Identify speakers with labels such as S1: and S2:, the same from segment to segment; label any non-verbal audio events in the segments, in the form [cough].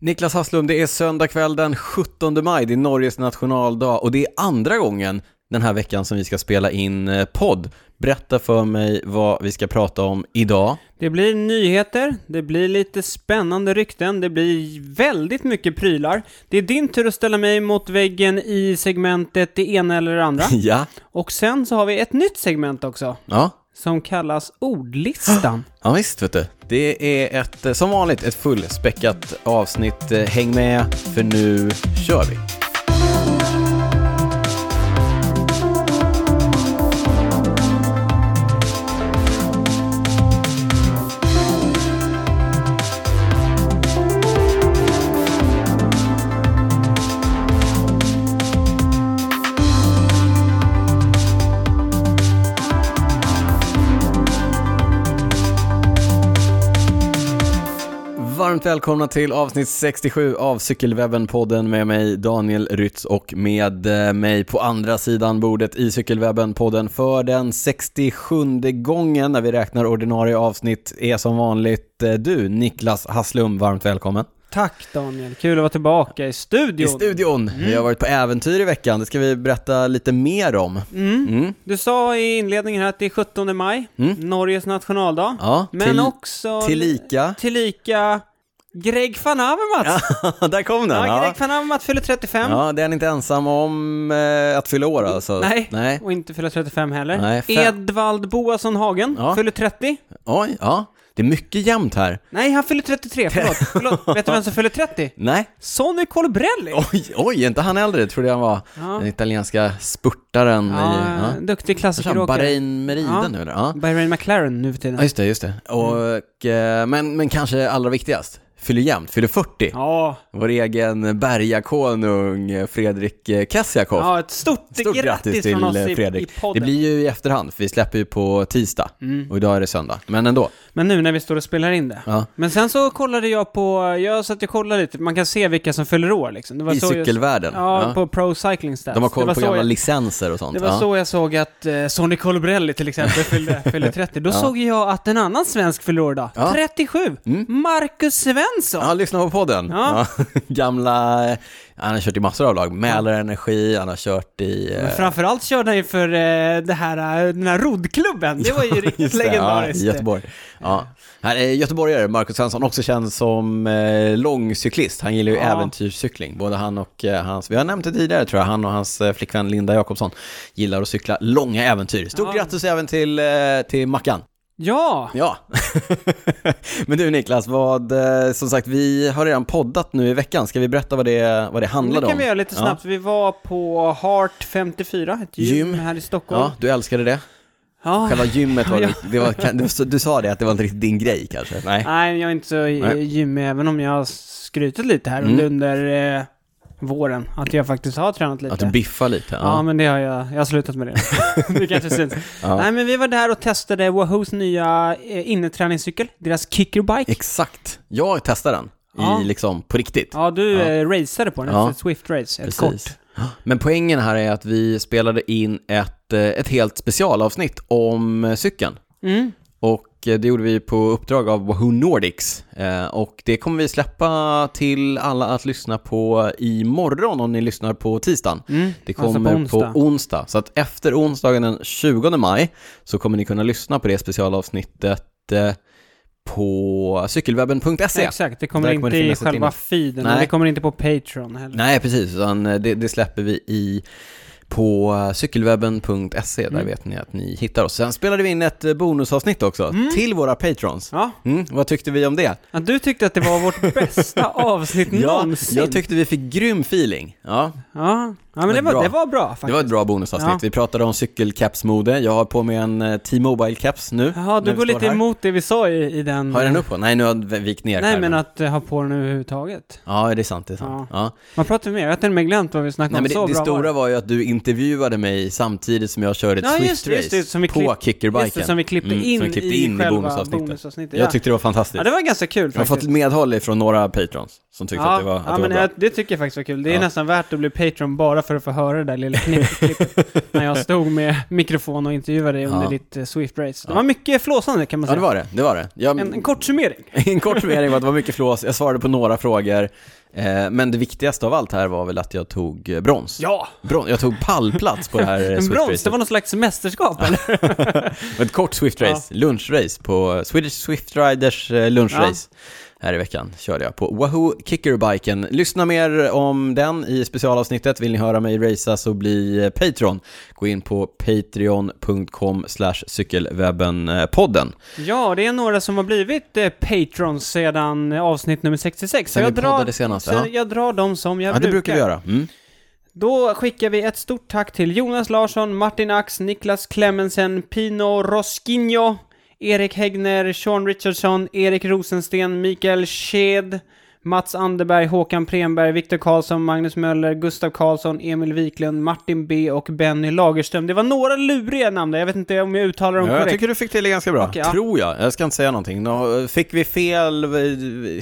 S1: Niklas Hasslum, det är söndag kväll den 17 maj, det är Norges nationaldag och det är andra gången den här veckan som vi ska spela in eh, podd. Berätta för mig vad vi ska prata om idag.
S2: Det blir nyheter, det blir lite spännande rykten, det blir väldigt mycket prylar. Det är din tur att ställa mig mot väggen i segmentet det ena eller
S1: [laughs]
S2: det andra.
S1: Ja.
S2: Och sen så har vi ett nytt segment också,
S1: Ja,
S2: som kallas
S1: [gasps]
S2: ordlistan.
S1: ja visst vet du. Det är ett, eh, som vanligt ett fullspäckat avsnitt. Eh, Häng med, för nu kör vi. Varmt välkomna till avsnitt 67 av Cykelwebben-podden med mig Daniel Rytz och med eh, mig på andra sidan bordet i Cykelwebben-podden för den 67 gången när vi räknar ordinarie avsnitt är som vanligt eh, du Niklas Hasslum, varmt välkommen.
S2: Tack Daniel, kul att vara tillbaka i studion.
S1: I studion! Vi har varit på äventyr i veckan, det ska vi berätta lite mer om.
S2: Mm.
S1: Mm.
S2: Du sa i inledningen här att det är 17 maj,
S1: Mm.
S2: Norges nationaldag.
S1: Ja,
S2: Men
S1: till,
S2: också
S1: tillika.
S2: tillika Greg van Avermaet.
S1: Där kom den!
S2: Ja,
S1: Ja,
S2: Greg van Avermaet fyller 35.
S1: ja det är han inte ensam om eh, att fylla år alltså.
S2: Nej,
S1: Nej.
S2: och inte fyller 35 heller.
S1: Nej, fem-
S2: Edvald Boasson Hagen
S1: Ja.
S2: fyller 30.
S1: Oj, ja. Det är mycket jämnt här.
S2: Nej, han fyller
S1: [laughs]
S2: 33, förlåt. förlåt. Vet du vem som fyller 30?
S1: Nej.
S2: Sonny Colbrelli!
S1: Oj, oj, är inte han äldre trodde jag han var.
S2: Ja.
S1: Den italienska spurtaren i...
S2: Ja,
S1: Ja.
S2: Duktig
S1: Så kör han
S2: klassikeråkare.
S1: Bahrain Meriden
S2: Ja. Mm.
S1: nu eller? Ja.
S2: Bahrain McLaren nu för
S1: ja,
S2: tiden.
S1: just det, just det. Och, eh, men, men kanske allra viktigast, fyller jämnt, fyller 40.
S2: Ja,
S1: Vår egen bergakonung eh, Fredrik eh, Kessiakoff.
S2: ja ett stort,
S1: Stort grattis till
S2: från oss
S1: eh,
S2: i, i
S1: Fredrik. det
S2: podden. Mm.
S1: blir ju i efterhand, för vi släpper ju på tisdag. Och idag är det söndag. Men ändå.
S2: Men nu när vi står och spelar in det.
S1: Ja.
S2: Men sen så kollade jag på, jag satt och kollade lite, man kan se vilka som fyller år liksom. Det var
S1: I
S2: så jag-
S1: cykelvärlden.
S2: Ja,
S1: Ja.
S2: på Pro Cycling Stats.
S1: De har
S2: Det
S1: koll
S2: var
S1: på
S2: så
S1: gamla
S2: jag-
S1: licenser och sånt.
S2: Det var
S1: ja.
S2: så jag såg att eh, Sonny Colbrelli till exempel fyllde, fyllde
S1: [laughs]
S2: 30. Då såg jag att en annan svensk fyllde år idag.
S1: Ja. Mm.
S2: 37! Marcus Svensson!
S1: Ja, lyssna på podden.
S2: Ja.
S1: Ja. [laughs] Gamla, han har kört i massor av lag. Mälare Energi, han har kört i... eh,
S2: Men framförallt körde han ju för eh, det här, eh, den här roddklubben. Det var ju riktigt
S1: eh, [laughs] just det,
S2: legendariskt.
S1: Ja, i Göteborg. Ja. Här är göteborgare, Marcus Svensson, också känd som eh, långcyklist. Han gillar ju
S2: Ja.
S1: äventyrscykling. Både han och eh, hans, vi har nämnt det tidigare tror jag, han och hans eh, flickvän Linda Jakobsson gillar att cykla långa äventyr. Stort
S2: Ja.
S1: grattis även till, eh, till Mackan.
S2: Ja,
S1: Ja. [laughs] Men du Niklas, vad, eh, som sagt, vi har redan poddat nu i veckan. Ska vi berätta vad det, vad det
S2: det
S1: handlade om?
S2: kan vi göra lite
S1: Ja.
S2: snabbt. Vi var på Heart 54, ett gym,
S1: Gym.
S2: här i Stockholm.
S1: Ja, du älskade det.
S2: Ja.
S1: Själva gymmet var,
S2: [laughs] Ja.
S1: ditt- det var kan- du, så- du sa det att det var inte riktigt din grej kanske? Nej.
S2: Nej, jag är inte så
S1: Nej. Mm.
S2: Nej. gymmig, även om jag har skrytit lite här under, under eh, våren. Att jag faktiskt har tränat lite.
S1: Att du biffar lite?
S2: Ja, men det har jag. Jag har
S1: [laughs]
S2: slutat med det. det kanske syns.
S1: Ja.
S2: Nej, men vi var där och testade Wahoos nya eh, inneträningscykel, deras kickerbike.
S1: Exakt. Jag testar den.
S2: Ja.
S1: I liksom, på riktigt.
S2: Ja, du
S1: Ja.
S2: eh, raceade på den,
S1: Ja.
S2: ett Swift Race, ett kort.
S1: Precis. Men poängen här är att vi spelade in ett, eh, ett helt specialavsnitt om eh, cykeln.
S2: Mm.
S1: Och eh, det gjorde vi på uppdrag av Wahoo Nordics. Eh, Och det kommer vi släppa till alla att lyssna på imorgon om ni lyssnar på tisdagen.
S2: Mm.
S1: Det
S2: Alltså
S1: kommer
S2: på onsdag.
S1: på onsdag. Så att efter onsdagen den 20 maj så kommer ni kunna lyssna på det specialavsnittet eh, på cykelwebben.se.
S2: Exakt, det kommer
S1: Där
S2: inte
S1: kommer det
S2: i
S1: finnas ett
S2: själva
S1: inne-
S2: feeden,
S1: Nej.
S2: och det kommer inte på Patreon heller.
S1: Nej, precis. Utan eh, det, det släpper vi i på eh, cykelwebben.se, där
S2: Mm.
S1: vet ni att ni hittar oss. Sen spelade vi in ett eh, bonusavsnitt också,
S2: Mm.
S1: till våra patrons.
S2: Ja,
S1: Mm, vad tyckte vi om det?
S2: ja, du tyckte att det
S1: [laughs]
S2: var vårt bästa avsnitt någonsin.
S1: jag tyckte vi fick grym feeling. Ja,
S2: ja. ja, men
S1: var
S2: det var,
S1: bra.
S2: det var bra faktiskt.
S1: det var ett bra bonusavsnitt.
S2: Ja.
S1: Vi pratade om cykelcapsmode, jag har på mig en eh, T-Mobile-caps nu.
S2: Jaha,
S1: när
S2: du
S1: vi
S2: går
S1: står
S2: lite
S1: här.
S2: emot det vi sa i, i den...
S1: Har jag den upp på? Nej, nu har jag vikt ner
S2: Nej, men
S1: skärmen.
S2: att eh, ha på den överhuvudtaget.
S1: Ja, det är sant, det är sant. Ja.
S2: Man pratar mer, jag har till och med glömt vad vi snackade
S1: Nej,
S2: om.
S1: men det, det
S2: så bra var
S1: stora var ju att du intervjuade mig samtidigt som jag körde ett
S2: Ja, just det,
S1: Swift-race
S2: just det, som vi
S1: på
S2: klipp-
S1: kickerbiken.
S2: Just det, som vi klippte
S1: Mm,
S2: in,
S1: som vi klippte
S2: i,
S1: in i
S2: själva
S1: bonusavsnittet.
S2: bonusavsnittet.
S1: Jag tyckte det var fantastiskt.
S2: ja. ja, det var ganska kul
S1: jag har
S2: faktiskt.
S1: fått medhåll från några patrons. som tyckte
S2: Ja,
S1: att det var, att det
S2: ja
S1: var
S2: men
S1: bra.
S2: jag, det tycker jag faktiskt var kul. Det är
S1: Ja.
S2: nästan värt att bli Patreon bara för att få höra det
S1: [laughs]
S2: där lilla knippet när jag stod med mikrofon och intervjuade dig under
S1: Ja.
S2: ditt eh, Swift-race. Det
S1: Ja.
S2: var mycket flåsande kan man
S1: Ja,
S2: säga.
S1: det var det. det, var det. Jag,
S2: En, en kort summering.
S1: [laughs] en kort summering var att det var mycket flås, jag svarade på några frågor, eh, men det viktigaste av allt här var väl att jag tog eh, brons.
S2: Ja!
S1: Bron- jag tog pallplats på det här eh,
S2: En brons,
S1: Swift
S2: det
S1: Race.
S2: var någon slags mästerskap eller?
S1: Ett kort Swift Race, lunchrace, på eh, Swedish Swift Riders eh, lunchrace. Här i veckan körde jag på Wahoo Kickerbiken. Lyssna mer om den i specialavsnittet. Vill ni höra mig racea så bli eh, Patreon. Gå in på patreon.com slash eh, cykelwebbenpodden.
S2: Ja, det är några som har blivit eh, patrons sedan eh, avsnitt nummer 66. Så
S1: Sen
S2: jag,
S1: vi poddade
S2: drar,
S1: senast.
S2: så
S1: Ja.
S2: jag drar dem som jag
S1: ja, det brukar vi göra. Mm.
S2: Då skickar vi ett stort tack till Jonas Larsson, Martin Ax, Niklas Clemensen, Pino Rosquinho, Erik Häggner, Sean Richardson, Erik Rosensten, Mikael Sked, Mats Anderberg, Håkan Premberg, Viktor Karlsson, Magnus Möller, Gustav Karlsson, Emil Wiklund, Martin B och Benny Lagerström. Det var några luriga namn där, jag vet inte om jag uttalar dem
S1: Ja, jag
S2: korrekt.
S1: tycker du fick till det ganska bra,
S2: Okej, ja.
S1: tror jag. Jag ska inte säga någonting. Nå, eh, Fick vi fel, eh,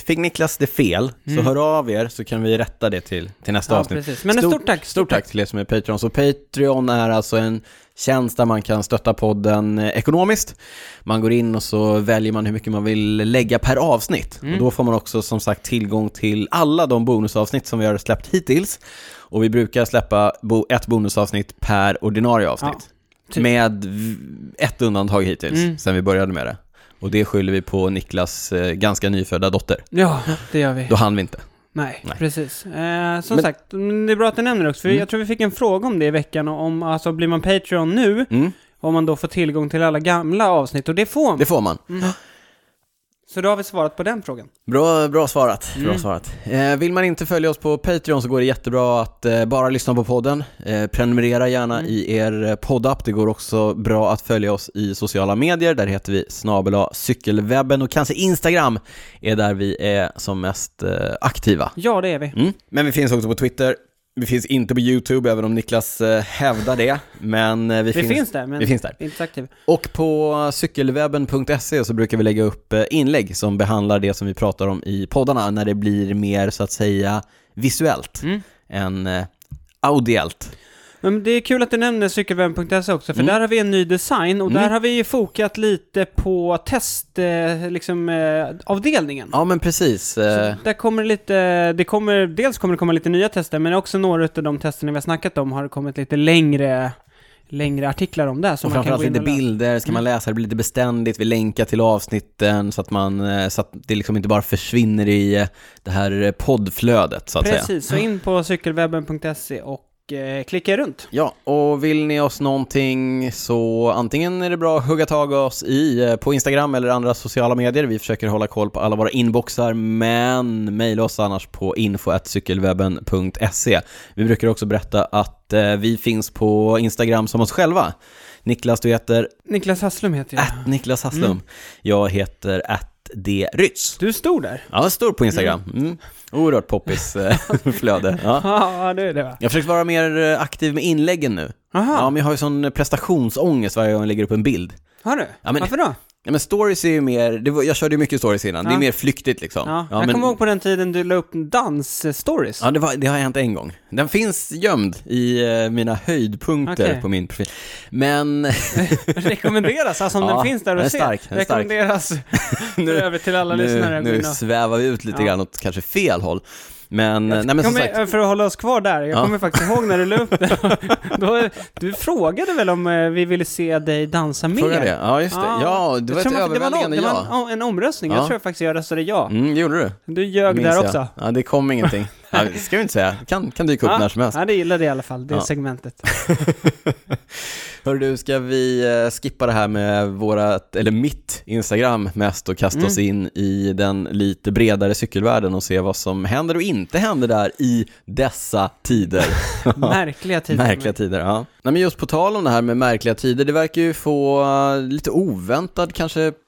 S1: fick Niklas det fel, så
S2: Mm.
S1: hör av er så kan vi rätta det till, till nästa
S2: Ja,
S1: avsnitt.
S2: precis. Men ett stort tack,
S1: Stort tack till er som är Patreon. Så Patreon är alltså en tjänst där man kan stötta podden eh, ekonomiskt. Man går in och så väljer man hur mycket man vill lägga per avsnitt.
S2: Mm.
S1: Och då får man också som sagt tillgång till alla de bonusavsnitt som vi har släppt hittills. Och vi brukar släppa bo- ett bonusavsnitt per ordinarie avsnitt.
S2: typ. Mm.
S1: Med v- ett undantag hittills, sen vi började med det. Och det skyller vi på Niklas eh, ganska nyfödda dotter.
S2: Ja, det gör vi.
S1: Då hann vi inte.
S2: Nej,
S1: Nej.
S2: precis. Eh, som
S1: Men-
S2: sagt, mm, det är bra att du nämner det också, för jag tror vi fick en fråga om det i veckan, om alltså blir man Patreon nu,
S1: Mm.
S2: om man då får tillgång till alla gamla avsnitt, och det får man.
S1: Det får man.
S2: Så då har vi svarat på den frågan.
S1: Bra, bra svarat. Bra svarat. Eh, vill man inte följa oss på Patreon så går det jättebra att eh, bara lyssna på podden. Eh, prenumerera gärna i er eh, poddapp. Det går också bra att följa oss i sociala medier. Där heter vi snabela cykelwebben och kanske Instagram är där vi är som mest eh, aktiva.
S2: Ja, det är vi.
S1: Mm. Men vi finns också på Twitter. Vi finns inte på YouTube, även om Niklas eh, hävdar det. Men eh, vi,
S2: Vi
S1: finns,
S2: finns, där, men
S1: vi finns där.
S2: inte så aktiva.
S1: Och på cykelwebben.se så brukar vi lägga upp eh, inlägg som behandlar det som vi pratar om i poddarna när det blir mer så att säga visuellt
S2: Mm.
S1: än eh, audiellt.
S2: Men det är kul att du nämner cykelwebben.se också,
S1: Mm.
S2: för där har vi en ny design, och där har vi ju fokat lite på test, eh, liksom, eh, avdelningen.
S1: Ja men precis. Eh,
S2: Så där kommer det lite, det kommer, dels kommer det komma lite nya tester, men också några av de testerna vi har snackat om har det kommit lite längre, längre artiklar om där. Som
S1: och
S2: man kan
S1: framförallt lite
S2: gå in och läsa.
S1: bilder ska man läsa, Mm. det blir lite beständigt, vi länkar till avsnitten så att, man, eh, så att det liksom inte bara försvinner i eh, det här eh, poddflödet så att säga.
S2: Precis, så in på cykelwebben.se och eh, klicka runt.
S1: Ja, och vill ni oss någonting så antingen är det bra att hugga tag i oss i, eh, på Instagram eller andra sociala medier. Vi försöker hålla koll på alla våra inboxar, men mejla oss annars på info.cykelwebben.se. Vi brukar också berätta att eh, vi finns på Instagram som oss själva. Niklas, du heter
S2: Niklas Hasslum heter jag.
S1: att Niklas Hasslum. Jag heter att D. Rytz.
S2: Du stod där.
S1: Ja, står på Instagram. Mm. Oerhört poppis eh, [laughs] flöde. Ja.
S2: [laughs] Ja, det är det va?
S1: Jag har försökt vara mer eh, aktiv med inläggen nu.
S2: Aha,
S1: Ja, men jag har ju sån prestationsångest varje gång jag lägger upp en bild.
S2: har du?
S1: Ja, men-
S2: Varför då?
S1: Ja, men stories är ju mer, det var, jag körde ju mycket stories innan, det är
S2: Ja.
S1: mer flyktigt liksom.
S2: Ja,
S1: Ja,
S2: jag
S1: men-
S2: kommer ihåg på den tiden du la upp dans-stories.
S1: Ja, det, var, det har hänt en gång. Den finns gömd i eh, mina höjdpunkter
S2: Okej.
S1: på min profil. Men
S2: [laughs]
S1: [laughs]
S2: Rekommenderas, alltså om
S1: Ja,
S2: den finns där
S1: den är
S2: och
S1: stark,
S2: ser.
S1: den är stark.
S2: Rekommenderas
S1: [laughs] nu,
S2: över till alla lyssnare.
S1: nu,
S2: att gå
S1: nu
S2: in och-
S1: svävar vi ut lite
S2: Ja.
S1: grann åt kanske fel håll. Men, eh, nej men som
S2: kommer,
S1: sagt,
S2: För att hålla oss kvar där, jag
S1: Ja.
S2: kommer faktiskt ihåg när du la
S1: [laughs]
S2: upp det. Då, du frågade väl om eh, vi ville se dig dansa mer?
S1: fråga det. Ja, just det. Ja, det
S2: Jag
S1: var
S2: tror
S1: ett
S2: man-
S1: överväldigande
S2: det var, någon- Det
S1: ja.
S2: var en, en omröstning,
S1: Ja.
S2: jag tror faktiskt jag röstade ja.
S1: Mm, det gjorde du.
S2: Du ljög
S1: Minns
S2: där
S1: jag.
S2: också. Ah.
S1: Ja, det kom
S2: [laughs]
S1: ingenting. Ja, det ska vi inte säga. Kan, kan dyka upp när som helst.
S2: ja, det gillade jag i alla fall, det
S1: Ja.
S2: segmentet.
S1: Hör du, ska vi eh, skippa det här med vårat, eller mitt Instagram mest och kasta oss in i den lite bredare cykelvärlden och se vad som händer och inte händer där i dessa tider.
S2: Märkliga tider.
S1: märkliga tider, ja. Nej, men just på tal om det här med märkliga tider, det verkar ju få eh, lite oväntad kanske upp,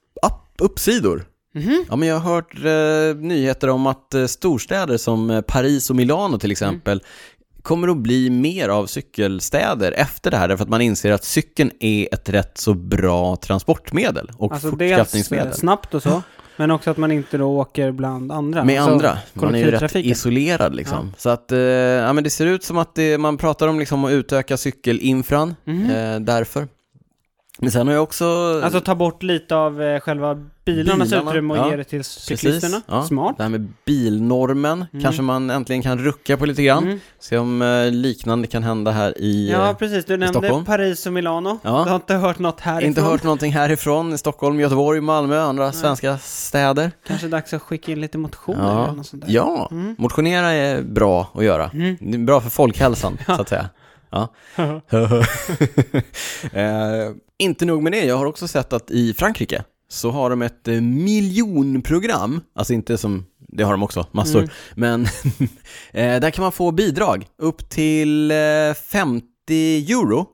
S1: uppsidor.
S2: Mhm.
S1: Ja, men jag har hört eh, nyheter om att eh, storstäder som eh, Paris och Milano
S2: Mm.
S1: till exempel kommer att bli mer av cykelstäder efter det här, därför att man inser att cykeln är ett rätt så bra transportmedel och
S2: Alltså dels eh,
S1: fortskaffningsmedel.
S2: snabbt och så, Men också att man inte då åker bland andra.
S1: med
S2: Alltså,
S1: andra. Man är ju rätt
S2: kollektivtrafiken.
S1: isolerad liksom. Så att, eh, ja men det ser ut som att det, man pratar om liksom att utöka cykelinfran, eh, därför. Men sen har jag också...
S2: Mhm. Alltså ta bort lite av eh, själva bilarnas
S1: Bilarna,
S2: utrymme och
S1: ja.
S2: ge det till
S1: precis,
S2: cyklisterna.
S1: ja,
S2: Smart. Mhm.
S1: Det här med bilnormen, kanske man äntligen kan rucka på lite grann.
S2: Mm.
S1: Se om eh, liknande kan hända här i...
S2: Ja,
S1: eh,
S2: precis. Du nämnde
S1: Stockholm.
S2: Paris och Milano.
S1: Ja.
S2: Du har inte hört något härifrån.
S1: inte hört någonting härifrån, i Stockholm, Göteborg, Malmö, andra svenska städer.
S2: Kanske dags att skicka in lite motioner eller
S1: Ja,
S2: något sånt där. Mm.
S1: ja. motionera är bra att göra. Det är bra för folkhälsan, så att säga.
S2: [laughs]
S1: Ja. [laughs] eh, inte nog med det, jag har också sett att i Frankrike så har de ett eh, miljonprogram, alltså inte som, det har de också, massor,
S2: Mm.
S1: men [laughs] eh, där kan man få bidrag upp till eh, 50 euro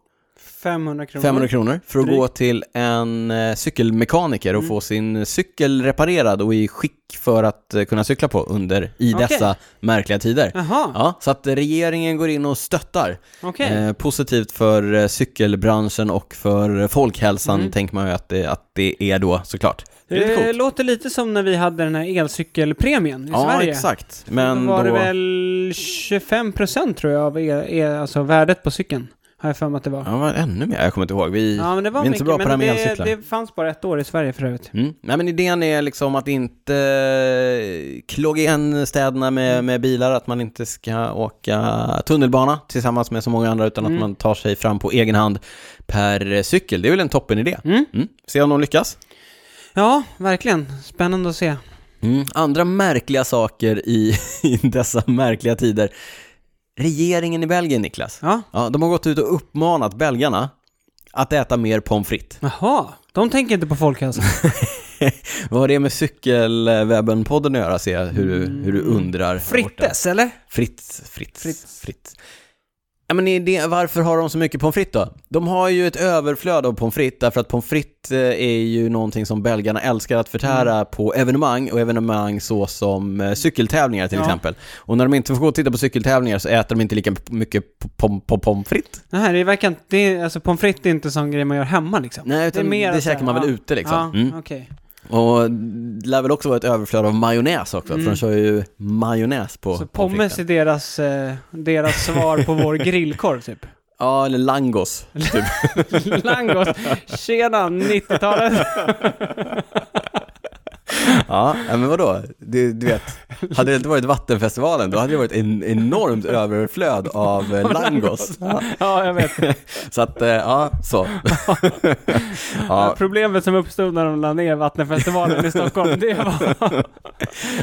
S2: 500 kronor.
S1: 500 kronor för att
S2: Drygt. Mm.
S1: gå till en eh, cykelmekaniker och få sin cykel reparerad och i skick för att eh, kunna cykla på under i
S2: Okej.
S1: dessa märkliga tider.
S2: Jaha,
S1: Ja, så att regeringen går in och stöttar.
S2: okej.
S1: Eh, positivt för eh, cykelbranschen och för eh, folkhälsan
S2: Mm.
S1: tänker man ju att det, att det är då såklart. Det är
S2: Det,
S1: lite coolt.
S2: låter lite som när vi hade den här elcykelpremien i
S1: Ja,
S2: Sverige.
S1: exakt. Men
S2: då var
S1: då...
S2: det väl 25% tror jag av er, er, alltså värdet på cykeln. Har jag för mig att det var.
S1: Ja, var ännu mer. Jag kommer inte ihåg. Vi, vi är inte så bra på det här med
S2: men det,
S1: elcyklar.
S2: det fanns bara ett år i Sverige för övrigt.
S1: Mm. Nej men idén är liksom att inte eh, klogga igen städerna med, med bilar, att man inte ska åka tunnelbana tillsammans med så många andra utan att man tar sig fram på egen hand per eh, cykel. Det är väl en toppen idé.
S2: Mm.
S1: Se om de lyckas.
S2: Ja, verkligen. Spännande att se.
S1: Mm. Andra märkliga saker i, [laughs] i dessa märkliga tider. Regeringen i Belgien, Niklas.
S2: Ja.
S1: Ja, de har gått ut och uppmanat belgarna att äta mer pommes frites.
S2: Jaha, de tänker inte på
S1: [laughs]
S2: alltså. folkhälsan.
S1: Vad har det med cykelwebben-podden att göra, ser jag hur, du- hur du undrar. där borta.
S2: Frittes, eller?
S1: Fritt, fritt, fritt.
S2: Fritt.
S1: Ja, men är det, varför har de så mycket pommes frites då? De har ju ett överflöd av pommes frites därför att pommes frites eh, är ju någonting som belgarna älskar att förtära
S2: Mm.
S1: på evenemang och evenemang såsom eh, cykeltävlingar till
S2: Ja.
S1: exempel. Och när de inte får gå och titta på cykeltävlingar så äter de inte lika mycket p- pom- pom- pommes frites.
S2: Nej, det verkar inte... Det är, alltså pommes frites är inte en sån grej man gör hemma liksom.
S1: Nej, utan det,
S2: att så här,
S1: käkar man väl
S2: ja.
S1: ute liksom.
S2: Ja,
S1: Mm.
S2: okej.
S1: Och det lär väl också vara ett överflöd av majonnäs också, för de kör ju majonnäs på
S2: Mm. Så
S1: pommes
S2: pommes
S1: fritesen.
S2: är deras, eh, deras svar
S1: [laughs]
S2: på vår grillkorv typ.
S1: Ja, eller langos. Typ.
S2: Langos, tjena 90-talet.
S1: Ja, ja, men vadå? Du, du vet, hade det inte varit Vattenfestivalen då hade det varit en enormt överflöd av eh, langos. [laughs] Ja,
S2: Ja, jag vet.
S1: så att, eh, ja, så. Ja,
S2: Problemet som uppstod när de la ner Vattenfestivalen i Stockholm, det var...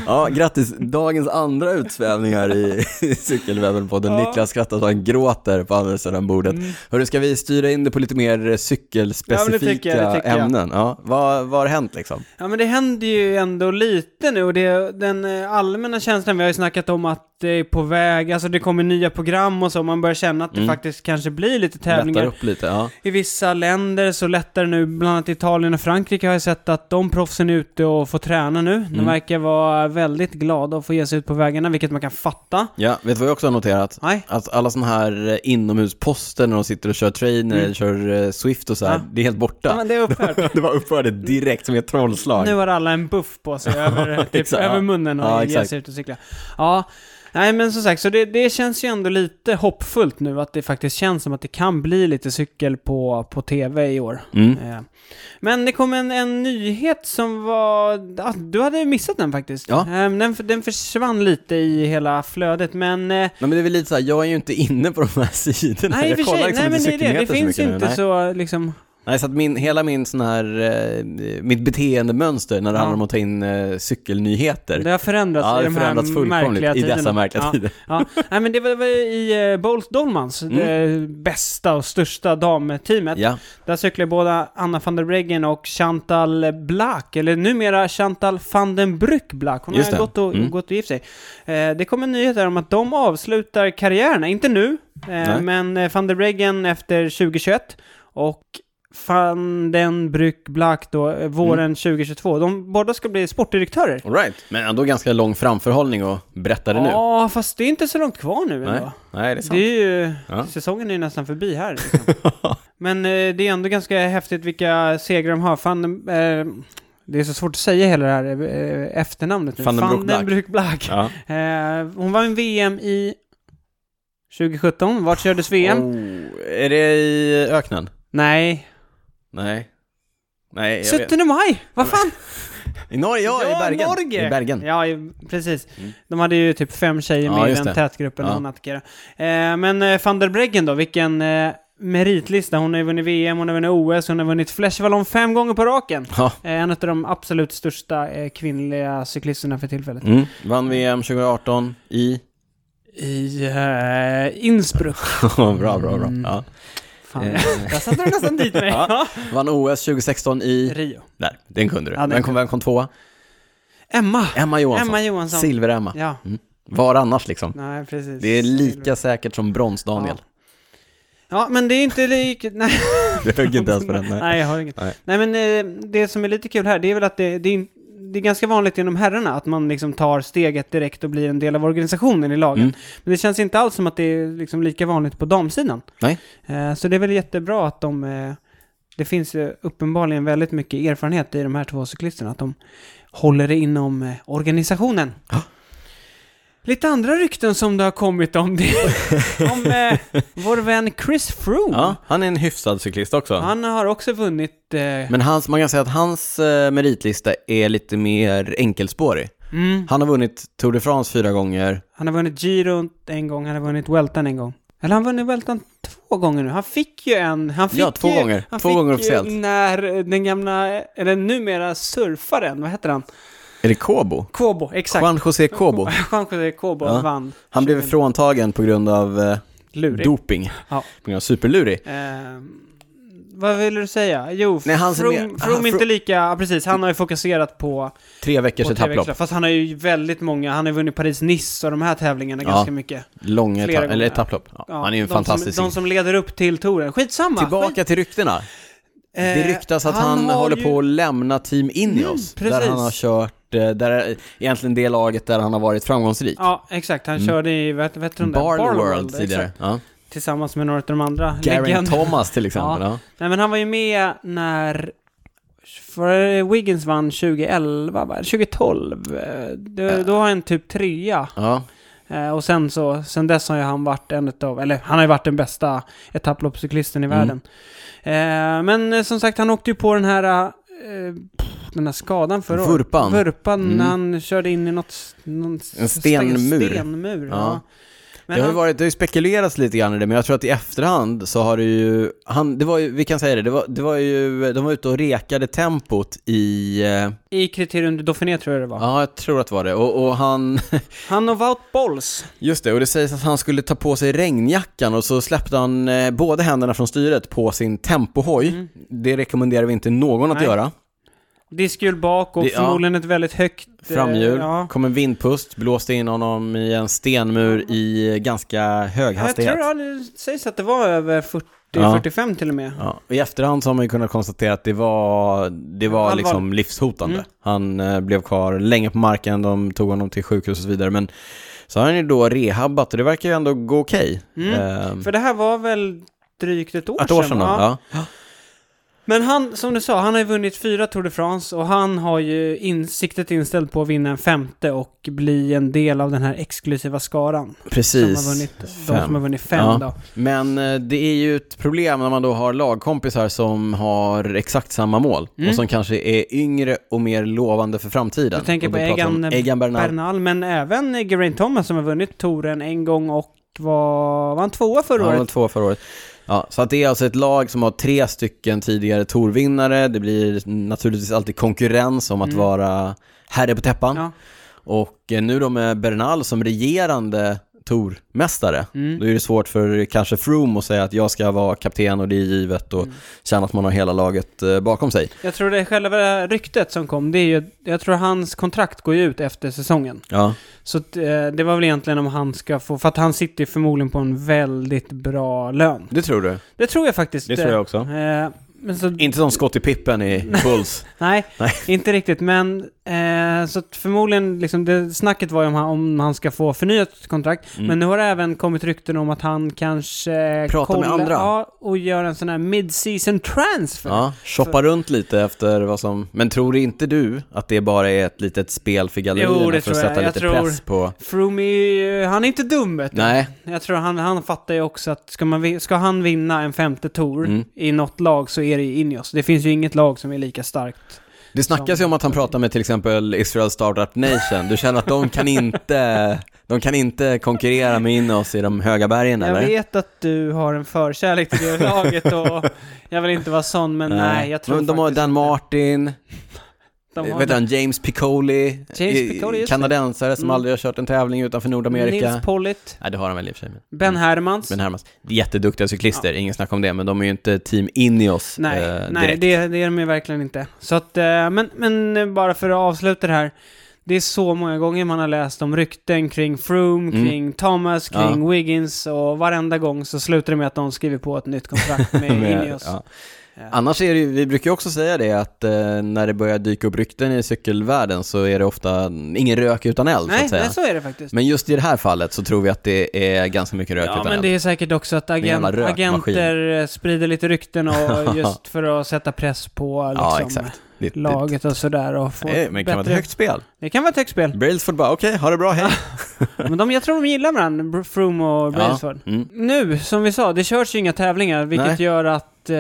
S1: ja, grattis. Dagens andra utsvävning här i i cykelwebben på den
S2: Ja. Mm.
S1: Niklas skrattar så han gråter på andra sidan bordet. Hörru, ska vi styra in det på lite mer eh, cykelspecifika
S2: Ja, men det tycker jag, det tycker jag.
S1: ämnen? Ja, vad, vad har hänt liksom?
S2: Ja men det händer ju ändå lite nu och det, den eh, allmänna känslan, vi har ju snackat om att det är på väg, alltså det kommer nya program och så, man börjar känna att det faktiskt kanske blir lite
S1: Lättar
S2: tävlingar.
S1: upp lite, ja.
S2: I vissa länder så lättar det nu, bland annat Italien och Frankrike har jag sett att de proffsen är ute och får träna nu. De verkar vara väldigt glada att få ge sig ut på vägarna, vilket man kan fatta.
S1: Ja, vet du vad jag också har noterat?
S2: Nej.
S1: Att alla sådana här eh, inomhusposter när de sitter och kör trainer eller kör eh, Swift och så här,
S2: Mm. Ja.
S1: det är helt
S2: Ja,
S1: borta.
S2: men det är
S1: [laughs]
S2: upphört.
S1: det var uppförde direkt som ett trollslag.
S2: Nu har alla en buff
S1: [laughs]
S2: på sig över, typ,
S1: exakt.
S2: över munnen och
S1: Ja,
S2: ger
S1: exakt.
S2: sig ut och cykla. Ja, nej men som sagt, så det, det känns ju ändå lite hoppfullt nu att det faktiskt känns som att det kan bli lite cykel på, på tv i år.
S1: Mm.
S2: Eh, Men det kom en, en nyhet som var... ah, Du hade missat den faktiskt.
S1: Ja.
S2: Eh, Den, den försvann lite i hela flödet, men...
S1: [laughs]
S2: eh,
S1: Nej, men det är väl lite så här, jag är ju inte inne på de här [laughs] sidorna.
S2: Nej, i
S1: jag
S2: och
S1: liksom
S2: för sig. Nej, men det är det.
S1: cykelnyheter
S2: Det
S1: så
S2: finns
S1: mycket nu.
S2: inte
S1: Nej.
S2: så liksom...
S1: Nej, så att min, hela min sån här, eh, mitt beteendemönster när det
S2: Ja.
S1: handlar om att ta in eh, cykelnyheter,
S2: Det har förändrats
S1: ja, det
S2: i de här
S1: förändrats fullkomligt
S2: märkliga
S1: i
S2: tiderna.
S1: dessa märkliga
S2: ja.
S1: tider.
S2: Ja, nej men det var, det var i eh, Bolt Dolmans, det bästa och största damteamet.
S1: Mm. Ja,
S2: Där cyklar båda Anna van der Breggen och Chantal Black, eller numera Chantal van den Brück Black. Hon
S1: Just
S2: har
S1: det.
S2: gått och,
S1: Mm.
S2: gått och gift sig. Eh, det kom en nyhet här om att de avslutar karriärerna, inte nu, eh,
S1: Nej.
S2: men eh, van der Breggen efter 2021 och van den Brück Black då, eh, våren
S1: Mm.
S2: 2022. De båda ska bli sportdirektörer.
S1: all right. Men ändå ganska lång framförhållning och berätta det nu.
S2: Ja, fast det är inte så långt kvar nu
S1: Nej.
S2: ändå.
S1: Nej, det är sant.
S2: Det är ju,
S1: Ja.
S2: säsongen är ju nästan
S1: [laughs]
S2: förbi här. Liksom. Men eh, det är ändå ganska häftigt vilka segrar de har. Fan, eh, Det är så svårt att säga hela det här eh, efternamnet nu.
S1: Van den Broek Black.
S2: Black.
S1: Ja.
S2: Eh, hon var i VM i 2017. Vart kördes VM?
S1: Oh, är det i öknen?
S2: Nej.
S1: Nej. Nej, jag vet.
S2: 17 maj! Vad fan?
S1: I Norge? Ja, i Bergen.
S2: Norge!
S1: I Bergen.
S2: Ja, i, precis.
S1: Mm.
S2: De hade ju typ fem tjejer
S1: Ja,
S2: med i
S1: just
S2: den
S1: det.
S2: tätgruppen
S1: Ja.
S2: hon attackerade. Eh, men eh, van der Breggen då, vilken eh, meritlista. Hon har ju vunnit VM, hon har vunnit OS, hon har vunnit flashballon fem gånger på raken.
S1: Ja.
S2: Eh, en av de absolut största eh, kvinnliga cyklisterna för tillfället.
S1: Mm. Vann VM 2018 i... [laughs]
S2: I eh, Innsbruck.
S1: bra, bra, bra. Ja.
S2: Mm. Fan,
S1: Eh.
S2: [laughs] där satte du nästan dit
S1: [laughs]
S2: mig.
S1: Ja. Vann OS 2016 i...
S2: Rio.
S1: Där, den kunde du.
S2: Ja, den
S1: vem, kom, vem kom tvåa?
S2: Emma.
S1: Emma Johansson.
S2: Emma Johansson.
S1: Silver-Emma.
S2: Ja,
S1: Var annars liksom.
S2: nej precis.
S1: Det är lika säkert som brons-Daniel.
S2: Ja, men det är inte lika... Nej,
S1: [laughs] Det högg inte ens på den. Nej.
S2: nej jag har inget. Nej.
S1: Alltså, Nej.
S2: men eh, det som är lite kul här, det är väl att det, det, är, det är ganska vanligt inom herrarna att man liksom tar steget direkt och blir en del av organisationen i lagen.
S1: Mm.
S2: Men det känns inte alls som att det är liksom lika vanligt på damsidan.
S1: Nej.
S2: Eh, så det är väl jättebra att de... Eh, det finns ju uppenbarligen väldigt mycket erfarenhet i de här två cyklisterna, att de håller det inom eh, organisationen. Lite andra rykten som det har kommit om
S1: [laughs]
S2: det. om eh, vår vän Chris Froome.
S1: Ja, han är en hyfsad cyklist också.
S2: Han har också vunnit... Eh,
S1: Men hans, man kan säga att hans eh, meritlista är lite mer enkelspårig.
S2: mm,
S1: Han har vunnit Tour de France fyra gånger.
S2: han har vunnit Giro en gång, han har vunnit Weltan en gång. Eller han har vunnit Weltan två gånger nu. Han fick ju en... Han fick
S1: Ja, två
S2: ju,
S1: gånger.
S2: Han
S1: Två
S2: fick
S1: gånger
S2: ju
S1: officiellt.
S2: när eh, den gamla, eller numera surfaren, vad heter han?
S1: Är det Kobo?
S2: Kobo, exakt.
S1: Juan José Kobo.
S2: [laughs] Juan José Kobo
S1: Ja.
S2: vann.
S1: Han blev fråntagen på grund av eh,
S2: Lurig.
S1: doping.
S2: Ja.
S1: På grund av superlurig.
S2: Eh, vad ville du säga? Jo,
S1: Nej, han ser
S2: Froome
S1: mer-
S2: Froome
S1: han-
S2: inte lika... Ja, precis. Han har ju fokuserat på...
S1: Tre veckors
S2: på tre
S1: etapplopp.
S2: veckor. Fast han har ju väldigt många. Han har ju vunnit Paris-Nice och de här tävlingarna
S1: Ja.
S2: ganska mycket.
S1: Långa
S2: Flera
S1: etapp, eller
S2: gånger.
S1: etapplopp. Ja,
S2: Ja,
S1: han är ju en
S2: de
S1: fantastisk
S2: Som, de som leder upp till touren. Skitsamma! Skit,
S1: Tillbaka till ryktena. Det
S2: Eh,
S1: ryktas att
S2: han
S1: han,
S2: har
S1: håller
S2: ju- Mm,
S1: på att lämna Team Ineos. där
S2: precis.
S1: han har kört, eh, där, egentligen det laget där han har varit framgångsrik.
S2: ja, exakt. Han körde i, vad vad heter de där?
S1: Mm. Barley World,
S2: exakt.
S1: tidigare. Ja.
S2: Tillsammans med några av de andra
S1: Garen
S2: legenderna.
S1: Thomas
S2: [laughs]
S1: till exempel. Ja.
S2: Nej men han var ju med när... För Wiggins vann 2011, va? 2012. Eh, Då, då har han typ trea.
S1: Ja.
S2: Eh, Och sen så, sen dess har ju han varit en utav, eller han har ju varit den bästa etapploppscyklisten i
S1: Mm.
S2: världen. Eh, Men eh, som sagt, han åkte ju på den här, eh, pff, den här skadan förra året.
S1: Vurpan.
S2: Vurpan,
S1: Mm.
S2: när han körde in i något... s- Någon s-
S1: En stenmur.
S2: stenmur ja.
S1: Ja.
S2: Men
S1: det har ju
S2: han,
S1: varit, det har ju spekulerats lite grann i det, men jag tror att i efterhand så har det ju, han, det var ju, vi kan säga det, det var, det var ju, de var ute och rekade tempot i, eh,
S2: I kriterium du Dauphiné tror jag det var.
S1: ja jag tror att det var det, och, och han, [laughs]
S2: Han och Wout Bolls.
S1: just det, och det sägs att han skulle ta på sig regnjackan och så släppte han eh, båda händerna från styret på sin tempohoj. Det rekommenderar vi inte någon att
S2: Mm. Nej.
S1: göra.
S2: Diskhjul bak och
S1: Det- ja.
S2: förmodligen ett väldigt högt... eh,
S1: Framhjul,
S2: Ja.
S1: kom en vindpust, blåste in honom i en stenmur i eh, ganska hög
S2: Jag
S1: hastighet.
S2: tror det sägs att det var över 40,
S1: Ja.
S2: 45 till och med.
S1: Ja, och I efterhand så har man ju kunnat konstatera att det var, det var
S2: Allvarligt.
S1: liksom livshotande.
S2: Mm.
S1: Han eh, blev kvar länge på marken, de tog honom till sjukhus och så vidare. Men så har han ju då rehabbat och det verkar ju ändå gå okej.
S2: Mm.
S1: Ehm,
S2: För det här var väl drygt ett år
S1: ett år sedan då?
S2: va?
S1: Ja.
S2: Men han, som du sa, han har ju vunnit fyra Tour de France och han har ju insiktet inställt på att vinna en femte och bli en del av den här exklusiva skaran. Som har
S1: Precis.
S2: vunnit, de som har vunnit fem
S1: Ja.
S2: då.
S1: Men eh, det är ju ett problem när man då har lagkompisar som har exakt samma mål
S2: Mm.
S1: och som kanske är yngre och mer lovande för framtiden.
S2: Du tänker
S1: Och
S2: på
S1: då pratar jag om
S2: Egan-
S1: Egan Bernal.
S2: Bernal, men även Geraint Thomas som har vunnit touren en gång och var, var han tvåa förra
S1: Han var
S2: året?
S1: två förra året. Ja, så att det är alltså ett lag som har tre stycken tidigare torvinnare. Det blir naturligtvis alltid konkurrens om att
S2: Mm.
S1: vara herre på täppan.
S2: Ja.
S1: Och eh, nu då med Bernal som regerande tormästare,
S2: Mm.
S1: då är det svårt för eh, kanske Froome att säga att jag ska vara kapten och det är givet och känna att man har hela laget eh, bakom sig.
S2: Jag tror det själva ryktet som kom, det är ju, jag tror hans kontrakt går ju ut efter säsongen.
S1: Ja,
S2: Så att, eh, det var väl egentligen om han ska få, för att han sitter ju förmodligen på en väldigt bra lön.
S1: det tror du?
S2: Det tror jag Mm. faktiskt.
S1: Det tror jag också.
S2: Eh, Men så,
S1: Inte som skott i pippen i
S2: [laughs]
S1: Bulls.
S2: nej,
S1: Nej.
S2: inte riktigt. Men eh, så att förmodligen, liksom, det, snacket var ju om han, om han ska få förnyat kontrakt.
S1: Mm.
S2: Men nu har det även kommit rykten om att han kanske... eh,
S1: Prata med andra.
S2: Ja, och gör en sån här mid-season transfer.
S1: Ja, shoppa runt lite efter vad som... Men tror inte du att det bara är ett litet spel för gallerierna
S2: Jo, det
S1: för att
S2: tror jag.
S1: sätta
S2: Jag
S1: lite
S2: tror-
S1: press på...
S2: Froome, är ju- han är inte dum vet du.
S1: Nej,
S2: Jag tror han, han fattar ju också att ska, man, vin- ska han vinna en femte tour
S1: Mm.
S2: i något lag så är det ju Ineos. Det finns ju inget lag som är lika starkt.
S1: det snackas ju om att han pratar med till exempel Israel Startup Nation. Du känner att de kan inte, de kan inte konkurrera med in oss i de höga bergen
S2: jag
S1: eller?
S2: vet att du har en förkärlek till
S1: [laughs]
S2: det laget och jag vill inte vara sån, men nej, jag tror
S1: Men de har
S2: faktiskt
S1: Dan Martin,
S2: de har
S1: vet du han, James Piccoli,
S2: James
S1: i-
S2: Piccoli, just det.
S1: kanadensare som
S2: Mm.
S1: aldrig har kört en tävling utanför Nordamerika.
S2: Nils Pollitt,
S1: Nej, det har han väl i och för sig. men-
S2: Ben Hermans.
S1: Men Hermans, jätteduktiga cyklister, ingen snack om det, men de är ju inte team Ineos
S2: nej,
S1: eh,
S2: nej
S1: direkt.
S2: det, det är de ju verkligen inte. Så att, eh, men, men eh, bara för att avsluta det här. Det är så många gånger man har läst om rykten kring Froome,
S1: Mm.
S2: kring Thomas, kring Wiggins och varenda gång så slutar det med att de skriver på ett nytt kontrakt [laughs] med,
S1: [laughs] Med-
S2: Ineos.
S1: ja.
S2: Ja.
S1: Annars är det ju, vi brukar ju också säga det att eh, när det börjar dyka upp rykten i cykelvärlden så är det ofta ingen rök utan eld så
S2: nej,
S1: att säga.
S2: nej, så är det faktiskt.
S1: Men just i det här fallet så tror vi att det är ganska mycket rök
S2: Ja,
S1: utan
S2: men
S1: eld.
S2: det är säkert också att
S1: en jävla
S2: agent,
S1: rökmaskin.
S2: agenter eh, sprider lite
S1: [laughs]
S2: rykten och just för att sätta press på
S1: ja,
S2: liksom,
S1: exakt. Det, det-
S2: laget och sådär och få
S1: Nej, men det kan vara ett
S2: bättre-
S1: högt spel.
S2: Det kan vara ett högt spel.
S1: Brailsford bara, okej, ha det bra, hej.
S2: Men de, jag tror de gillar varandra, Br- Froome [laughs] och Brailsford.
S1: Ja, mm.
S2: Nu, som vi sa, det körs ju inga tävlingar, vilket
S1: Nej.
S2: gör att... Eh,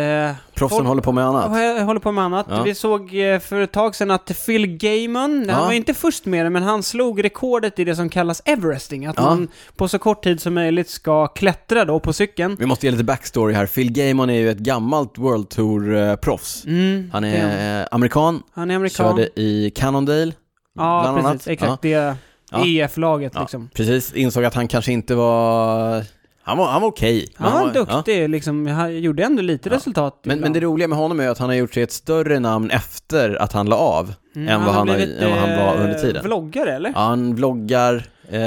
S1: Proffsen
S2: Folk-
S1: håller på med annat.
S2: jag håller på med annat.
S1: Ja.
S2: Vi såg eh, för ett tag sedan att Phil Gaiman,
S1: Ja.
S2: han var inte först med det, men han slog rekordet i det som kallas Everesting. Att
S1: Ja.
S2: man på så kort tid som möjligt ska klättra då på cykeln.
S1: Vi måste ge lite backstory här. Phil Gaiman är ju ett gammalt World Tour-proffs.
S2: Mm,
S1: Han
S2: det är
S1: är eh, amerikan,
S2: han är amerikan.
S1: körde i Cannondale,
S2: ja,
S1: bland
S2: precis.
S1: annat.
S2: Exakt.
S1: Ja.
S2: Det är
S1: Ja.
S2: EF-laget
S1: Ja.
S2: liksom.
S1: Precis, insåg att han kanske inte var... Han var, han var okej. men
S2: Han var
S1: ja.
S2: duktig liksom, han gjorde ändå lite
S1: Ja.
S2: resultat.
S1: Men, men
S2: ibland.
S1: det roliga med honom är ju att han har gjort sig ett större namn efter att han la av.
S2: Mm,
S1: än vad han har-
S2: blivit,
S1: än vad han var under
S2: eh,
S1: tiden.
S2: Vloggare eller?
S1: Ja, han vloggar eh,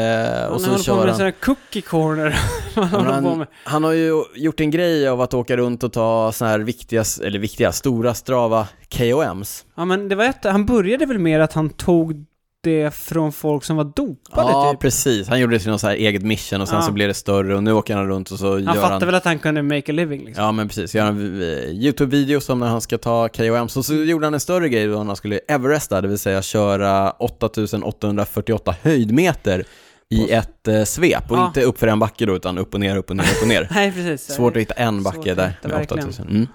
S1: och
S2: han
S1: sen
S2: håller på
S1: kör
S2: med en
S1: han.
S2: sån här cookie corner. [laughs] han
S1: Ja, men
S2: håller på
S1: Han,
S2: med.
S1: han har ju gjort en grej av att åka runt och ta såna här viktiga, eller viktiga, stora Strava KOMs.
S2: Ja men det var ett, han började väl mer att han tog det från folk som var dopade
S1: Ja,
S2: typ.
S1: precis. Han gjorde det till något så här eget mission och sen
S2: Ja.
S1: så blev det större och nu åker han runt och så
S2: Han
S1: gör
S2: fattade
S1: han...
S2: väl att han kunde make a living liksom.
S1: Ja, men precis. Gör en eh, YouTube-video som när han ska ta KOMs och så gjorde han en större grej då när han skulle Everesta, det vill säga köra 8848 höjdmeter i ett eh, svep och
S2: Ja.
S1: inte upp för en backe då utan upp och ner, upp och ner, upp och ner.
S2: [laughs] Nej precis.
S1: Svårt att hitta en
S2: Svårt
S1: backe
S2: att
S1: där
S2: hitta,
S1: med
S2: verkligen.
S1: 8000. Mm.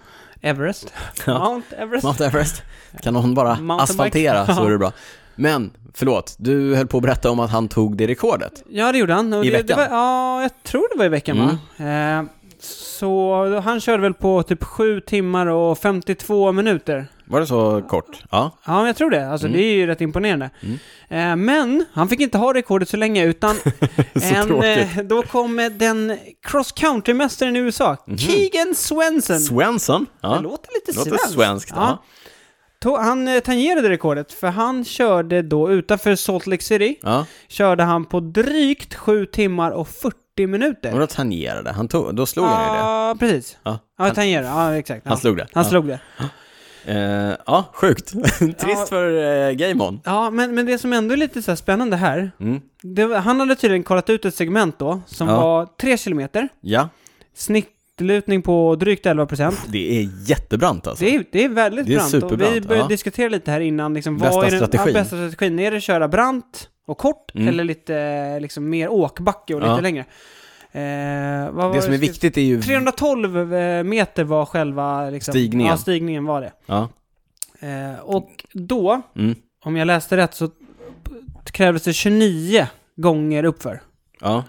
S2: Everest.
S1: Ja.
S2: Mount Everest.
S1: Mount
S2: [laughs]
S1: Everest. Kan någon bara
S2: Mountainbike.
S1: asfaltera så är
S2: Ja.
S1: det bra. Men, förlåt, du höll på att berätta om att han tog det rekordet.
S2: Ja det gjorde han. Och
S1: I
S2: det,
S1: veckan?
S2: Det var, ja, jag tror det var i veckan
S1: Mm.
S2: va? Eh, så han körde väl på typ 7 timmar och 52 minuter.
S1: Var det så kort? Ja.
S2: Ja, men jag tror det.
S1: Mm.
S2: Alltså, det är ju rätt imponerande. Eh, men han fick inte ha rekordet så länge,
S1: [laughs]
S2: utan en,
S1: tråkigt.
S2: eh, då kom eh, den cross country-mästaren i USA, Keegan Swenson.
S1: Svensson?
S2: Det
S1: Mhm. Ja.
S2: låter lite
S1: Låter
S2: svenskt.
S1: svenskt. Ja.
S2: To- Han eh, tangerade rekordet, för han körde då utanför Salt Lake City,
S1: ja.
S2: körde han på drygt 7 timmar och 40 minuter.
S1: Och då tangerade han, tog, då slog han ju det.
S2: Ja, precis.
S1: Ja.
S2: Ja, tangerade. Ja, exakt.
S1: Han
S2: Ja.
S1: slog det.
S2: Han
S1: ja.
S2: slog det.
S1: Eh, ja, sjukt. [laughs] Trist
S2: [laughs] Ja.
S1: för eh, Gaimon.
S2: Ja, men, men det som ändå är lite så här spännande här,
S1: Mm.
S2: Det, var- han hade tydligen kollat ut ett segment då som
S1: Ja.
S2: var 3 kilometer,
S1: Ja,
S2: snittlutning på drygt 11 procent.
S1: det är jättebrant alltså.
S2: Det är, det är väldigt
S1: Det är
S2: brant. och vi
S1: superbrant,
S2: började
S1: ja.
S2: diskutera lite här innan. Liksom,
S1: Bästa
S2: vad är den,
S1: strategin.
S2: Ja, bästa strategin? Är det att köra brant och kort
S1: Mm.
S2: eller lite liksom, mer åkbacke och lite
S1: Ja.
S2: längre? Eh, vad var
S1: Det som är
S2: jag skrev?
S1: viktigt är ju...
S2: 312 eh, meter var själva liksom,
S1: Stigningen.
S2: Ja, stigningen var det.
S1: Ja.
S2: Eh, och då,
S1: Mm.
S2: om jag läste rätt, så krävdes det 29 gånger uppför.
S1: ja,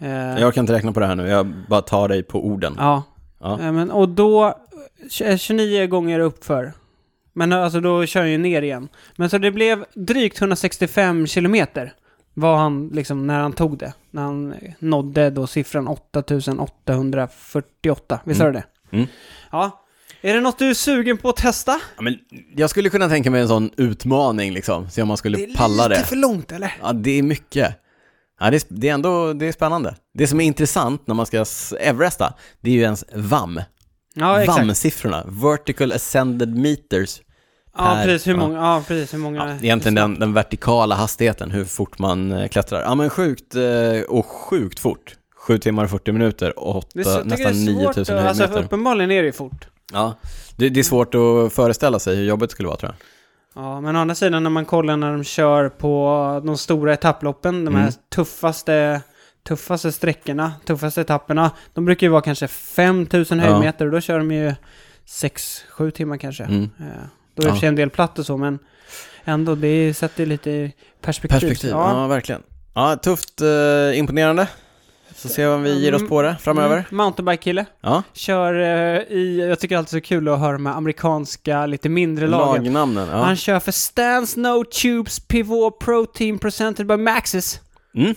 S2: Eh,
S1: jag kan inte räkna på det här nu. Jag bara tar dig på orden.
S2: Ja.
S1: Ja.
S2: Eh, Men, och då, tj- 29 gånger uppför. Men alltså då kör han ju ner igen. Men så det blev drygt 165 kilometer. Var han liksom när han tog det. När han eh, nådde då siffran 8848. Visst sa du det?
S1: Mm.
S2: Ja. Är det något du är sugen på att testa?
S1: Ja, men jag skulle kunna tänka mig en sån utmaning liksom, se om man skulle palla
S2: lite
S1: det.
S2: för långt eller?
S1: Ja, det är mycket. Ja, det, är, det är ändå det är spännande. Det som är intressant när man ska s- Everesta, det är ju ens VAM.
S2: Ja, exakt.
S1: VAM-siffrorna, Vertical Ascended Meters.
S2: Ja,
S1: per-
S2: precis. Hur
S1: ja.
S2: många? Ja, precis. Hur många?
S1: Ja, egentligen den, den vertikala hastigheten, hur fort man eh, klättrar. Ja men sjukt, eh, och sjukt fort. 7 timmar och 40 minuter och åtta-
S2: Det är så- jag tycker
S1: nästan
S2: det är
S1: 9000
S2: svårt att-
S1: höjdmeter.
S2: Alltså, uppenbarligen är det ju fort.
S1: ja, det, det är svårt att föreställa sig hur jobbigt det skulle vara tror jag.
S2: Ja, men å andra sidan när man kollar när de kör på de stora etapploppen, de här
S1: Mm.
S2: tuffaste, tuffaste sträckorna, tuffaste etapperna, de brukar ju vara kanske 5000
S1: Ja.
S2: höjdmeter och då kör de ju 6-7 timmar kanske.
S1: Mm.
S2: Eh, Då är det i och för sig en del platt och så, men ändå, det sätter ju lite i perspektiv.
S1: Perspektiv, ja.
S2: Ja.
S1: verkligen. Ja, tufft, eh, imponerande. Så ser vi om vi ger oss på det framöver.
S2: Mm, Mountainbike-kille.
S1: Ja,
S2: Kör eh, i, jag tycker alltid så kul att höra de här amerikanska, lite mindre lagen.
S1: lagnamnen. Ja.
S2: Han kör för Stans No Tubes Pivot Protein Presented by Maxis.
S1: Mm.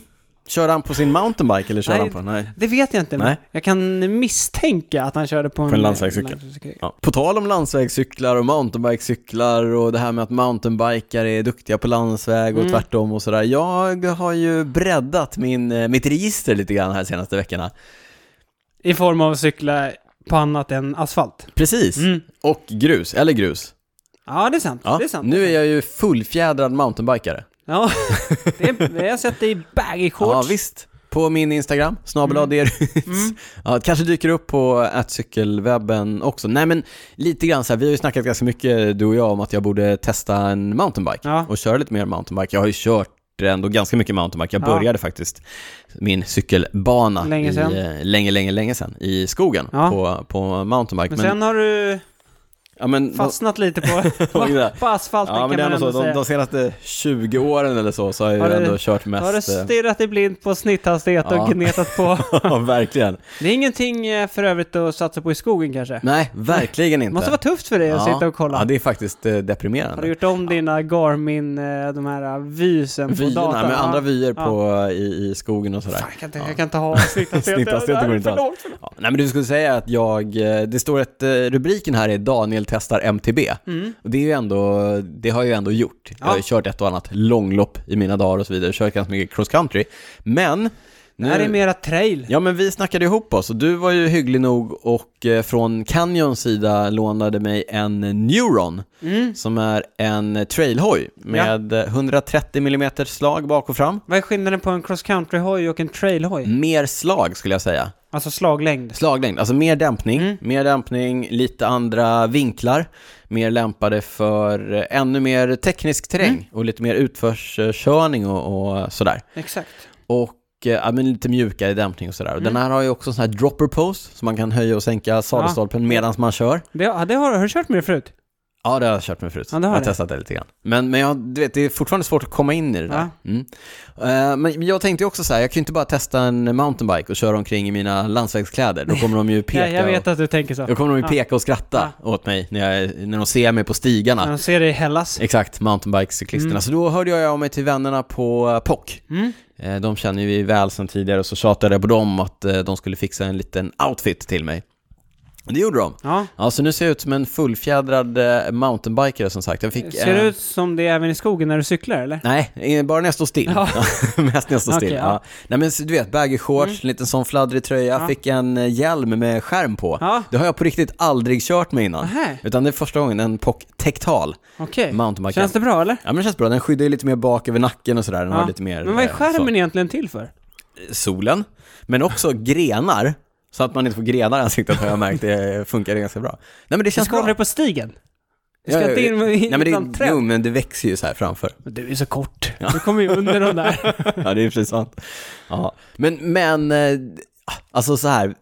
S1: Kör han på sin mountainbike eller kör
S2: Nej.
S1: han på? Nej.
S2: Det vet jag inte, men
S1: Nej.
S2: jag kan misstänka att han körde på en,
S1: På en landsvägscykel. Ja. På tal om landsvägscyklar och mountainbikecyklar och det här med att mountainbikar är duktiga på landsväg och
S2: Mm.
S1: tvärtom och sådär. Jag har ju breddat min, eh, mitt register lite grann här senaste veckorna.
S2: I form av cykla på annat än asfalt.
S1: Precis.
S2: Mm.
S1: Och grus, eller grus.
S2: Ja, det är sant.
S1: Ja.
S2: Det är sant.
S1: Nu är jag ju fullfjädrad mountainbikare.
S2: Ja, det är, det har jag sett dig i baggy
S1: Ja,
S2: shorts.
S1: visst. På min Instagram, snabel mm. ja, det kanske dyker upp på cykelwebben också. Nej men lite grann så här, vi har ju snackat ganska mycket du och jag om att jag borde testa en mountainbike
S2: Ja.
S1: och köra lite mer mountainbike. Jag har ju kört ändå ganska mycket mountainbike. Jag
S2: Ja.
S1: började faktiskt min cykelbana
S2: Länge sedan.
S1: I, eh, länge, länge, länge sedan i skogen
S2: Ja.
S1: på, på mountainbike.
S2: men sen har du
S1: ja, men,
S2: fastnat lite på,
S1: [laughs] Oj,
S2: på,
S1: där.
S2: på asfalten
S1: ja, men det är
S2: kan man
S1: ändå
S2: ändå
S1: så,
S2: säga.
S1: de, de senaste 20 åren eller så, så har jag
S2: Har
S1: ju
S2: du-
S1: ändå kört
S2: Då har du
S1: mest... eh,
S2: stirrat dig blind på snitthastighet
S1: Ja.
S2: och gnetat på.
S1: [laughs] Ja,
S2: [laughs]
S1: verkligen.
S2: Det är ingenting eh, för övrigt att satsa på i skogen kanske?
S1: Nej, verkligen inte.
S2: Det måste vara tufft för dig att sitta och kolla.
S1: Ja, det är faktiskt eh,
S2: Har du
S1: deprimerande.
S2: gjort om dina Garmin, eh, de här eh, vysen på datorn?
S1: Vyerna, med andra
S2: Ja.
S1: vyer
S2: Ja.
S1: på, i, i skogen och sådär.
S2: Fan, jag, kan inte, jag kan
S1: [laughs]
S2: inte ha snittastigheten.
S1: Snittastigheten går inte alls. Ja, nej men du skulle säga att jag, eh, det står ett, eh, rubriken här är Daniel testar MTB.
S2: Mm.
S1: Och det, är ju ändå, det har jag ju ändå gjort. Jag har ju
S2: Ja.
S1: kört ett och annat långlopp i mina dagar och så vidare, kört ganska mycket cross country. Men,
S2: Det här är mera trail.
S1: Ja men vi snackade ihop oss och du var ju hygglig nog och eh, från Canyons sida lånade mig en Neuron
S2: Mm.
S1: som är en trailhoj med eh, 130 mm slag bak och fram.
S2: Vad är skillnaden på en cross country-hoj och en trail-hoj?
S1: Mer slag skulle jag säga.
S2: Alltså slaglängd.
S1: Slaglängd, alltså mer dämpning,
S2: Mm.
S1: mer dämpning, lite andra vinklar, mer lämpade för eh, ännu mer teknisk terräng
S2: Mm.
S1: och lite mer utförskörning och, och sådär.
S2: Exakt.
S1: Och eh, ja, men lite mjukare dämpning och sådär. Och
S2: Mm.
S1: Den här har ju också en sån här dropper pose, så man kan höja och sänka sadelstolpen medan man kör.
S2: Det, ja, det har, har du kört med det förut?
S1: Ja, det har jag kört med förut.
S2: Ja, det har
S1: jag har
S2: det.
S1: testat det lite grann. Men, men jag, du vet, det är fortfarande svårt att komma in i det där. Mm. Eh, men jag tänkte ju också så här, jag kan ju inte bara testa en mountainbike och köra omkring i mina landsvägskläder. Då kommer de ju
S2: [laughs] Ja,
S1: peka,
S2: jag vet
S1: och,
S2: att du tänker så.
S1: då kommer de ju
S2: Ja.
S1: peka och skratta åt mig när, jag, när de ser mig på stigarna.
S2: Jag ser dig i Hellas.
S1: Exakt, mountainbikecyklisterna. Så då hörde jag av mig till vännerna på eh, POC.
S2: Mm.
S1: Eh, De känner ju vi väl sedan tidigare och så tjatade jag på dem att eh, de skulle fixa en liten outfit till mig. Och det gjorde de.
S2: Ja.
S1: Ja, så nu ser jag ut som en fullfjädrad eh, mountainbiker som sagt. Jag fick,
S2: Ser
S1: eh,
S2: det ut som det även i skogen när du cyklar eller?
S1: Nej, eh, bara när jag står still.
S2: Ja.
S1: [laughs] Mest när jag står still.
S2: Okej, ja. Mm.
S1: ja. Nej men så du vet, baggy shorts, en liten sån fladdrig tröja,
S2: Ja.
S1: fick en eh, hjälm med skärm på.
S2: Ja.
S1: Det har jag på riktigt aldrig kört med innan.
S2: Nähä.
S1: Utan det är första gången, en POC Tektal
S2: Okej.
S1: mountainbike.
S2: Känns det bra eller?
S1: Ja men det känns bra, den skyddar ju lite mer bak över nacken och sådär, den har lite mer...
S2: Men vad är
S1: eh,
S2: skärmen
S1: så-
S2: egentligen till för?
S1: solen, men också grenar. Så att man inte får grenar i ansiktet har jag märkt, det funkar ganska bra. Nej men det
S2: Du
S1: känns
S2: ska hålla
S1: bra.
S2: dig på stigen. Du
S1: Ja, ja,
S2: ska inte in
S1: ja.
S2: i-
S1: Nej men det
S2: bland
S1: är,
S2: träd.
S1: jo men det växer ju så här framför.
S2: Men du är så kort. Du kommer ju under
S1: [laughs]
S2: de där.
S1: Ja det är precis sant. Ja. Men, men, eh, alltså så här,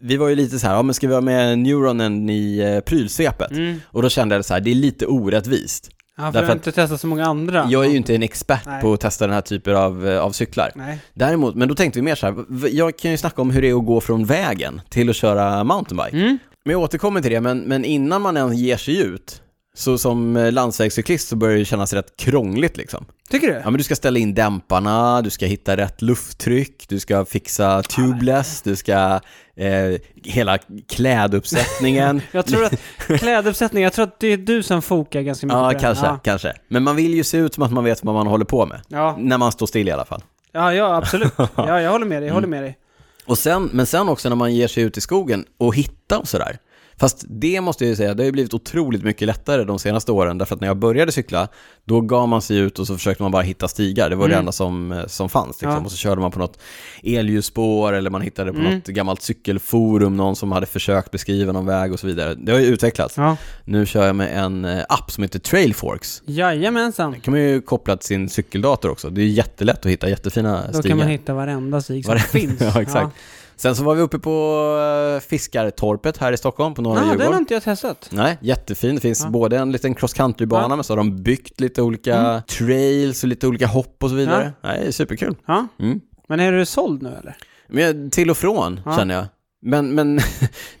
S1: vi var ju lite så här, ja men ska vi ha med neuronen i eh, prylsvepet?
S2: Mm.
S1: Och då kände jag så här, det är lite orättvist.
S2: Ja, för
S1: Därför
S2: jag har
S1: att-
S2: inte testat så många andra.
S1: Jag är ju inte en expert
S2: Nej.
S1: på att testa den här typen av, eh, av cyklar.
S2: Nej.
S1: Däremot, men då tänkte vi mer så här, v- jag kan ju snacka om hur det är att gå från vägen till att köra mountainbike.
S2: Mm.
S1: Men jag återkommer till det, men, men innan man ens ger sig ut, så som eh, landsvägscyklist så börjar det kännas rätt krångligt liksom.
S2: Tycker du?
S1: Ja men du ska ställa in dämparna, du ska hitta rätt lufttryck, du ska fixa tubeless, du ska eh, hela
S2: [laughs]
S1: kläduppsättningen.
S2: Jag
S1: [laughs]
S2: tror att kläduppsättning, jag tror att det är du som fokar ganska mycket på
S1: ja
S2: den.
S1: kanske,
S2: Ja.
S1: kanske. Men man vill ju se ut som att man vet vad man håller på med.
S2: Ja.
S1: När man står still i alla fall.
S2: ja, ja, absolut.
S1: [laughs]
S2: Ja,
S1: Mm.
S2: jag håller med dig, jag håller med dig.
S1: Och sen, men sen också när man ger sig ut i skogen och hittar och sådär. Fast det måste jag ju säga, det har ju blivit otroligt mycket lättare de senaste åren. Därför att när jag började cykla, då gav man sig ut och så försökte man bara hitta stigar. Det var det enda som, som fanns. Liksom.
S2: Mm. Ja. Mm.
S1: Och så körde man på något elljusspår eller man hittade på något gammalt cykelforum, någon som hade försökt beskriva någon väg och så vidare. Det har ju utvecklats.
S2: Ja.
S1: Nu kör jag med en eh, app som heter Trailforks.
S2: Jajamensan.
S1: Det kan man ju koppla till sin cykeldator också. Det är jättelätt att hitta jättefina
S2: Då
S1: stigar.
S2: kan man hitta varenda stig
S1: [laughs]
S2: som
S1: Varenda-
S2: finns.
S1: ja, exakt. Sen så var vi uppe på eh, Fiskartorpet här i Stockholm, på
S2: Ja.
S1: Norra
S2: Ah, den
S1: Djurgården.
S2: har inte jag testat.
S1: Nej, jättefin. Det finns
S2: Ja.
S1: både en liten cross country-bana,
S2: Ja. Mm.
S1: men så har de byggt lite olika trails och lite olika hopp och så vidare. Nej, det är superkul.
S2: Ja.
S1: Mm.
S2: Men är du såld nu eller?
S1: Men jag- till och från,
S2: Ja.
S1: känner jag. Men, men [laughs]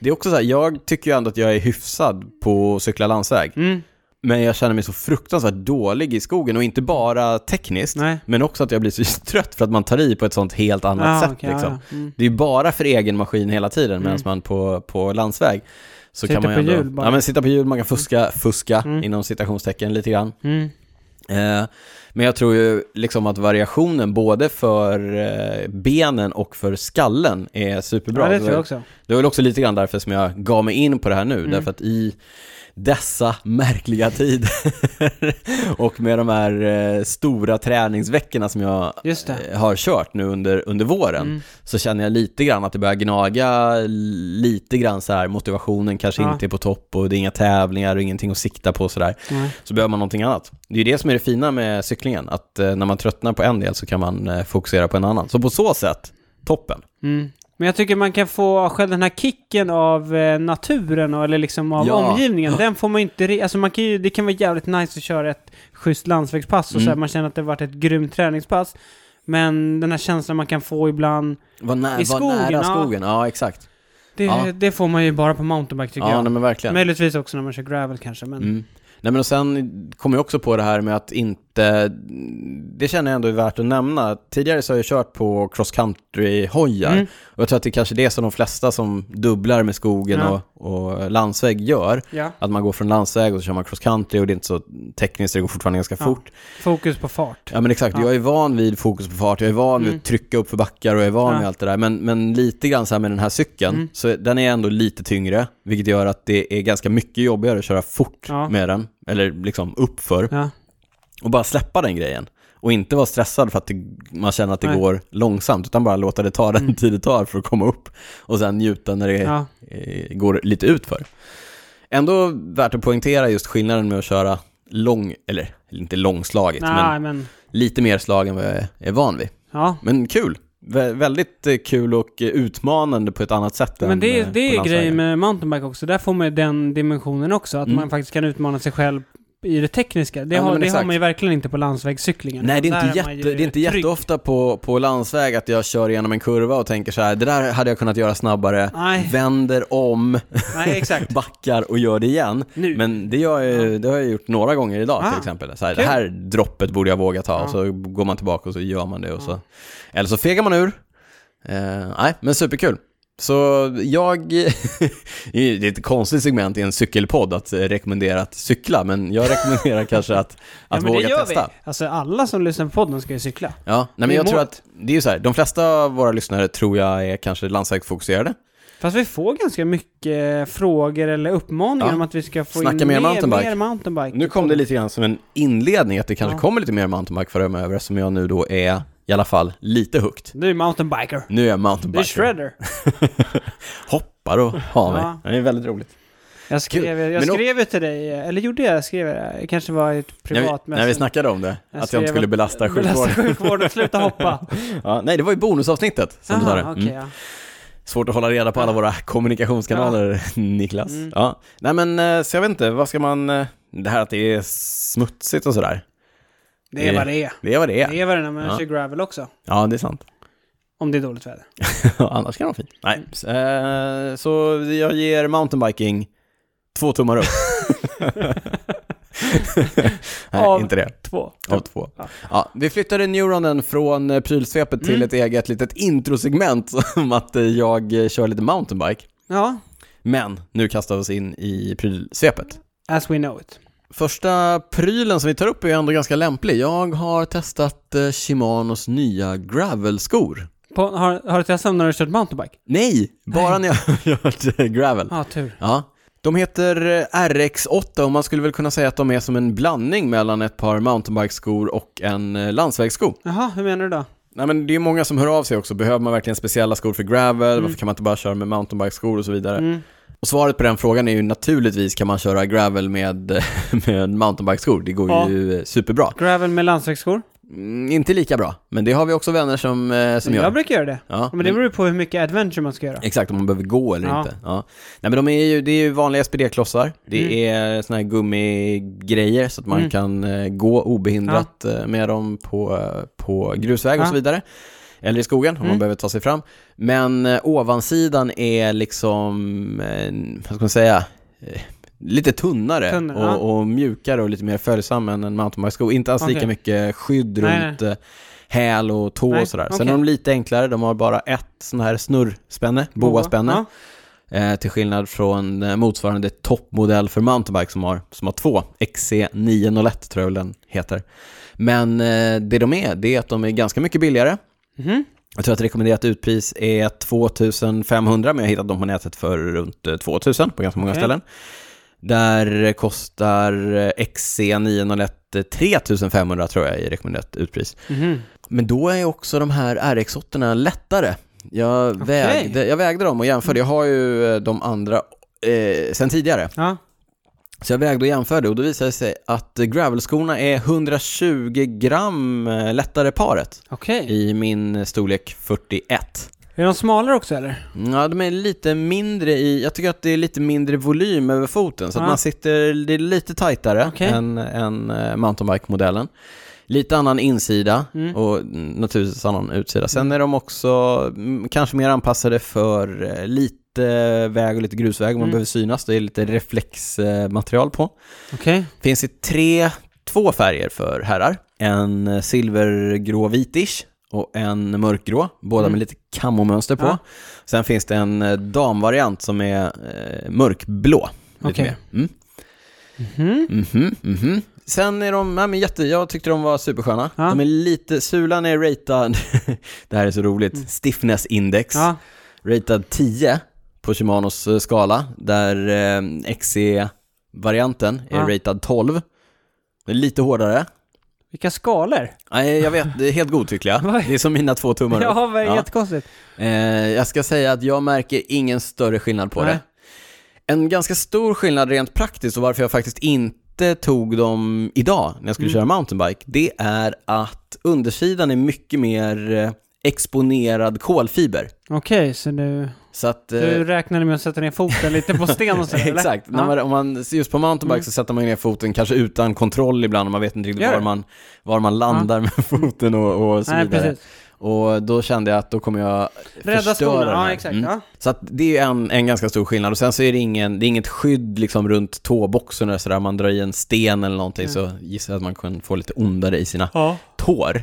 S1: det är också så här, jag tycker ju ändå att jag är hyfsad på att cykla landsväg.
S2: Mm.
S1: Men jag känner mig så fruktansvärt dålig i skogen och inte bara tekniskt,
S2: Nej.
S1: men också att jag blir så [laughs] trött för att man tar i på ett sånt helt annat
S2: Ah,
S1: sätt.
S2: okej, ja,
S1: liksom.
S2: ja. Mm.
S1: Det är ju bara för egen maskin hela tiden medan man på, på landsväg så kan
S2: Sitta
S1: man ju
S2: Mm. på
S1: ändå,
S2: hjul bara.
S1: Ja, men sitta på hjul, man kan fuska, fuska inom citationstecken lite grann.
S2: Mm.
S1: Eh, men jag tror ju liksom att variationen både för eh, benen och för skallen är superbra.
S2: Ja, det
S1: var-
S2: tror jag också. Mm.
S1: det var väl också lite grann därför som jag gav mig in på det här nu, därför att i dessa märkliga tider [laughs] och med de här eh, stora träningsveckorna som jag
S2: Just det.
S1: eh, har kört nu under, under våren,
S2: Mm.
S1: så känner jag lite grann att det börjar gnaga lite grann så här, motivationen kanske
S2: Ja.
S1: inte är på topp och det är inga tävlingar och ingenting att sikta på och sådär.
S2: Nej.
S1: Så behöver man någonting annat. Det är ju det som är det fina med cyklingen, att eh, när man tröttnar på en del så kan man eh, fokusera på en annan. Så på så sätt, toppen.
S2: Mm. Men jag tycker man kan få själv den här kicken av eh, naturen och, eller liksom av
S1: Ja.
S2: omgivningen. Den får man ju inte... re- Alltså man kan ju, det kan vara jävligt nice att köra ett schysst landsvägspass och så
S1: Mm.
S2: här, man känner att det har varit ett grymt träningspass. Men den här känslan man kan få ibland,
S1: Var, nä-
S2: I
S1: var
S2: skogen,
S1: nära
S2: ja.
S1: skogen, ja exakt.
S2: det,
S1: Ja.
S2: det får man ju bara på mountainbike tycker
S1: Ja,
S2: jag.
S1: nej, men verkligen.
S2: Möjligtvis också när man kör gravel kanske, men...
S1: Mm. Nej, men och sen kom jag också på det här med att inte, det känner jag ändå är värt att nämna. Tidigare så har jag kört på cross country-hojar
S2: Mm.
S1: och jag tror att det är kanske det som de flesta som dubblar med skogen
S2: Ja.
S1: och, och landsväg gör.
S2: Ja.
S1: Att man går från landsväg och så kör man cross country och det är inte så tekniskt, det går fortfarande ganska
S2: Ja.
S1: fort.
S2: Fokus på fart.
S1: Ja men exakt,
S2: Ja.
S1: jag är van vid fokus på fart, jag är van vid
S2: Mm.
S1: att trycka upp för backar och jag är van
S2: Ja.
S1: vid allt det där. Men, men lite grann så här med den här cykeln,
S2: Mm.
S1: så den är ändå lite tyngre, vilket gör att det är ganska mycket jobbigare att köra fort
S2: Ja.
S1: med den, eller liksom uppför,
S2: Ja.
S1: och bara släppa den grejen. Och inte vara stressad för att det, man känner att det
S2: Nej. Mm.
S1: går långsamt, utan bara låta det ta den tid det tar för att komma upp och sen njuta när det
S2: Ja.
S1: eh, går lite utför. Ändå värt att poängtera just skillnaden med att köra lång, eller inte långslaget, men
S2: Nej, men...
S1: lite mer slag än vad jag är van vid.
S2: Ja.
S1: Men kul! Vä- väldigt eh, kul och eh, utmanande på ett annat sätt
S2: Men
S1: än
S2: det,
S1: eh,
S2: är- det
S1: på
S2: är
S1: landsvägen.
S2: grejen med mountainbike också. Där får man ju den dimensionen också. Att
S1: Mm.
S2: man faktiskt kan utmana sig själv i det tekniska. Det,
S1: Ja,
S2: har,
S1: men
S2: det
S1: exakt.
S2: har man ju verkligen inte på landsvägscyklingen.
S1: Nej, det är,
S2: Där
S1: inte,
S2: man
S1: jätte,
S2: ju
S1: det är inte
S2: trygg.
S1: jätteofta på, på landsväg att jag kör igenom en kurva och tänker så här, det där hade jag kunnat göra snabbare,
S2: Nej.
S1: vänder om, [laughs]
S2: Nej, exakt.
S1: backar och gör det igen.
S2: Nu.
S1: Men det, gör jag, ju- det har jag gjort några gånger idag
S2: Ah,
S1: till exempel. Så här, det
S2: kul.
S1: här droppet borde jag våga ta och
S2: Ja.
S1: så går man tillbaka och så gör man det. Och så. Eller så fegar man ur. Eh, nej, men superkul. Så jag, [laughs] det är ett konstigt segment i en cykelpodd att eh, rekommendera att cykla, men jag rekommenderar kanske
S2: [laughs]
S1: att,
S2: Ja,
S1: att
S2: men det
S1: våga
S2: gör vi.
S1: testa.
S2: Alltså alla som lyssnar på podden ska ju cykla.
S1: Ja, nej, men
S2: Det är
S1: jag tror
S2: målet.
S1: att, det är ju så här, de flesta av våra lyssnare tror jag är kanske landsvägsfokuserade.
S2: Fast vi får ganska mycket frågor eller uppmaningar
S1: Ja.
S2: om att vi ska få
S1: Snacka
S2: in
S1: mer mountainbike.
S2: mer mountainbike.
S1: Nu kom det lite grann som en inledning att det kanske
S2: Ja.
S1: kommer lite mer mountainbike framöver eftersom jag nu då är i alla fall lite högt.
S2: Du är mountainbiker.
S1: Nu är jag
S2: Du är
S1: mountainbiker.
S2: shredder.
S1: Hoppar och har mig.
S2: Ja.
S1: Det är väldigt roligt.
S2: Jag skrev,
S1: Kul.
S2: jag
S1: Men-
S2: skrev ju till dig, eller gjorde jag? Jag skrev det. Det kanske var i ett
S1: När vi,
S2: privat
S1: när vi snackade om det,
S2: Jag
S1: att jag inte
S2: skrev
S1: skulle
S2: att-
S1: belasta
S2: [laughs]
S1: sjukvården.
S2: sjukvården. Sluta hoppa.
S1: Ja, nej, det var ju bonusavsnittet som du sa det.
S2: Jaha,
S1: Mm.
S2: okej. ja.
S1: Svårt att hålla reda på alla våra kommunikationskanaler, [laughs] Niklas. Ja. Nej men, eh, så jag vet inte, vad ska man... eh, Det här att det är smutsigt och sådär,
S2: Det är
S1: Det-
S2: vad det är.
S1: det är vad det är.
S2: Det är vad det är när man
S1: Ja.
S2: kör gravel också.
S1: Ja, det är sant.
S2: Om det är dåligt väder.
S1: [laughs] Annars kan det vara fint. Nej, s- eh, så jag ger mountainbiking två tummar upp. [laughs] Nej,
S2: Av-
S1: inte det.
S2: Två.
S1: Av två.
S2: Ja.
S1: Ja, vi flyttade neuronen från eh, prylsvepet till ett eget litet introsegment [laughs] om att eh, jag eh, kör lite mountainbike.
S2: Ja,
S1: Men nu kastar vi oss in i prylsvepet.
S2: as we know it.
S1: Första prylen som vi tar upp är ändå ganska lämplig. Jag har testat eh, Shimanos nya gravelskor.
S2: På, har, har du testat när du kört mountainbike?
S1: Nej, bara när jag [laughs] har kört eh, gravel.
S2: Ja, ah, tur.
S1: Ja, De heter eh, RX8 och man skulle väl kunna säga att de är som en blandning mellan ett par mountainbikeskor och en eh, landsvägssko.
S2: Jaha, hur menar du då?
S1: Nej men det är många som hör av sig också, behöver man verkligen speciella skor för gravel? Varför kan man inte bara köra med mountainbikeskor och så vidare?
S2: Mm.
S1: Och svaret på den frågan är ju naturligtvis kan man köra gravel med, [laughs] med mountainbikeskor. Det går
S2: Ja.
S1: ju eh, superbra.
S2: Gravel med landsvägsskor?
S1: Mm, inte lika bra, men det har vi också vänner som, eh, som gör.
S2: Jag brukar göra det.
S1: Ja,
S2: Men det beror ju på hur mycket adventure man ska göra.
S1: Exakt, om man behöver gå eller
S2: Ja.
S1: inte. Ja. Nej, men de är ju, det är ju vanliga SPD-klossar. Det är såna här gummigrejer så att man
S2: Mm.
S1: kan eh, gå obehindrat eh, med dem på, eh, på grusväg och
S2: Ja.
S1: så vidare. Eller i skogen om man
S2: Mm.
S1: behöver ta sig fram. Men eh, ovansidan är liksom, eh, vad ska man säga, eh, lite tunnare
S2: Tunnare, ja.
S1: och, och mjukare och lite mer följsam än en mountainbike-sko. Inte alls lika
S2: Okej.
S1: mycket skydd
S2: Nej,
S1: runt eh, häl och tå
S2: Nej,
S1: och sådär. Sen
S2: okej.
S1: är de lite enklare, de har bara ett sån här snurrspänne, boaspänne.
S2: Ja.
S1: Eh, till skillnad från eh, motsvarande toppmodell för mountainbike som har, som har två, XC901 tror jag väl den heter. Men eh, det de är, det är att de är ganska mycket billigare.
S2: Mhm.
S1: Jag tror att rekommenderat utpris är 2500 men jag har hittat dem på nätet för runt eh, 2000 på ganska många
S2: Okej.
S1: ställen. Där kostar eh, XC901 eh, 3500 tror jag i rekommenderat utpris.
S2: Mhm.
S1: Men då är också de här rx 8 lättare. Jag,
S2: Okej.
S1: vägde, jag vägde dem och jämförde. Jag har ju eh, de andra eh, sen tidigare.
S2: Ja.
S1: Så jag vägde och jämförde och då visade det sig att eh, gravelskorna är 120 gram eh, lättare paret
S2: Okej.
S1: i min eh, storlek 41.
S2: Är de smalare också eller?
S1: Ja, de är lite mindre i, jag tycker att det är lite mindre volym över foten så att
S2: Ja.
S1: man sitter, det är lite tajtare
S2: Ah. Okej.
S1: än, än eh, mountainbike-modellen. Lite annan insida
S2: Mm.
S1: och mm, naturligtvis annan utsida. Sen är de också mm, kanske mer anpassade för eh, lite väg och lite grusväg om man
S2: Mm.
S1: behöver synas. Det är lite reflexmaterial på.
S2: Okej.
S1: Finns i tre, två färger för herrar. En eh, silvergrå-vitish och en mörkgrå, båda
S2: Mm.
S1: med lite kamomönster på.
S2: Ja.
S1: Sen finns det en eh, damvariant som är eh, mörkblå. lite
S2: Okej.
S1: mer. Mm.
S2: Mhm.
S1: Mhm, mhm. Sen är de, nej men jätte, jag tyckte de var supersköna.
S2: Ja.
S1: De är lite, sulan är ratad, [laughs] det här är så roligt, stiffness index,
S2: Mm. Ja.
S1: ratad 10 på Shimanos eh, skala, där eh, XC-varianten är
S2: Ja.
S1: ratad 12. Det är lite hårdare.
S2: Vilka skalor?
S1: Nej, jag vet, det är helt godtyckliga.
S2: [laughs] Vad?
S1: Det är som mina två tummar upp.
S2: [laughs] Ja, vad
S1: Ja.
S2: jättekonstigt.
S1: Eh, jag ska säga att jag märker ingen större skillnad på
S2: Nej.
S1: det. En ganska stor skillnad rent praktiskt och varför jag faktiskt inte tog dem idag när jag
S2: Mm.
S1: skulle köra mountainbike, det är att undersidan är mycket mer eh, exponerad kolfiber.
S2: Okej, så nu...
S1: Så att... eh, [laughs]
S2: Du räknade med att sätta ner foten lite på sten och sådär, eller?
S1: Exakt, när man, om man, just på mountainbike så sätter man ju ner foten kanske utan kontroll ibland och man vet inte riktigt
S2: Mm.
S1: var
S2: Gör det.
S1: man, var man landar med [laughs] foten och, och så
S2: Nej,
S1: vidare.
S2: precis.
S1: Och då kände jag att då kommer jag
S2: Rädda
S1: förstöra
S2: skorna,
S1: den här.
S2: ja exakt.
S1: Mm.
S2: Ja.
S1: Så att det är ju en, en ganska stor skillnad. Och sen så är det, ingen, det är inget skydd liksom runt tåboxen eller sådär. Man drar i en sten eller någonting så gissar jag att man kan få lite ondare i sina
S2: ja.
S1: tår.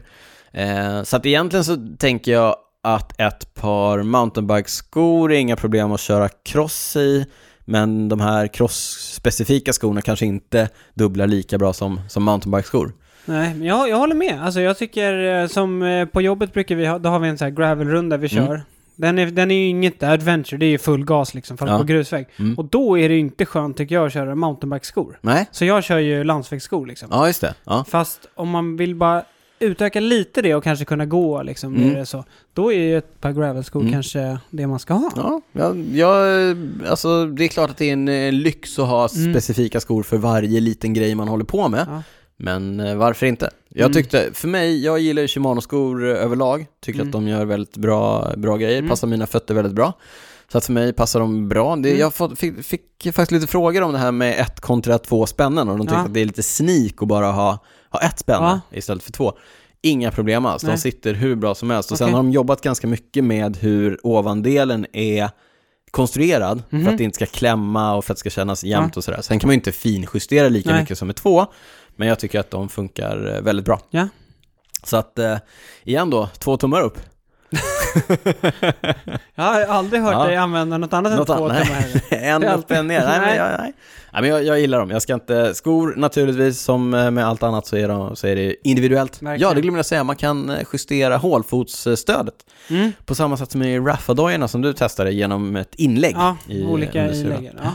S1: Eh, så att egentligen så tänker jag att ett par mountainbike-skor är inga problem att köra cross i. Men de här cross-specifika skorna kanske inte dubblar lika bra som, som mountainbike-skor.
S2: Nej, men jag, jag håller med. Alltså jag tycker eh, som eh, på jobbet brukar vi ha, då har vi en sån här gravelrunda vi
S1: Mm.
S2: kör. Den, är, den är ju inget adventure, det är ju full gas liksom, fast
S1: Ja.
S2: på grusväg.
S1: Mm.
S2: Och då är det ju inte skönt tycker jag att köra mountainbike-skor.
S1: Nej?
S2: Så jag kör ju landsvägsskor liksom.
S1: Ja, just det. Ja.
S2: Fast om man vill bara utöka lite det och kanske kunna gå liksom,
S1: Mm.
S2: när det är så. Då är ju ett par gravelskor
S1: Mm.
S2: kanske det man ska ha.
S1: Ja, jag, jag, alltså det är klart att det är en eh, lyx att ha
S2: Mm.
S1: specifika skor för varje liten grej man håller på med.
S2: Ja.
S1: Men eh, varför inte? Jag
S2: Mm.
S1: tyckte, för mig, jag gillar ju Shimano-skor eh, överlag. Tycker
S2: Mm.
S1: att de gör väldigt bra, bra grejer,
S2: Mm.
S1: passar mina fötter väldigt bra. Så att för mig passar de bra. Det,
S2: Mm.
S1: Jag fått, fick, fick faktiskt lite frågor om det här med ett kontra två spännen och de tyckte
S2: Ja.
S1: att det är lite sneak att bara ha, ha ett spänne istället för två. Inga problem alls, de
S2: Nej.
S1: sitter hur bra som helst. Och sen
S2: Okej.
S1: har de jobbat ganska mycket med hur ovandelen är konstruerad
S2: Mhm.
S1: för att det inte ska klämma och för att det ska kännas jämnt och sådär. Sen kan man ju inte finjustera lika
S2: Nej.
S1: mycket som med två, men jag tycker att de funkar eh, väldigt bra.
S2: Ja.
S1: Så att, eh, igen då, två tummar upp. [laughs]
S2: Jag har aldrig hört
S1: Ja.
S2: dig använda något annat
S1: Något
S2: än två
S1: annat.
S2: timmar heller.
S1: en
S2: Det är
S1: upp, en ner. Nej, men,
S2: Nej.
S1: jag, nej. Nej, men jag, jag gillar dem. Jag ska inte, skor naturligtvis, som eh, med allt annat så är, de, så är det individuellt.
S2: Verkligen.
S1: Ja, det glömde jag säga, man kan eh, justera hålfotsstödet. [laughs]
S2: Mm.
S1: På samma sätt som i raffa som du testade genom ett inlägg.
S2: Ja,
S1: i eh,
S2: olika
S1: under sulan.
S2: inlägg. Ja.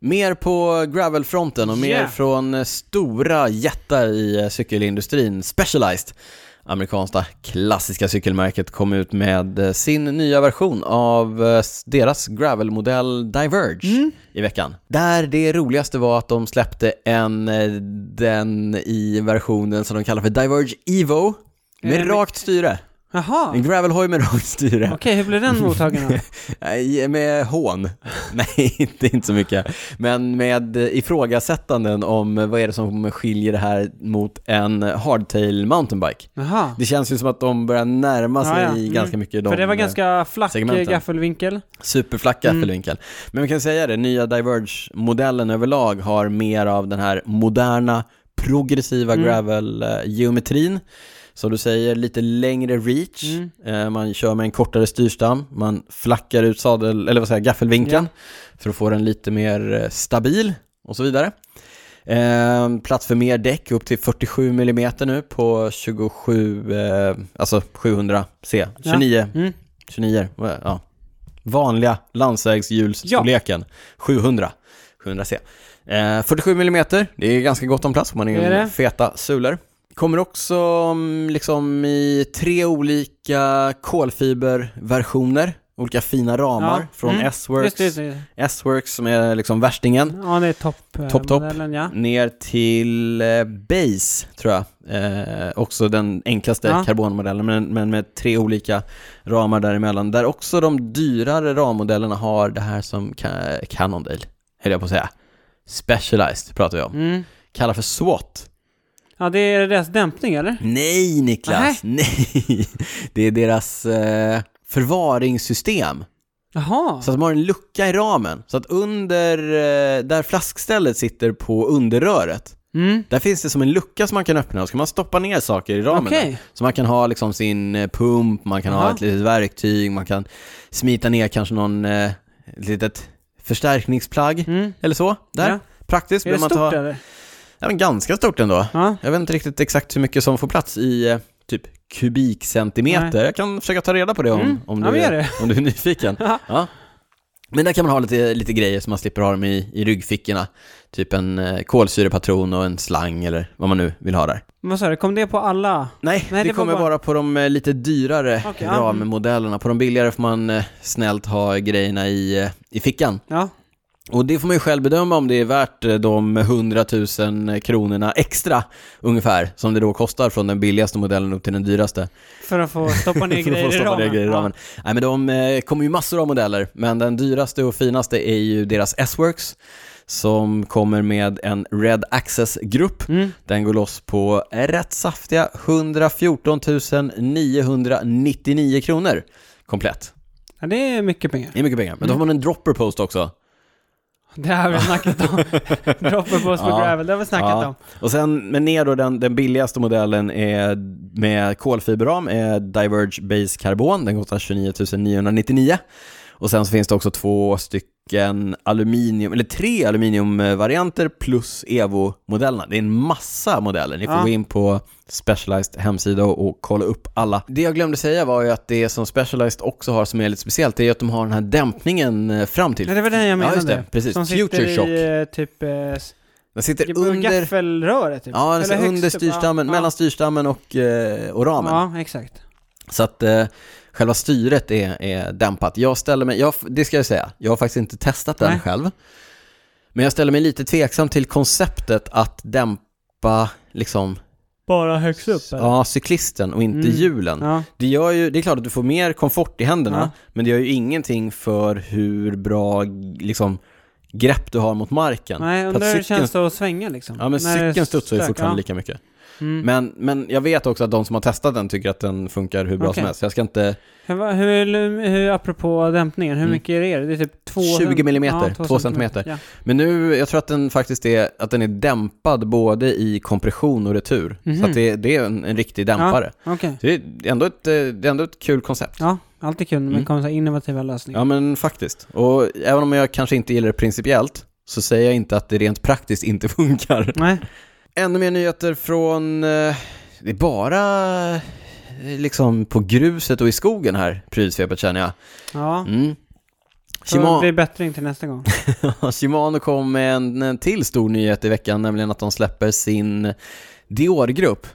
S1: Mer på gravelfronten och mer
S2: Yeah.
S1: från eh, stora jättar i eh, cykelindustrin, Specialized. Amerikanska klassiska cykelmärket kom ut med eh, sin nya version av eh, s- deras gravelmodell Diverge
S2: Mm.
S1: i veckan. Där det roligaste var att de släppte en, eh, den i versionen som de kallar för Diverge Evo
S2: Är
S1: med
S2: det-
S1: rakt styre.
S2: Jaha,
S1: En
S2: okej,
S1: gravelhoj med [laughs] rakt styre.
S2: hur blev den
S1: [laughs]
S2: mottagen då?
S1: Nej, med hån. [laughs] Nej, inte, inte så mycket. Men med ifrågasättanden om eh, vad är det som skiljer det här mot en hardtail mountainbike.
S2: Jaha.
S1: Det känns ju som att de börjar närma sig
S2: Ja, ja. Mm.
S1: ganska mycket de
S2: För det var
S1: eh,
S2: ganska flack
S1: segmenten.
S2: eh, gaffelvinkel.
S1: superflacka
S2: Mm.
S1: fällvinkeln. Men vi kan säga det, nya Diverge-modellen överlag har mer av den här moderna, progressiva
S2: Mm.
S1: gravel-geometrin. Som du säger, lite längre reach.
S2: Mm.
S1: Eh, Man kör med en kortare styrstam, man flackar ut sadel, eller vad säger jag, gaffelvinkeln för att få den lite mer eh, stabil och så vidare. Eh, plats för mer däck, upp till 47 mm nu på 27, eh, alltså 700C, 29
S2: Mm.
S1: 29, vad är- ja. Vanliga landsvägshjulsstorleken, 700. 700C. Eh, 47 mm, det är ganska gott om plats om man
S2: Det är
S1: är
S2: det.
S1: feta sulor. Kommer också mm, liksom i tre olika kolfiberversioner, olika fina ramar
S2: Ja,
S1: från
S2: mm. Just
S1: S-Works,
S2: det, just det.
S1: S-Works som är liksom värstingen,
S2: Ja, det är topp. eh,
S1: Topp, topp.
S2: modellen, Ja.
S1: ner till eh, Base, tror jag. Eh, också den enklaste
S2: Ja.
S1: karbonmodellen, men, men med tre olika ramar däremellan. Där också de dyrare rammodellerna har det här som Ca- Cannondale, höll jag på att säga. Specialized pratar vi om.
S2: Mm.
S1: Kallar för SWAT.
S2: ja, det är deras dämpning eller?
S1: Nej, Niklas! Nej! [laughs] Det är deras eh, förvaringssystem.
S2: Jaha,
S1: Så att de har en lucka i ramen. Så att under, eh, där flaskstället sitter på underröret,
S2: mm.
S1: där finns det som en lucka som man kan öppna och så kan man stoppa ner saker i ramen.
S2: okej.
S1: där. Så man kan ha liksom sin eh, pump, man kan ha
S2: Aha.
S1: ett litet verktyg, man kan smita ner kanske någon eh, ett litet förstärkningsplagg
S2: Mm.
S1: eller så. Där.
S2: Ja.
S1: Praktiskt.
S2: Är det
S1: behöver man
S2: stort
S1: inte ha-
S2: eller?
S1: Ja, men ganska stort ändå.
S2: Ja.
S1: Jag vet inte riktigt exakt hur mycket som får plats i eh, typ kubikcentimeter. Jag kan försöka ta reda på det om,
S2: Mm.
S1: om,
S2: Ja,
S1: du,
S2: men gör
S1: är,
S2: det.
S1: om du är nyfiken.
S2: [laughs] Ja.
S1: ja. Men där kan man ha lite, lite grejer som man slipper ha dem i, i ryggfickorna. Typ en eh, kolsyrepatron och en slang eller vad man nu vill ha där.
S2: Vad sa du, kom det på alla?
S1: Nej,
S2: Nej,
S1: det,
S2: det var
S1: kommer
S2: bara-
S1: bara på de eh, lite dyrare
S2: Okej, ja.
S1: rammodellerna. På de billigare får man eh, snällt ha grejerna i, eh, i fickan.
S2: Ja.
S1: Och det får man ju själv bedöma om det är värt eh, de 100 000 kronorna extra ungefär, som det då kostar från den billigaste modellen upp till den dyraste.
S2: För att få stoppa ner
S1: [laughs] För att
S2: grejer
S1: få
S2: i
S1: stoppa ner
S2: ramen.
S1: grejer i
S2: Ja.
S1: ramen. Nej men de eh, kommer ju massor av modeller, men den dyraste och finaste är ju deras S-Works, som kommer med en Red Access-grupp
S2: Mm.
S1: den går loss på rätt saftiga 114 999 kronor komplett.
S2: Ja, det är mycket pengar.
S1: Det är mycket pengar, men då
S2: Mm.
S1: får man en dropper post också.
S2: Det har vi
S1: [laughs]
S2: snackat om. Droppen på oss på
S1: Ja.
S2: gravel, det har vi snackat
S1: Ja.
S2: om.
S1: Och sen, men ner då, den, den billigaste modellen är med kolfiberram är Diverge Base Carbon, den kostar 29 999. Och sen så finns det också två stycken aluminium, eller tre aluminiumvarianter plus Evo-modellerna. Det är en massa modeller, ni får
S2: Ja.
S1: gå in på Specialized hemsida och, och kolla upp alla. Det jag glömde säga var ju att det som Specialized också har som är lite speciellt, det är att de har den här dämpningen eh, fram till.
S2: Nej, det var den jag
S1: Ja,
S2: menade.
S1: just det. Precis.
S2: Som
S1: Future
S2: sitter
S1: Shock.
S2: i eh, typ, eh, s-
S1: Den sitter under...
S2: gaffelröret typ.
S1: Ja, den
S2: Eller
S1: sitter
S2: högst
S1: under
S2: upp,
S1: styrstammen,
S2: ja.
S1: mellan styrstammen och, eh, och ramen.
S2: Ja, exakt.
S1: Så att eh, själva styret är, är dämpat. Jag ställer mig, jag, det ska jag säga, jag har faktiskt inte testat den
S2: Nej.
S1: själv. Men jag ställer mig lite tveksam till konceptet att dämpa liksom,
S2: Bara högst upp eller?
S1: ja, cyklisten och inte
S2: Mm.
S1: hjulen.
S2: Ja.
S1: Det, gör ju, det är klart att du får mer komfort i händerna,
S2: Ja.
S1: men det gör ju ingenting för hur bra liksom, grepp du har mot marken.
S2: Nej,
S1: För att
S2: undrar hur det
S1: cykeln-
S2: känns det att svänga liksom.
S1: Ja, men
S2: När det
S1: cykeln studsar ju
S2: stök,
S1: fortfarande
S2: ja.
S1: lika mycket.
S2: Mm.
S1: Men, men jag vet också att de som har testat den tycker att den funkar hur bra
S2: Okej.
S1: som helst. Jag ska inte...
S2: Hur, hur, hur, apropå dämpningen, hur
S1: Mm.
S2: mycket är det? Det är typ två
S1: 20 millimeter,
S2: två
S1: två centimeter.
S2: Ja.
S1: Men nu, jag tror att den faktiskt är, att den är dämpad både i kompression och retur. Så
S2: Mhm.
S1: att det, det är en, en riktig dämpare.
S2: Okej.
S1: Så Det, är ändå ett, eh, det är ändå ett kul koncept.
S2: Ja, alltid kul när
S1: Mm.
S2: man kommer med innovativa lösningar.
S1: Ja men faktiskt. Och även om jag kanske inte gillar det principiellt, så säger jag inte att det rent praktiskt inte [laughs] funkar.
S2: Nej.
S1: Ännu mer nyheter från, eh, det är bara eh, liksom på gruset och i skogen här, prylsvepet känner jag.
S2: Ja.
S1: Mm.
S2: Shimano...
S1: Shimano-
S2: blir bättring till nästa gång.
S1: [laughs] Shimano kom med en, en till stor nyhet i veckan, nämligen att de släpper sin Dior-grupp,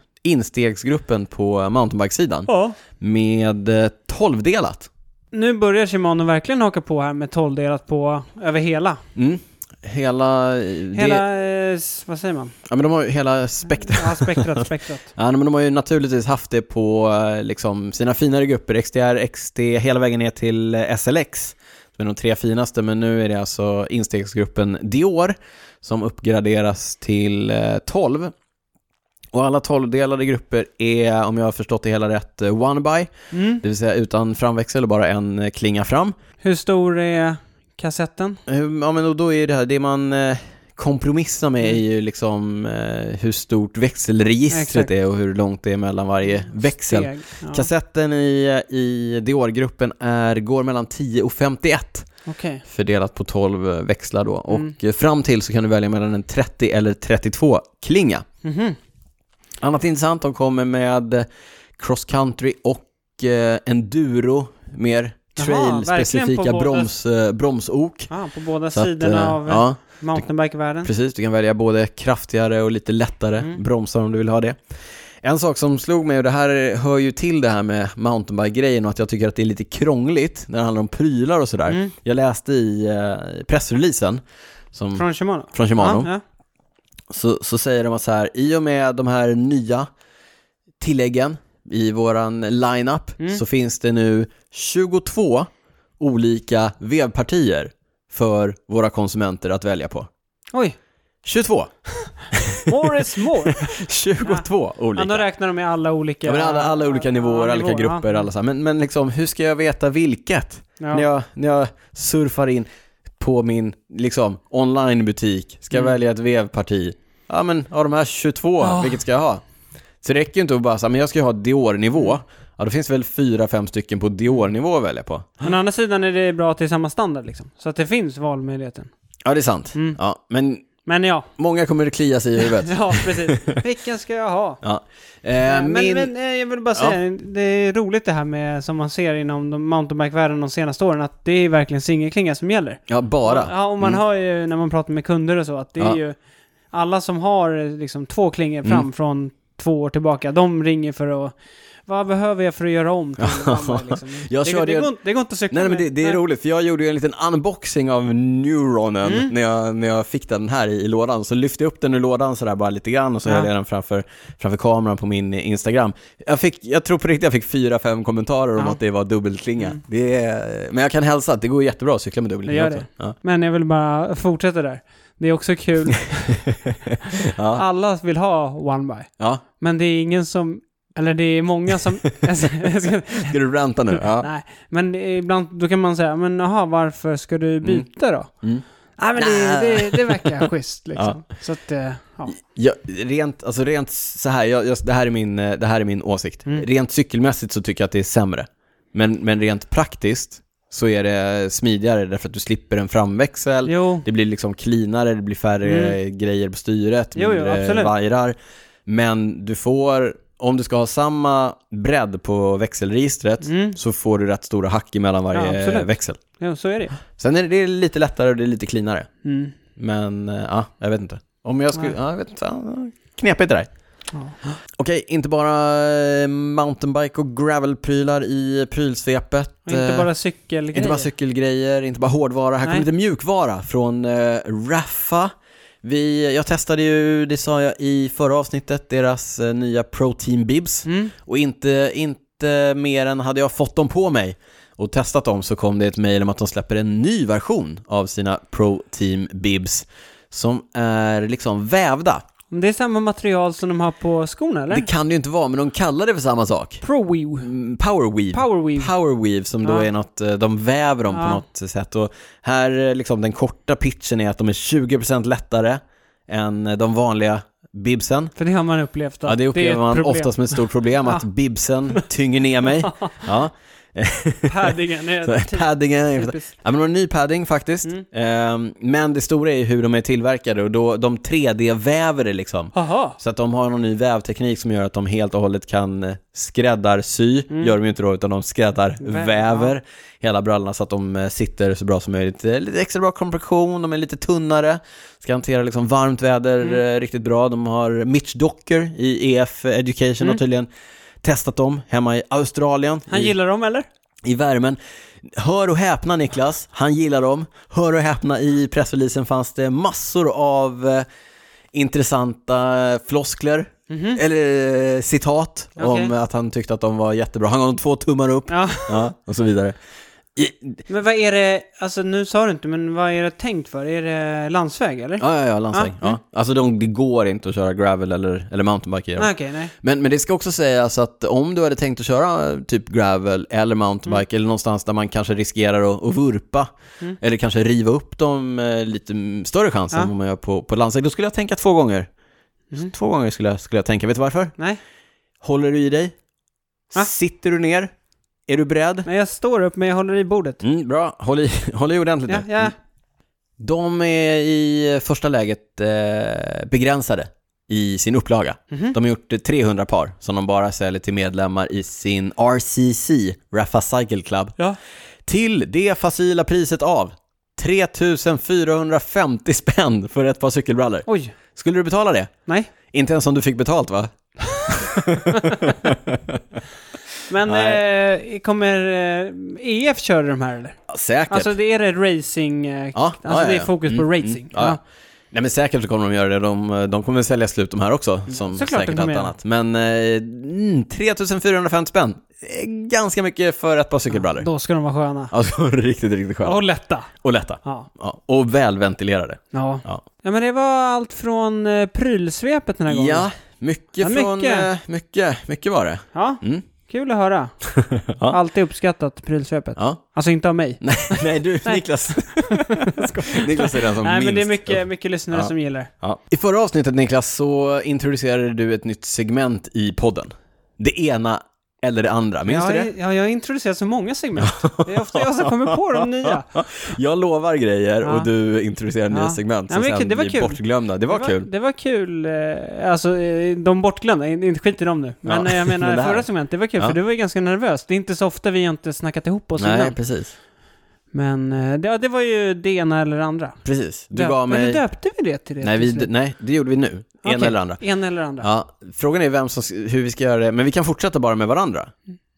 S1: instegsgruppen på mountainbikesidan,
S2: ja.
S1: med eh, 12-delat.
S2: Nu börjar Shimano verkligen haka på här med 12 delat på över hela.
S1: Mm. Hela, hela... Det,
S2: Hela, eh, s- vad säger man?
S1: ja, men de har ju hela spektrat.
S2: Ja,
S1: [laughs]
S2: spektrat, spektrat.
S1: Ja, men de har ju naturligtvis haft det på eh, liksom, sina finare grupper, XTR, XT, hela vägen ner till eh, SLX. Det är de tre finaste, men nu är det alltså instegsgruppen Dior som uppgraderas till eh, 12. Och alla 12-delade grupper är, om jag har förstått det hela rätt, eh, one by,
S2: Mm.
S1: det vill säga utan framväxel och bara en eh, klinga fram.
S2: Hur stor är kassetten?
S1: Eh, Ja, men och då är det här, det man eh, kompromissar med är ju liksom eh, hur stort växelregistret
S2: Exakt. Mm.
S1: är och hur långt det är mellan varje Eh, växel.
S2: Steg. Ja.
S1: Kassetten i, i Dior-gruppen är, går mellan 10 och 51
S2: Okej.
S1: fördelat på 12 växlar då.
S2: Mm.
S1: Och eh, fram till så kan du välja mellan en 30 eller 32 klinga.
S2: Mhm.
S1: Annat intressant, de kommer med eh, cross country och eh, enduro, mer
S2: Jaha,
S1: trail-specifika
S2: verkligen på båda-
S1: broms, eh, bromsok.
S2: Ah, på båda
S1: Så att,
S2: sidorna
S1: eh,
S2: av
S1: ja,
S2: mountainbike-världen.
S1: Precis, du kan välja både kraftigare och lite lättare
S2: Mm.
S1: bromsar om du vill ha det. En sak som slog mig, och det här hör ju till det här med mountainbike-grejen och att jag tycker att det är lite krångligt när det handlar om prylar och sådär.
S2: Mm.
S1: Jag läste i eh, pressreleasen som, från,
S2: Från Shimano?
S1: Shimano,
S2: Ja, ja.
S1: så, så säger de att så här, i och med de här nya tilläggen i våran lineup
S2: Mm.
S1: så finns det nu 22 olika vevpartier för våra konsumenter att välja på.
S2: Oj,
S1: 22!
S2: more
S1: [laughs]
S2: is more!
S1: 22
S2: Ja, då
S1: olika.
S2: räknar de med alla olika...
S1: Ja, men alla, alla olika nivåer,
S2: ja,
S1: alla olika grupper,
S2: ja.
S1: alla så här. Men, men liksom, hur ska jag veta vilket?
S2: Ja.
S1: När, jag, när jag surfar in på min liksom, onlinebutik, ska jag
S2: Mm. Ah.
S1: välja ett vevparti? Ja, men av de här 22,
S2: Ja.
S1: vilket ska jag ha? Så det räcker ju inte att bara säga, men jag ska ju ha Dior-nivå. Ja, då finns det väl fyra, fem stycken på Dior-nivå att välja på.
S2: Men å andra sidan är det bra att det är samma standard liksom. Så att det finns valmöjligheten.
S1: Ja, det är sant.
S2: Mm.
S1: Ja, men
S2: Men ja, [laughs]
S1: många kommer att klia sig i huvudet.
S2: ja precis. Vilken ska jag ha?
S1: Ja. Eh,
S2: men,
S1: min...
S2: men eh, jag vill bara
S1: Ja.
S2: säga, det är roligt det här med, som man ser inom de- mountainbike-världen de senaste åren, att det är verkligen singelklinga som gäller.
S1: Ja, bara.
S2: Ja, och man hör ju när man pratar med kunder och så att det är
S1: Mm. Ja.
S2: ju alla som har eh, liksom två klingor fram
S1: Mm.
S2: från två år tillbaka, de ringer för att vad behöver jag för att göra om
S1: [laughs]
S2: till en annan, liksom.
S1: Jag
S2: det,
S1: körde
S2: det,
S1: ju-
S2: går, inte- det går inte att cykla
S1: Nej, nej, men
S2: med-
S1: det, det är
S2: Nej.
S1: roligt, för jag gjorde ju en liten unboxing av Neuronen
S2: Mm.
S1: när, jag, när jag fick den här i, i lådan. Så lyfte jag upp den ur lådan sådär bara lite grann och så
S2: Ja.
S1: höll jag den framför, framför kameran på min Instagram. Jag, fick, jag tror på riktigt jag fick fyra, fem kommentarer om
S2: Ja.
S1: att det var dubbelklinga. Det är, men jag kan hälsa att det går jättebra att cykla med dubbelklinga
S2: Det gör
S1: också. Ja.
S2: Men jag vill bara fortsätta där. Det är
S1: [laughs]
S2: också kul,
S1: Ja.
S2: alla vill ha one by.
S1: Ja.
S2: Men det är ingen som, eller det är
S1: [laughs]
S2: många som, [laughs] jag ska, jag ska,
S1: Ska du ranta nu? Ja.
S2: nej, men ibland, då kan man säga, men jaha, varför ska du byta då?
S1: Mm.
S2: Nej men det,
S1: Nej.
S2: det,
S1: [laughs]
S2: det verkar schysst liksom. Så att, eh, ja.
S1: Ja, rent, alltså rent så här, jag, jag, det, här är min, eh, det här är min åsikt.
S2: Mm.
S1: Rent cykelmässigt så tycker jag att det är sämre. Men, men rent praktiskt så är det smidigare därför att du slipper en framväxel.
S2: Jo, Mm.
S1: Det blir liksom cleanare, det blir färre grejer på styret,
S2: Jo, jo,
S1: mindre
S2: absolut.
S1: vajrar. Men du får, om du ska ha samma bredd på växelregistret
S2: Mm.
S1: så får du rätt stora hack emellan
S2: Ja,
S1: varje
S2: absolut.
S1: växel.
S2: jo, så är det
S1: Sen är det, det är lite lättare och det är lite cleanare.
S2: mm.
S1: Men eh, ja, jag vet inte. Om jag skulle,
S2: Nej.
S1: ja, jag vet inte. Ja, Knepigt det där.
S2: ja.
S1: Okej, inte bara eh, mountainbike och gravelprylar i prylsvepet.
S2: Och Inte
S1: Eh,
S2: bara cykelgrejer.
S1: inte bara cykelgrejer, inte bara hårdvara. Här kommer
S2: Nej.
S1: lite mjukvara från eh, Raffa. Vi, jag testade ju, det sa jag i förra avsnittet, deras eh, nya Protein Bibs.
S2: Mm.
S1: Och inte, inte mer än hade jag fått dem på mig och testat dem så kom det ett mejl om att de släpper en ny version av sina Pro Team Bibs som är liksom vävda.
S2: Men Det är samma material som de har på skorna eller?
S1: Det kan det ju inte vara, men de kallar det för samma sak.
S2: Pro-weave.
S1: Mm, Power Weave.
S2: Powerweave.
S1: Powerweave som då
S2: Ja.
S1: är något, eh, de väver dem
S2: Ja.
S1: på något sätt. Och här eh, liksom den korta pitchen är att de är 20% lättare än eh, de vanliga bibsen.
S2: För det har man upplevt att
S1: Ja, det
S2: är [laughs]
S1: upplever
S2: ett
S1: man
S2: problem. [laughs]
S1: ofta som ett stort problem, att bibsen tynger ner mig. Ja.
S2: Paddingen är
S1: Så här,
S2: typ-
S1: Paddingen,
S2: typiskt.
S1: Ja, men de har en ny padding faktiskt. Ehm, men det stora är ju hur de är tillverkade och då de 3D-väver det liksom.
S2: Jaha,
S1: Så att de har någon ny vävteknik som gör att de helt och hållet kan eh, skräddarsy, gör de ju inte då, utan de skräddarväver hela brallorna så att de eh, sitter så bra som möjligt. Eh, Lite extra bra kompression, de är lite tunnare, ska hantera liksom varmt väder eh, riktigt bra. De har Mitch Docker i EF Education har tydligen testat dem hemma i Australien.
S2: han
S1: i
S2: gillar dem eller?
S1: i värmen. Hör och häpna Niklas, han gillar dem. Hör och häpna, i pressreleasen fanns det massor av eh, intressanta floskler, eller eh, citat,
S2: Mhm. Okej.
S1: om att han tyckte att de var jättebra. Han gav dem två tummar upp,
S2: Ja,
S1: ja, och så vidare. I,
S2: men vad är det, alltså nu sa du inte, men vad är det tänkt för? Är det landsväg eller?
S1: ja, ja, ja, landsväg.
S2: Ja,
S1: Ja. Alltså de, det går inte att köra gravel eller, eller mountainbike i dem.
S2: Nej, okej, nej.
S1: Men, men det ska också sägas att om du hade tänkt att köra eh, typ gravel eller
S2: Mm.
S1: mountainbike eller någonstans där man kanske riskerar att, att vurpa eller kanske riva upp dem eh, lite mm, större chans
S2: Ja. Mm.
S1: än vad man gör på, på landsväg, då skulle jag tänka två gånger. Två gånger skulle jag, skulle jag tänka. Vet du varför?
S2: Nej,
S1: Håller du i dig?
S2: Va?
S1: Sitter du ner? Är du beredd?
S2: men jag står upp men jag håller i bordet.
S1: Mm, bra, håll i, [laughs] håll i ordentligt
S2: Ja,
S1: nu.
S2: ja.
S1: De är i första läget eh, begränsade i sin upplaga.
S2: Mhm.
S1: De har gjort eh, 300 par som de bara säljer till medlemmar i sin RCC, Rafa Cycle Club,
S2: ja.
S1: till det facila priset av 3450 spänn för ett par cykelbrallor.
S2: Oj,
S1: Skulle du betala det?
S2: nej.
S1: Inte ens om du fick betalt va?
S2: Men eh, kommer eh, EF köra de här eller?
S1: Ja, Säkert.
S2: Alltså det är det racing, eh,
S1: Typ. Ja, ja,
S2: alltså
S1: ja,
S2: det är
S1: ja.
S2: fokus på
S1: Mm,
S2: racing.
S1: mm, ja. Nej men säkert så kommer de göra det, de, de kommer väl sälja slut de här också, som
S2: Mm. Såklart
S1: säkert
S2: de kommer
S1: allt
S2: göra.
S1: annat. Men eh, mm, 3450 spänn, Eh, ganska mycket för ett par cykelbrallor.
S2: Då ska de vara sköna.
S1: Alltså [laughs] riktigt, riktigt skönt.
S2: Och lätta.
S1: Och lätta.
S2: Ja.
S1: Ja. Och välventilerade.
S2: Ja.
S1: Ja.
S2: ja, men det var allt från eh, prylsvepet den här gången.
S1: Ja, mycket
S2: Ja,
S1: från...
S2: mycket.
S1: eh, mycket, mycket var det.
S2: Ja,
S1: Mm.
S2: kul att höra.
S1: [laughs] Ja.
S2: Alltid uppskattat prylsvepet. [laughs]
S1: Ja.
S2: Alltså inte av mig.
S1: Nej, nej du,
S2: [laughs]
S1: Niklas. Niklas är den som
S2: Nej,
S1: minst.
S2: men det är mycket, mycket lyssnare
S1: Ja.
S2: som gillar
S1: Ja. I förra avsnittet Niklas så introducerade du ett nytt segment i podden. Det ena eller det andra, minns
S2: ja,
S1: du det?
S2: Jag, ja, jag har introducerat så
S1: [laughs]
S2: många segment. Det är ofta jag som kommer på de nya.
S1: Jag lovar grejer
S2: Ja.
S1: och du introducerar nya
S2: Ja.
S1: segment
S2: Ja,
S1: som
S2: men det-
S1: sen
S2: det var
S1: blir
S2: kul.
S1: bortglömda. Det var, kul.
S2: Det var kul, eh, alltså eh, de bortglömda, in- inte skit i dem nu. Men
S1: Ja,
S2: eh, jag
S1: [laughs]
S2: menar
S1: men det här-
S2: förra segmentet, det var kul
S1: Ja.
S2: för du var ju ganska nervös. Det är inte så ofta vi har inte snackat ihop oss
S1: Nej,
S2: innan.
S1: precis.
S2: Men eh, det, ja, det var ju det ena eller det andra.
S1: Precis. Du
S2: Döp-
S1: gav mig...
S2: Eller döpte vi det till det?
S1: nej, vi,
S2: till slut?
S1: nej, det gjorde vi nu. Ena
S2: Okej,
S1: eller andra.
S2: Ena eller andra.
S1: Ja, frågan är vem som, hur vi ska göra det, men vi kan fortsätta bara med varandra.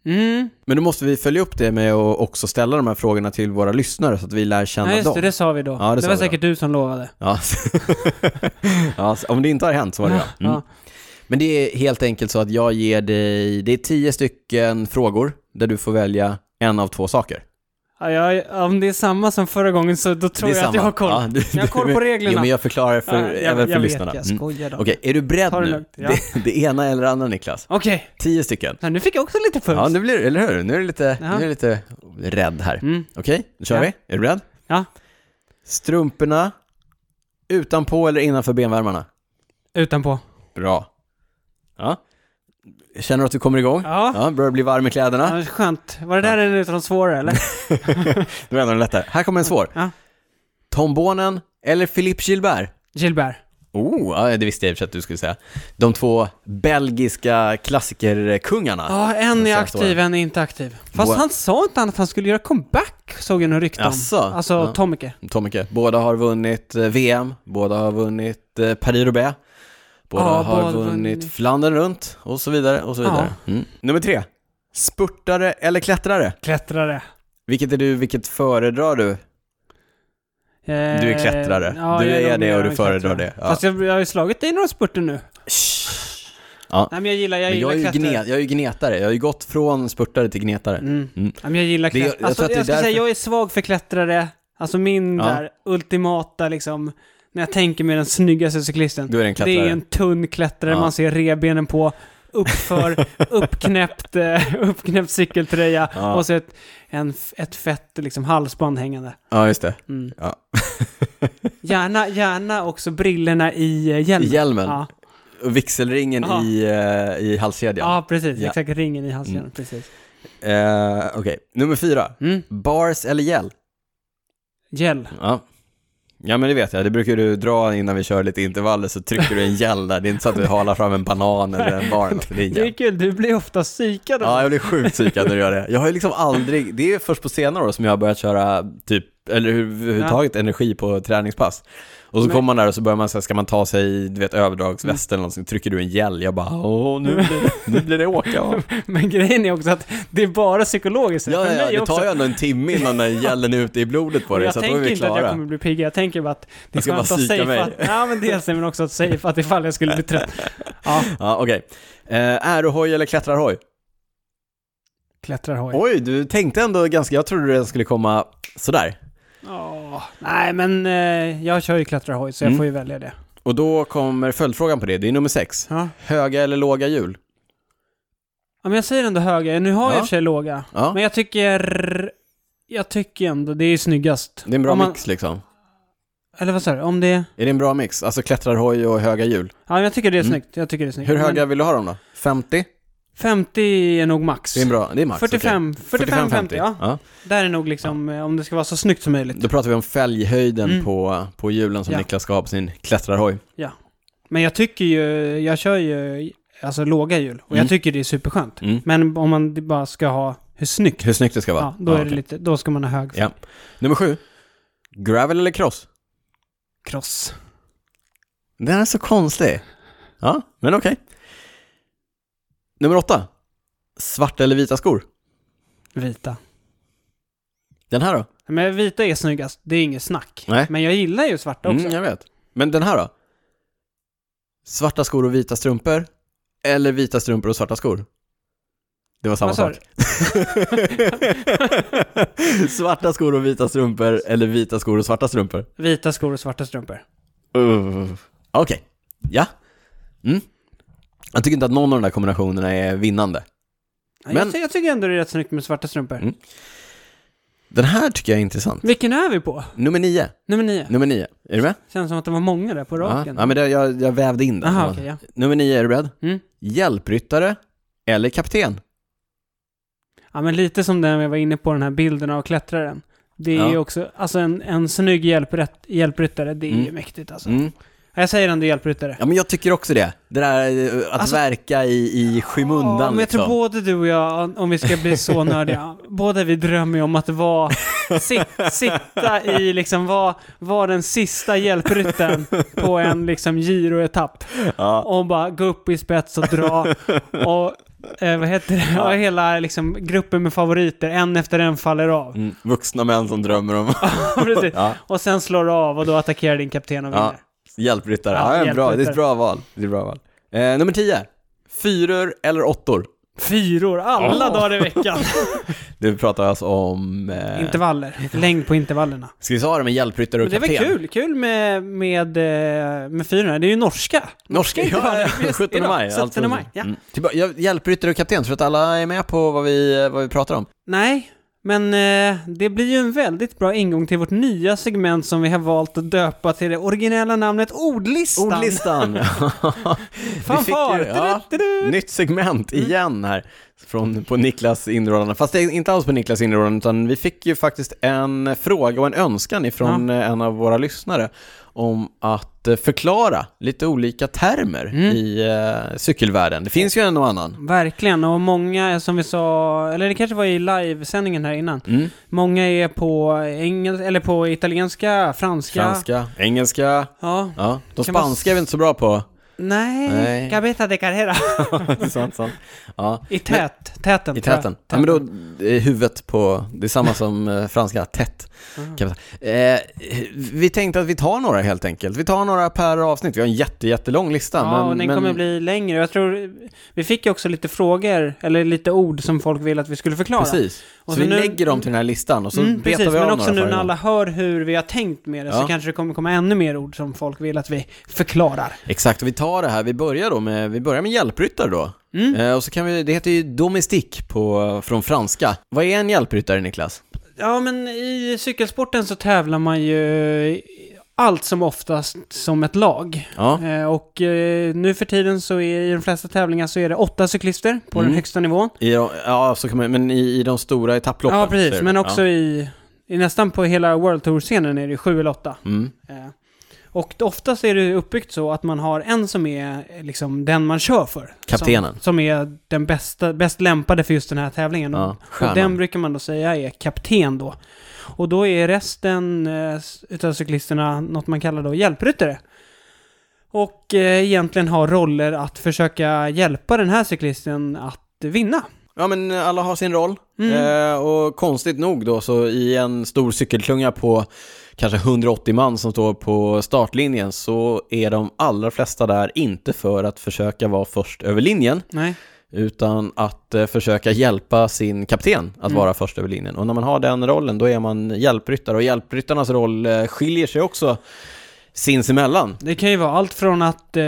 S2: Mm.
S1: Men då måste vi följa upp det med att också ställa de här frågorna till våra lyssnare så att vi lär känna
S2: Ja, just
S1: dem.
S2: det, det sa vi då.
S1: Ja, det
S2: det
S1: sa
S2: var
S1: vi då.
S2: säkert du som lovade.
S1: Ja. [laughs] ja, så om det inte har hänt så var det jag. Mm.
S2: Ja.
S1: Men det är helt enkelt så att jag ger dig, det är tio stycken frågor där du får välja en av två saker.
S2: Ja, jag, om det är samma som förra gången så då tror
S1: Det
S2: jag
S1: är
S2: att jag har koll.
S1: Ja, du-
S2: Jag har koll på
S1: [laughs]
S2: reglerna.
S1: Jo, men jag förklarar för,
S2: Ja, jag,
S1: även för
S2: jag
S1: lyssnarna.
S2: Vet, jag
S1: Mm.
S2: skojar då.
S1: Okej, är du beredd
S2: Ta det
S1: nu?
S2: lugnt, ja.
S1: det, det ena eller det andra Niklas?
S2: Okej,
S1: Tio stycken.
S2: Ja, nu fick jag också lite puls.
S1: Ja, nu blir eller hur? Nu är du lite,
S2: Ja.
S1: nu är du lite rädd här.
S2: Mm.
S1: Okej, då kör
S2: Ja.
S1: vi. Är du beredd?
S2: Ja,
S1: Strumporna, utanpå eller innanför benvärmarna?
S2: utanpå.
S1: Bra. Ja. Känner du att du kommer igång?
S2: Ja.
S1: ja börjar bli varm i kläderna?
S2: Ja, skönt. Var det där en utav de
S1: [laughs]
S2: svåra eller?
S1: Det var en av de lättare. Här kommer en svår.
S2: Ja.
S1: Tombonen eller Philippe Gilbert?
S2: Gilbert.
S1: Oh, ja, det visste jag i och för sig att du skulle säga. De två belgiska klassikerkungarna.
S2: Ja, en är
S1: säga
S2: aktiv, en är inte aktiv. Fast
S1: Båda-
S2: han sa inte annat att han skulle göra comeback, såg jag något rykte om.
S1: Asså?
S2: Alltså,
S1: Ja.
S2: Tomike.
S1: Tomike. Båda har vunnit eh, VM, båda har vunnit eh, Paris-Roubaix, båda
S2: Ja,
S1: har
S2: båda
S1: vunnit,
S2: vunnit.
S1: Flandern runt och så vidare. Och så
S2: Ja.
S1: vidare. Mm. Nummer tre. Spurtare eller klättrare?
S2: Klättrare.
S1: Vilket är du, vilket föredrar du?
S2: Du
S1: Du är klättrare. Du är det och du föredrar det. Ja.
S2: Fast jag, jag har ju slagit dig i några spurter nu.
S1: Ja.
S2: Nej men jag gillar, jag
S1: Men
S2: gillar
S1: jag, är ju
S2: klättrare.
S1: gnet, jag är ju gnetare, jag har ju gått från spurtare till gnetare.
S2: Mm.
S1: Mm.
S2: Ja, men jag gillar
S1: Det- jag
S2: klättrare.
S1: tror
S2: Alltså,
S1: att
S2: jag,
S1: det är
S2: skulle säga
S1: därför-
S2: jag är svag för klättrare. Alltså min
S1: Ja.
S2: där ultimata liksom, när jag tänker mig den snyggaste cyklisten.
S1: Du är en
S2: det
S1: klättrare.
S2: är ju en tunn klättrare
S1: Ja.
S2: man ser revbenen på,
S1: [laughs]
S2: uppför, uppknäppt, eh, uppknäppt cykeltröja
S1: Ja.
S2: och så ett, en, f- ett fett liksom, halsband hängande.
S1: Ja, just det.
S2: Mm.
S1: Ja. [laughs]
S2: Gärna, gärna också brillorna i eh,
S1: I
S2: hjälmen.
S1: Hjälmen.
S2: Ja,
S1: Och vigselringen
S2: Ja.
S1: i, eh, i halskedjan.
S2: ja precis.
S1: Ja. Mm.
S2: Exakt, ringen i halsen. Precis.
S1: Eh, Okej, nummer fyra.
S2: Mm.
S1: Bars eller gel?
S2: Gel.
S1: Ja. Ja men det vet jag, det brukar du dra innan vi kör lite intervaller så trycker du en gel där. Det är inte så att du halar fram en banan eller en bar eller något. det är en
S2: Det är
S1: gel.
S2: kul, du blir ofta psykad. av-
S1: Ja, jag blir sjukt psykad när du gör det. Jag har ju liksom aldrig, det är först på senare år som jag har börjat köra typ, eller överhuvudtaget energi på träningspass. Och så
S2: Men-
S1: kommer man där och så börjar man säga, ska man ta sig, du vet, överdragsväst eller någonting, trycker du en gel, jag bara, åh, nu blir det, nu blir det åka
S2: [laughs]
S1: av.
S2: Men grejen är också att det är bara psykologiskt.
S1: Ja,
S2: För
S1: ja,
S2: mig
S1: ja, det
S2: också.
S1: tar ju ändå en timme innan
S2: [laughs]
S1: den gällen är ute i blodet på
S2: Och
S1: dig,
S2: jag
S1: så att då är
S2: tänker
S1: vi
S2: inte att jag
S1: klara.
S2: kommer bli pigg, jag tänker bara att det är
S1: Jag ska bara
S2: skönt att
S1: psyka mig.
S2: safea. Ja men dels det, men också att safea att ifall jag skulle bli trött.
S1: [laughs]
S2: Ja,
S1: Ja, okej. Eh, Ärohoj eller klättrarhoj?
S2: klättrar hoj.
S1: Oj, du tänkte ändå ganska, jag trodde den skulle komma sådär.
S2: Ja, nej men eh, jag kör ju klättrar hoj så jag
S1: Mm.
S2: får ju välja det.
S1: Och då kommer följdfrågan på det, det är nummer sex.
S2: Ja.
S1: Höga eller låga hjul?
S2: ja men jag säger ändå höga, nu har jag i
S1: Ja.
S2: och för sig låga.
S1: Ja,
S2: Men jag tycker... Jag tycker ändå det är ju snyggast.
S1: det är en bra
S2: om man-
S1: mix liksom.
S2: Eller vad sa du? Om det...
S1: Är det en bra mix? Alltså klättrarhoj och höga hjul.
S2: Ja men jag tycker det är
S1: Mm.
S2: snyggt, jag tycker det är snyggt.
S1: Hur
S2: Men
S1: höga vill du ha dem då? 50?
S2: 50 är nog max.
S1: Det är en bra, det är max.
S2: 45, 45, 50, ja.
S1: ja.
S2: Där är nog liksom, eh, om det ska vara så snyggt som möjligt.
S1: Då pratar vi om fälghöjden
S2: Mm.
S1: på, på hjulen som
S2: Ja.
S1: Niklas ska ha på sin klättrarhoj.
S2: Men jag tycker ju, jag kör ju alltså låga hjul och
S1: Mm.
S2: jag tycker det är superskönt.
S1: Mm.
S2: Men om man d- bara ska ha hur snyggt,
S1: Hur snyggt det ska vara.
S2: ja, då är det
S1: okej.
S2: lite, då ska man ha hög
S1: Ja. Nummer sju. Gravel eller cross?
S2: cross.
S1: Den är så konstig. Ja, men okej. Nummer åtta. Svarta eller vita skor?
S2: Vita.
S1: Den här då?
S2: Men vita är snyggast, det är inget snack.
S1: Nej.
S2: Men jag gillar ju svarta också.
S1: Mm, jag vet. Men den här då? Svarta skor och vita strumpor? Eller vita strumpor och svarta skor? Det var samma
S2: Vad sa
S1: sak. [laughs] svarta skor och vita strumpor eller vita skor och svarta strumpor?
S2: Vita skor och svarta strumpor.
S1: Uh. Okej. Ja. Mm. Jag tycker inte att någon av de där kombinationerna är vinnande.
S2: Men...
S1: Men-
S2: Jag, ty- jag tycker ändå det är rätt snyggt med svarta strumpor.
S1: Mm. Den här tycker jag är intressant.
S2: Vilken är vi på?
S1: Nummer nio.
S2: Nummer nio.
S1: Nummer nio. Är du med?
S2: Känns som att det var många där på
S1: Ja,
S2: raken.
S1: ja men det, jag, jag vävde in den.
S2: Aha, okej, ja.
S1: Nummer nio, är du beredd?
S2: Mm.
S1: Hjälpryttare eller kapten?
S2: Ja, men lite som den jag var inne på, den här bilden av klättraren. Det är
S1: Ja.
S2: ju också, alltså en, en snygg hjälprätt, hjälpryttare, det är ju
S1: Mm.
S2: mäktigt alltså.
S1: Mm.
S2: Ja, Jag säger ändå hjälpryttare.
S1: Ja, men jag tycker också det. Det där eh, att
S2: Alltså-
S1: verka i, i skymundan
S2: Ja, men jag tror
S1: liksom.
S2: både du och jag, om vi ska
S1: [laughs]
S2: bli så nördiga, båda vi drömmer ju om att vara, sit, sitta i liksom, vara var den sista hjälpryttaren på en liksom giroetapp.
S1: Ja.
S2: Och bara gå upp i spets och dra. Och eh, vad heter det? Och hela liksom, gruppen med favoriter, en efter en faller av.
S1: Mm. Vuxna män som drömmer
S2: [laughs]
S1: om
S2: Precis.
S1: ja.
S2: Och sen slår du av och då attackerar din kapten och
S1: Ja.
S2: vinner.
S1: hjälpryttare.
S2: Ja,
S1: Ja, ja, bra. Det är
S2: hjälpryttare.
S1: ett bra val. Det är ett bra val. Eh, nummer tio. Fyror eller åttor?
S2: Fyror alla
S1: Oh.
S2: dagar i veckan.
S1: Du pratar alltså om... [laughs] Eh,
S2: Intervaller. Längd på intervallerna.
S1: Ska vi svara med hjälpryttare och
S2: Men det är
S1: kapten?
S2: väl kul? Kul med, med, eh, med fyrorna. Det är ju norska.
S1: Norska
S2: intervaller.
S1: ja,
S2: Just
S1: 17
S2: idag,
S1: maj.
S2: 17
S1: alltså.
S2: maj, ja.
S1: Mm. Typ, jag hjälpryttare och kapten, tror att alla är med på vad vi, vad vi pratar om?
S2: Nej, men eh, det blir ju en väldigt bra ingång till vårt nya segment som vi har valt att döpa till det originella namnet Ordlistan.
S1: Ordlistan!
S2: [laughs]
S1: Vi fick
S2: Fanfar.
S1: ju- ja,
S2: Du-du-du-du.
S1: Nytt segment
S2: Mm.
S1: igen här, från, på Niklas inrådan. Fast det är inte alls på Niklas inrådan, utan vi fick ju faktiskt en fråga och en önskan ifrån eh, en av våra lyssnare om att eh, förklara lite olika termer
S2: Mm.
S1: i eh, cykelvärlden. Det finns ju en och annan.
S2: Verkligen, och många som vi sa, eller det kanske var i livesändningen här innan,
S1: Mm.
S2: många är på engelska, eller på italienska, franska.
S1: Franska, engelska,
S2: Ja,
S1: ja. De
S2: Kan man-
S1: spanska är vi inte så bra på. [laughs]
S2: nej,
S1: Nej.
S2: cabeta de carrera.
S1: sant, sant. Ja.
S2: [laughs] I tät, täten.
S1: I
S2: tror jag.
S1: täten. Ja, men då är huvudet på, det är samma som eh, franska, tätt.
S2: Aha.
S1: kan man säga. Eh, vi tänkte att vi tar några helt enkelt. Vi tar några per avsnitt. Vi har en jätte, jättelång lista.
S2: Ja,
S1: men,
S2: och den
S1: men,
S2: kommer bli längre. Jag tror, vi fick ju också lite frågor, eller lite ord som folk ville att vi skulle förklara.
S1: Precis.
S2: Och
S1: så
S2: så
S1: vi
S2: nu-
S1: lägger dem till den här listan och så
S2: Mm,
S1: betar
S2: precis,
S1: vi av
S2: men också
S1: några
S2: nu
S1: för
S2: när
S1: gång.
S2: alla hör hur vi har tänkt med det så
S1: Ja.
S2: kanske det kommer komma ännu mer ord som folk vill att vi förklarar.
S1: Exakt, och vi tar det här. Vi börjar då med, vi börjar med hjälpryttare då.
S2: Mm.
S1: Eh, och så kan vi, det heter ju domestik på, från franska. Vad är en hjälpryttare, Niklas?
S2: Ja, men i cykelsporten så tävlar man ju allt som oftast som ett lag.
S1: Ja.
S2: Eh, Och eh, nu för tiden så är i de flesta tävlingar så är det åtta cyklister på
S1: Mm.
S2: den högsta nivån.
S1: I, de- ja, så kan man, men i, i de stora etapploppen.
S2: ja, precis.
S1: säger du?
S2: Men också
S1: Ja.
S2: i, i nästan på hela World Tour-scenen är det sju eller åtta.
S1: Mm.
S2: Eh, Och oftast är det uppbyggt så att man har en som är eh, liksom den man kör för.
S1: Kaptenen.
S2: Som, som är den bästa, bäst lämpade för just den här tävlingen.
S1: Ja,
S2: och
S1: stjärnan.
S2: den brukar man då säga är kapten då. Och då är resten eh, utav cyklisterna något man kallar då hjälpryttare. Och eh, egentligen har roller att försöka hjälpa den här cyklisten att vinna.
S1: Ja, men alla har sin roll.
S2: Mm.
S1: Eh, och konstigt nog då, så i en stor cykelklunga på kanske 180 man som står på startlinjen så är de allra flesta där inte för att försöka vara först över linjen
S2: Nej.
S1: utan att eh, försöka hjälpa sin kapten att
S2: Mm.
S1: vara först över linjen. Och när man har den rollen då är man hjälpryttare och hjälpryttarnas roll eh, skiljer sig också sinsemellan.
S2: Det kan ju vara allt från att eh,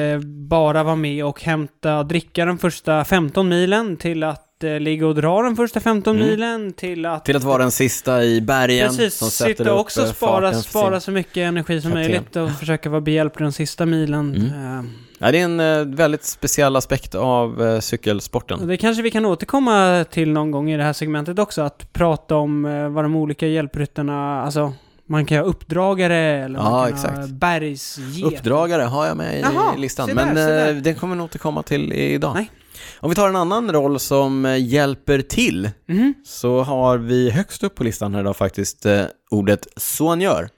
S2: bara vara med och hämta dricka den första 15 milen till att eh, ligga och dra den första 15
S1: Mm.
S2: milen till att...
S1: Till att vara den sista i bergen
S2: Precis,
S1: som sätter
S2: sitta
S1: upp
S2: och också
S1: eh,
S2: spara,
S1: farten för sin-
S2: spara så mycket energi som
S1: kapten.
S2: möjligt och försöka vara behjälplig den sista milen.
S1: Mm.
S2: Eh,
S1: Ja, det är en eh, väldigt speciell aspekt av eh, cykelsporten.
S2: Och det kanske vi kan återkomma till någon gång i det här segmentet också, att prata om eh, vad de olika hjälpryttarna, alltså man kan ha uppdragare eller
S1: Ja,
S2: man kan ha
S1: exakt.
S2: bergsget.
S1: Uppdragare har jag med i
S2: Jaha,
S1: listan,
S2: se där,
S1: men
S2: se där.
S1: eh, den kommer vi nog inte komma till idag.
S2: Nej.
S1: Om vi tar en annan roll som eh, hjälper till,
S2: Mhm,
S1: så har vi högst upp på listan här idag faktiskt eh, ordet soignör.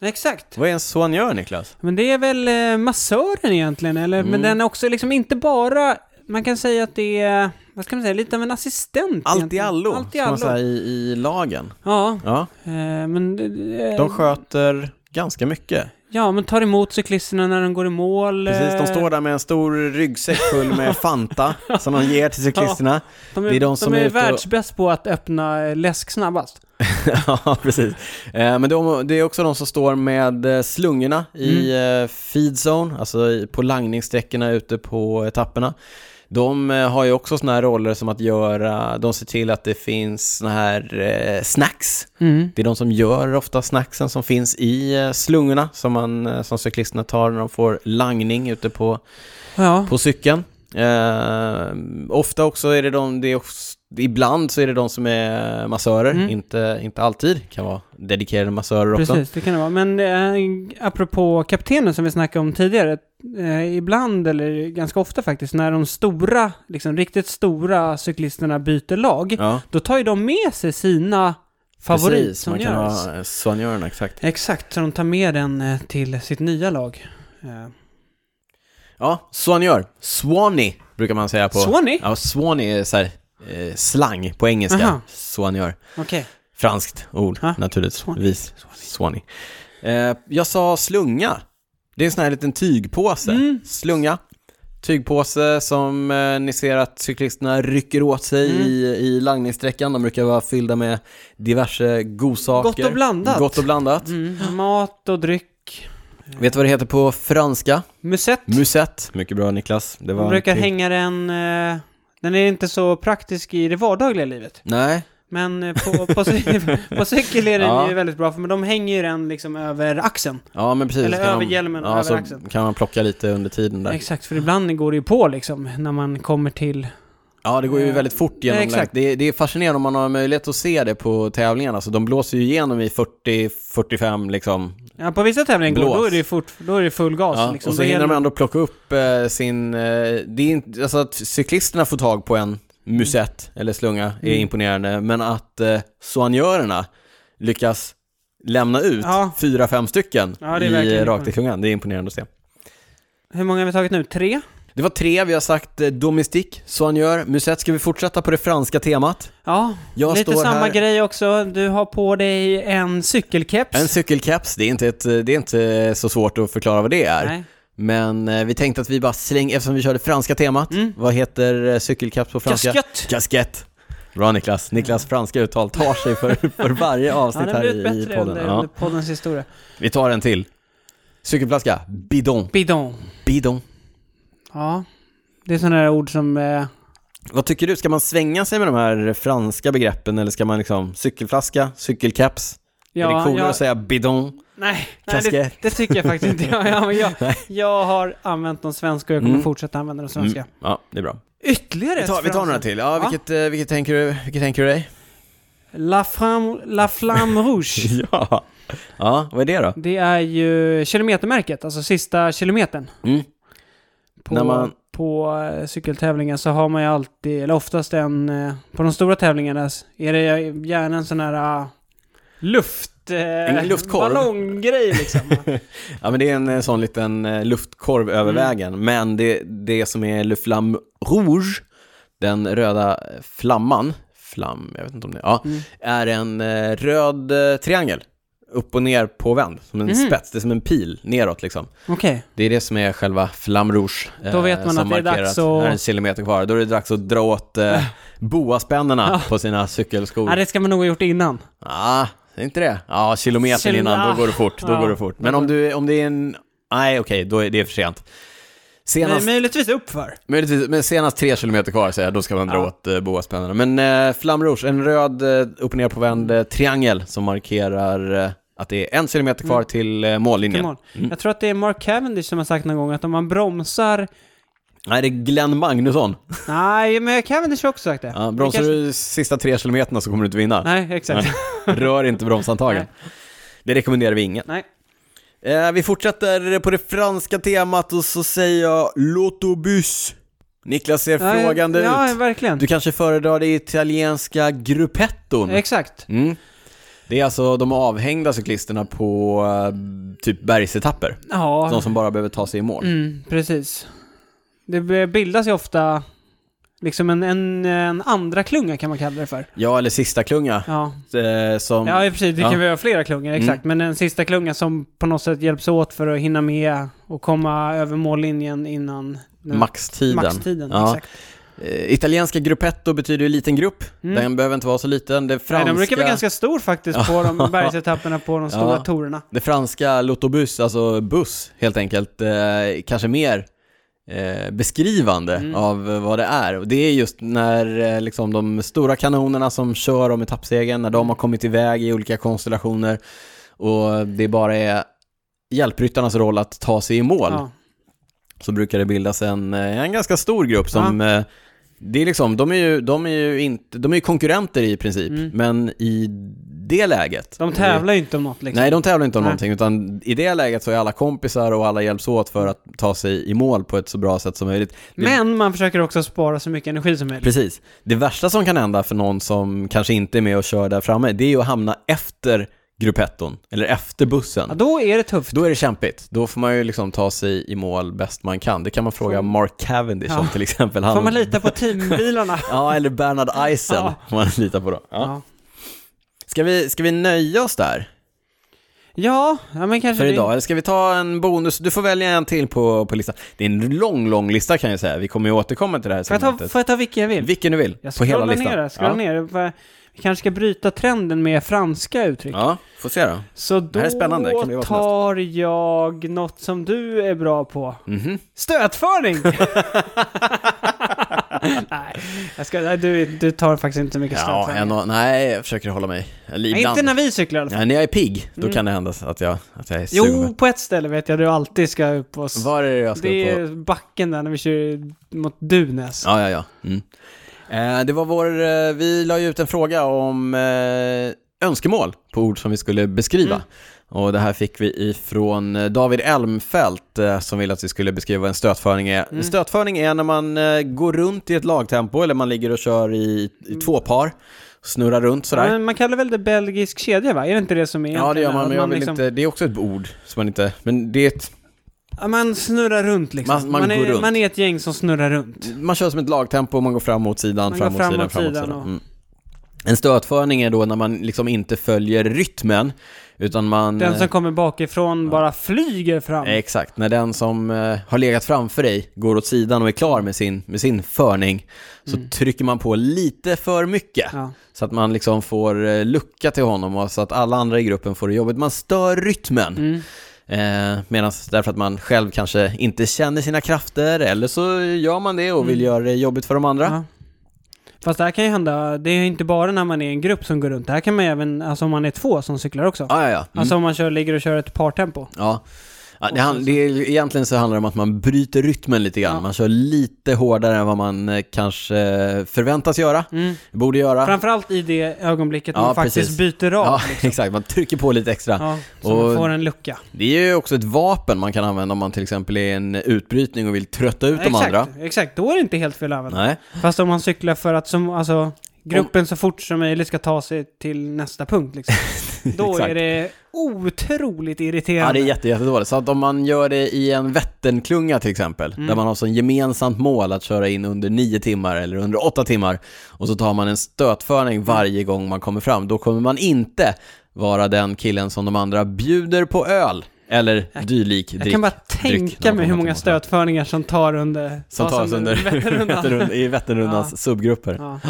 S2: Exakt.
S1: Vad är en soignör, Niklas?
S2: Men det är väl eh, massören egentligen, eller?
S1: Mm.
S2: Men den är också liksom inte bara, man kan säga att det är, vad ska man säga, lite av en assistent.
S1: Allt i
S2: egentligen.
S1: allo,
S2: Allt i
S1: ska man säga,
S2: allo.
S1: i, i lagen.
S2: Ja,
S1: Ja,
S2: eh, men... eh,
S1: de sköter ganska mycket.
S2: Ja, men tar emot cyklisterna när de går i mål.
S1: Precis, de
S2: eh,
S1: står där med en stor ryggsäck full
S2: [laughs]
S1: med Fanta som de ger till cyklisterna.
S2: De är,
S1: Det är de
S2: de
S1: som
S2: är,
S1: är ute och-
S2: världsbäst på att öppna eh, läsk snabbast.
S1: [laughs] Ja, precis. Eh, Men de, det är också de som står med eh, slungorna i mm. feedzone, alltså i- på langningssträckorna ute på etapperna. De eh, har ju också såna här roller som att göra, de ser till att det finns såna här eh, snacks. Det är de som gör ofta snacksen som finns i eh, slungorna som, man, eh, som cyklisterna tar när de får langning ute på
S2: Ja,
S1: på cykeln. Eh, ofta också är det de, det är också, ibland så är det de som är massörer,
S2: Mm.
S1: inte, inte alltid, kan vara dedikerade massörer också.
S2: precis. Det kan det vara. Men eh, apropå kaptenen som vi snackade om tidigare. Eh, ibland, eller ganska ofta faktiskt, när de stora, liksom riktigt stora cyklisterna byter lag,
S1: Ja,
S2: då tar ju de med sig sina favorit
S1: precis.
S2: som
S1: Man kan
S2: görs.
S1: ha eh, soignörerna, exakt.
S2: Exakt, så de tar med den eh, till sitt nya lag. Eh,
S1: Ja, soignör. Swanny brukar man säga på...
S2: Swanny?
S1: Ja, swanny är så här, eh, slang på engelska.
S2: Aha.
S1: Soignör.
S2: Okej.
S1: Franskt ord,
S2: Ja.
S1: naturligtvis. Swanny. Eh, jag sa slunga. Det är en sån här liten tygpåse.
S2: Mm.
S1: Slunga. Tygpåse som eh, ni ser att cyklisterna rycker åt sig
S2: Mm.
S1: i, i langningssträckan. De brukar vara fyllda med diverse godsaker.
S2: Gott och blandat.
S1: Gott och blandat.
S2: Mm, mat och dryck.
S1: Vet du vad det heter på franska?
S2: Musett.
S1: Musett. typ. Mycket bra Niklas. Det var
S2: Man
S1: en
S2: brukar
S1: till.
S2: hänga den... eh, Den är inte så praktisk i det vardagliga livet.
S1: Nej,
S2: Men eh, på, på, cy-
S1: [laughs]
S2: på cykel är den
S1: Ja.
S2: ju väldigt bra, för men de hänger ju den liksom över axeln.
S1: ja men precis.
S2: Eller
S1: Kan man-
S2: över hjälmen,
S1: ja,
S2: över
S1: så
S2: axeln.
S1: kan man plocka lite under tiden där.
S2: Exakt, för ibland går det ju på liksom, när man kommer till...
S1: Ja, det går ju
S2: Eh,
S1: väldigt fort genom
S2: exakt.
S1: läget. Det, är- det är fascinerande om man har möjlighet att se det på tävlingarna. Så de blåser ju igenom i 40-45 liksom.
S2: Ja, på vissa tävlingar går,
S1: Blås.
S2: då är det ju fort, då är det full gas
S1: Ja,
S2: liksom.
S1: och så
S2: Då är
S1: hinner de
S2: det-
S1: ändå plocka upp eh, sin... Eh, det är inte, alltså att cyklisterna får tag på en musett eller slunga är
S2: Mm.
S1: imponerande. Men att eh, soignörerna lyckas lämna ut
S2: Ja.
S1: fyra, fem stycken
S2: Ja, det är
S1: i,
S2: verkligen
S1: rakt i
S2: imponerande.
S1: klungan. Det är imponerande att se.
S2: Hur många har vi tagit nu? Tre?
S1: Det var tre, vi har sagt eh, domestik, soignör, musett. Ska vi fortsätta på det franska temat?
S2: Ja,
S1: Jag
S2: lite
S1: står
S2: samma
S1: här-
S2: grej också. Du har på dig en cykelkeps.
S1: En cykelkeps, det är, inte ett, det är inte så svårt att förklara vad det är.
S2: Nej.
S1: Men eh, vi tänkte att vi bara slänger, eftersom vi körde franska temat,
S2: Mm.
S1: vad heter eh, cykelkeps på franska?
S2: Kaskett!
S1: Kaskett! Bra Niklas, Niklas franska uttal tar sig
S2: [laughs]
S1: för, för varje
S2: Ja,
S1: avsnitt
S2: den
S1: här
S2: har
S1: i,
S2: blivit
S1: i
S2: bättre
S1: podden.
S2: under,
S1: Ja.
S2: under poddens historia.
S1: Vi tar en till. Cykelflaska, bidong.
S2: Bidong.
S1: Bidong.
S2: Ja, det är sådana där ord som... Eh,
S1: Vad tycker du, ska man svänga sig med de här franska begreppen eller ska man liksom cykelflaska, cykelkeps? är det coolare
S2: jag-
S1: att säga bidong?
S2: Nej, nej
S1: Kasker.
S2: det, det tycker jag faktiskt inte. Jag, jag, jag,
S1: [laughs] Nej.
S2: jag har använt de svenska och jag kommer
S1: Mm.
S2: fortsätta använda de svenska.
S1: Mm. Ja, det är bra.
S2: Ytterligare
S1: Vi tar,
S2: ett
S1: vi tar några
S2: franskt-
S1: till. Ja,
S2: Ja.
S1: Vilket, eh, vilket tänker du, vilket tänker du dig?
S2: La Flamme, La Flamme
S1: [laughs]
S2: Rouge.
S1: ja. ja, vad är det då?
S2: Det är ju kilometermärket, alltså sista kilometern.
S1: Mm.
S2: På,
S1: När man-
S2: på eh, cykeltävlingar så har man ju alltid, eller oftast en, eh, på de stora tävlingarna s- är det gärna en sån här eh, luft... eh,
S1: En luftkorv. [laughs]
S2: Ballonggrej liksom.
S1: Ja, men det är en eh, sån liten eh, luftkorv över
S2: Mm.
S1: vägen. Men det, det som är Le Flamme Rouge, den röda eh, flamman, flam, jag vet inte om det, ja,
S2: Mm.
S1: är en eh, röd eh, triangel. Upp och ner påvänd, som en
S2: Mhm.
S1: spets, det är som en pil neråt liksom.
S2: Okej,
S1: Det är det som är själva Flamme Rouge. eh,
S2: Då vet man
S1: som
S2: att det är
S1: markerar
S2: dags att-
S1: här är en kilometer kvar. Då är det dags att dra åt
S2: [laughs]
S1: eh, boaspännena
S2: Ja.
S1: på sina cykelskor.
S2: Nej, det ska man nog ha gjort innan.
S1: Ja, ah, inte det? Ja, kilometern
S2: Kilo-
S1: innan, då går det fort. Då
S2: Ja.
S1: går det fort. Men om, du, om det är en... Nej, okej, då är det för sent.
S2: Men
S1: Senast,
S2: möjligtvis uppför.
S1: Möjligtvis, men senast tre kilometer kvar säger jag, då ska man dra
S2: Ja.
S1: åt eh, boaspännena. Men eh, Flamme Rouge, en röd eh, upp och ner på vänd eh, triangel som markerar eh, att det är en kilometer kvar
S2: Mm.
S1: till eh, mållinjen.
S2: Timon. Jag tror att det är Mark Cavendish som har sagt någon gång att om man bromsar...
S1: Nej, det är Glenn Magnusson.
S2: Nej, men Cavendish har också sagt det. [laughs]
S1: Ja, bromsar
S2: Det kanske-
S1: du sista tre kilometerna så kommer du inte vinna.
S2: Nej, exakt.
S1: Rör inte bromshandtagen. Det rekommenderar vi ingen.
S2: Nej.
S1: Eh, vi fortsätter på det franska temat och så säger jag l'autobus. Niklas ser
S2: Ja,
S1: frågande
S2: ja, Ja,
S1: ut.
S2: verkligen.
S1: Du kanske föredrar det italienska gruppetton?
S2: Exakt.
S1: Mm. Det är alltså de avhängda cyklisterna på eh, typ bergsetapper.
S2: Ja,
S1: De som bara behöver ta sig i mål.
S2: mm, precis. Det b- bildas ju ofta liksom en, en, en andra klunga kan man kalla det för.
S1: Ja, eller sista klunga.
S2: Ja,
S1: Eh, som...
S2: ja precis. Det kan
S1: Ja. Mm.
S2: vi ha flera klungor, exakt. Men en sista klunga som på något sätt hjälps åt för att hinna med och komma över mållinjen innan den-
S1: Maxtiden.
S2: maxtiden.
S1: Ja.
S2: Exakt.
S1: Eh, italienska gruppetto betyder ju liten grupp.
S2: Mm.
S1: Den behöver inte vara så liten. Det franska...
S2: Nej, den brukar vara ganska stor faktiskt på
S1: [laughs]
S2: de bergsetapperna på de stora
S1: Ja.
S2: torerna.
S1: Det franska lotobus, alltså buss helt enkelt, eh, kanske mer eh, beskrivande
S2: Mm.
S1: av eh, vad det är. Och det är just när eh, liksom, de stora kanonerna som kör om etappsegern, när de har kommit iväg i olika konstellationer och det bara är hjälpryttarnas roll att ta sig i mål,
S2: Ja.
S1: så brukar det bildas en, eh, en ganska stor grupp som eh, det är liksom, de är ju, de är ju inte, de är ju konkurrenter i princip, men i det läget.
S2: Mm. De tävlar ju inte om något liksom.
S1: Nej, de tävlar inte om
S2: Nej.
S1: någonting, utan i det läget så är alla kompisar och alla hjälps åt för att ta sig i mål på ett så bra sätt som möjligt. Det,
S2: Men man försöker också spara så mycket energi som möjligt.
S1: Precis. Det värsta som kan hända för någon som kanske inte är med och kör där framme, det är ju att hamna efter gruppetton, eller efter bussen.
S2: Ja, då är det tufft.
S1: Då är det kämpigt. Då får man ju liksom ta sig i mål bäst man kan. Det kan man fråga
S2: Får-
S1: Mark Cavendish
S2: Ja.
S1: om till exempel. Han...
S2: Får man
S1: [laughs]
S2: lita på teambilarna?
S1: Ja, eller Bernhard Eisen,
S2: Ja.
S1: om man litar på då. Ja.
S2: ja.
S1: Ska, vi, ska vi nöja oss där
S2: Ja, ja, men kanske
S1: för
S2: det-
S1: idag? Eller ska vi ta en bonus? Du får välja en till på, på listan. Det är en lång, lång lista kan jag säga. Vi kommer ju återkomma till det här
S2: Får jag ta,
S1: segmentet.
S2: får jag ta vilken jag vill?
S1: Vilken du vill,
S2: jag
S1: på hela
S2: scrollar
S1: listan.
S2: ner, scrollar
S1: ja.
S2: ner. För- Vi kanske ska bryta trenden med franska uttryck.
S1: ja, får se då.
S2: Så då
S1: här är spännande. Kan det vara som
S2: tar jag något som du är bra på.
S1: Mhm. [laughs]
S2: Stötföring! [laughs] nej, jag ska, nej du, du tar faktiskt inte så mycket
S1: Ja,
S2: stötföring.
S1: en och, nej, jag försöker hålla mig. Eller
S2: Nej,
S1: ibland.
S2: inte när vi cyklar i alla fall.
S1: Ja, när jag är pigg, då kan det hända att jag, att jag är
S2: Jo,
S1: sugen.
S2: på ett ställe vet jag du alltid ska upp och... s-
S1: Var är det jag ska
S2: det
S1: på?
S2: är backen där när vi kör mot Dunäs.
S1: Ja, ja, ja. Mm. Eh, det var vår, eh, vi la ju ut en fråga om eh, önskemål på ord som vi skulle beskriva. Och det här fick vi ifrån eh, David Elmfelt eh, som ville att vi skulle beskriva vad en stötföring är. En Stötföring är när man eh, går runt i ett lagtempo eller man ligger och kör i, i två par, snurrar runt sådär.
S2: Men man kallar väl det belgisk kedja va? Är det inte det som är
S1: Ja, det gör
S2: egentligen
S1: man,
S2: att
S1: men jag vill
S2: liksom,
S1: inte, det är också ett ord som man inte, men det är ett,
S2: Ja, man snurrar runt liksom.
S1: Man- man
S2: är,
S1: går runt.
S2: man är ett gäng som snurrar runt.
S1: man kör som ett lagtempo, man går framåt sidan,
S2: Man går
S1: framåt, sidan,
S2: framåt
S1: framåt
S2: sidan
S1: sidan.
S2: och-
S1: Mm. En stötförning är då när man liksom inte följer rytmen, utan man...
S2: Den som kommer bakifrån bara flyger fram.
S1: eh, Exakt, när den som eh, har legat framför dig går åt sidan och är klar med sin, med sin förning, så trycker man på lite för mycket.
S2: Mm. Ja.
S1: Så att man liksom får eh, lucka till honom och så att alla andra i gruppen får det jobbigt. Man stör rytmen.
S2: Mm.
S1: Eh, Medan därför att man själv kanske
S2: Mm.
S1: inte känner sina krafter, eller så gör man det och vill göra det jobbigt för de andra.
S2: Ja. Fast det här kan ju hända, det är inte bara när man är en grupp som går runt. Det här kan man ju även, alltså om man är två som cyklar också.
S1: Ah, ja, ja. Mm.
S2: Alltså om man kör, ligger och kör ett partempo.
S1: Ja. Ja, det, han, det är, egentligen så handlar det om att man bryter rytmen lite grann. Man kör lite hårdare än vad man eh, kanske eh, förväntas göra, borde göra.
S2: Mm. Framförallt i det ögonblicket
S1: Ja,
S2: man faktiskt
S1: precis.
S2: byter av.
S1: ja, [laughs] exakt. Man trycker på lite extra.
S2: liksom. Ja, så man
S1: Och-
S2: får en lucka.
S1: Det är ju också ett vapen man kan använda om man till exempel är i en utbrytning och vill trötta ut de
S2: exakt,
S1: andra.
S2: exakt, då är det inte helt fel att använda.
S1: Nej.
S2: Fast om man cyklar för att som, alltså, gruppen så fort som möjligt ska ta sig till nästa
S1: [laughs]
S2: punkt liksom. Då
S1: Exakt.
S2: är det otroligt
S1: Ja,
S2: irriterande.
S1: det är jätte, jättedåligt. Så att om man gör det i en Vätternklunga till exempel,
S2: Mm.
S1: där man har som gemensamt mål att köra in under nio timmar eller under åtta timmar, och så tar man en stötförning
S2: Mm.
S1: varje gång man kommer fram, då kommer man inte vara den killen som de andra bjuder på öl eller dylik
S2: jag
S1: dryck.
S2: kan bara
S1: dryck, när
S2: tänka
S1: man
S2: mig hur
S1: kommer
S2: många
S1: till
S2: stötföringar som tar under...
S1: som tas
S2: [laughs]
S1: under [laughs]
S2: Vätternrundan.
S1: Vätternrundan- i Vätternrundans subgrupper.
S2: Ja.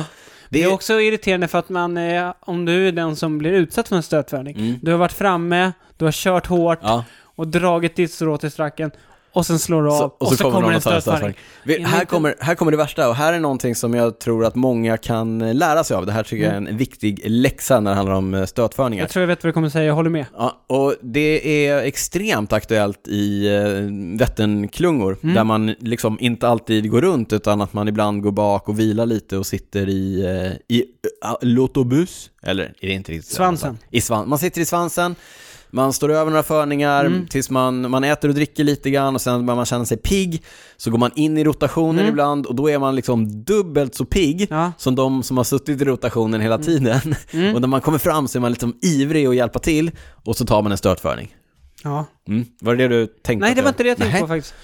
S1: Det
S2: Det
S1: är-
S2: är också irriterande för att man, eh, om du är den som blir utsatt för en stötföring, du har varit framme, du har kört hårt
S1: Mm. Ja.
S2: och dragit ditt strå till stracken och sen slår du av
S1: Så, och, så kommer någon
S2: en
S1: och tar en
S2: stötföring.
S1: straffspark. Vi,
S2: En
S1: här,
S2: liten-
S1: kommer, här kommer det värsta och här är någonting som jag tror att många kan eh, lära sig av. Det här tycker jag är en viktig läxa när det handlar om eh, stötförningar.
S2: Jag tror jag vet vad du kommer säga, jag håller med.
S1: Ja, och det är extremt aktuellt i eh, Vätternklungor,
S2: Mm.
S1: där man liksom inte alltid går runt utan att man ibland går bak och vilar lite och sitter i, eh, i eh, lotobus, eller är det inte riktigt så?
S2: Svansen.
S1: I svan man sitter i svansen, man står över några förningar
S2: Mm.
S1: tills man, man äter och dricker lite grann och sen när man känner sig pigg så går man in i rotationen ibland och då är man liksom dubbelt så pigg
S2: Mm. Ja.
S1: som de som har suttit i rotationen hela tiden. [laughs]
S2: Mm.
S1: Och när man kommer fram så är man liksom ivrig att hjälpa till och så tar man en stötförning.
S2: Ja.
S1: Mm. Var det det du tänkte?
S2: Nej,
S1: att
S2: det var inte det jag tänkte
S1: Nej.
S2: på faktiskt.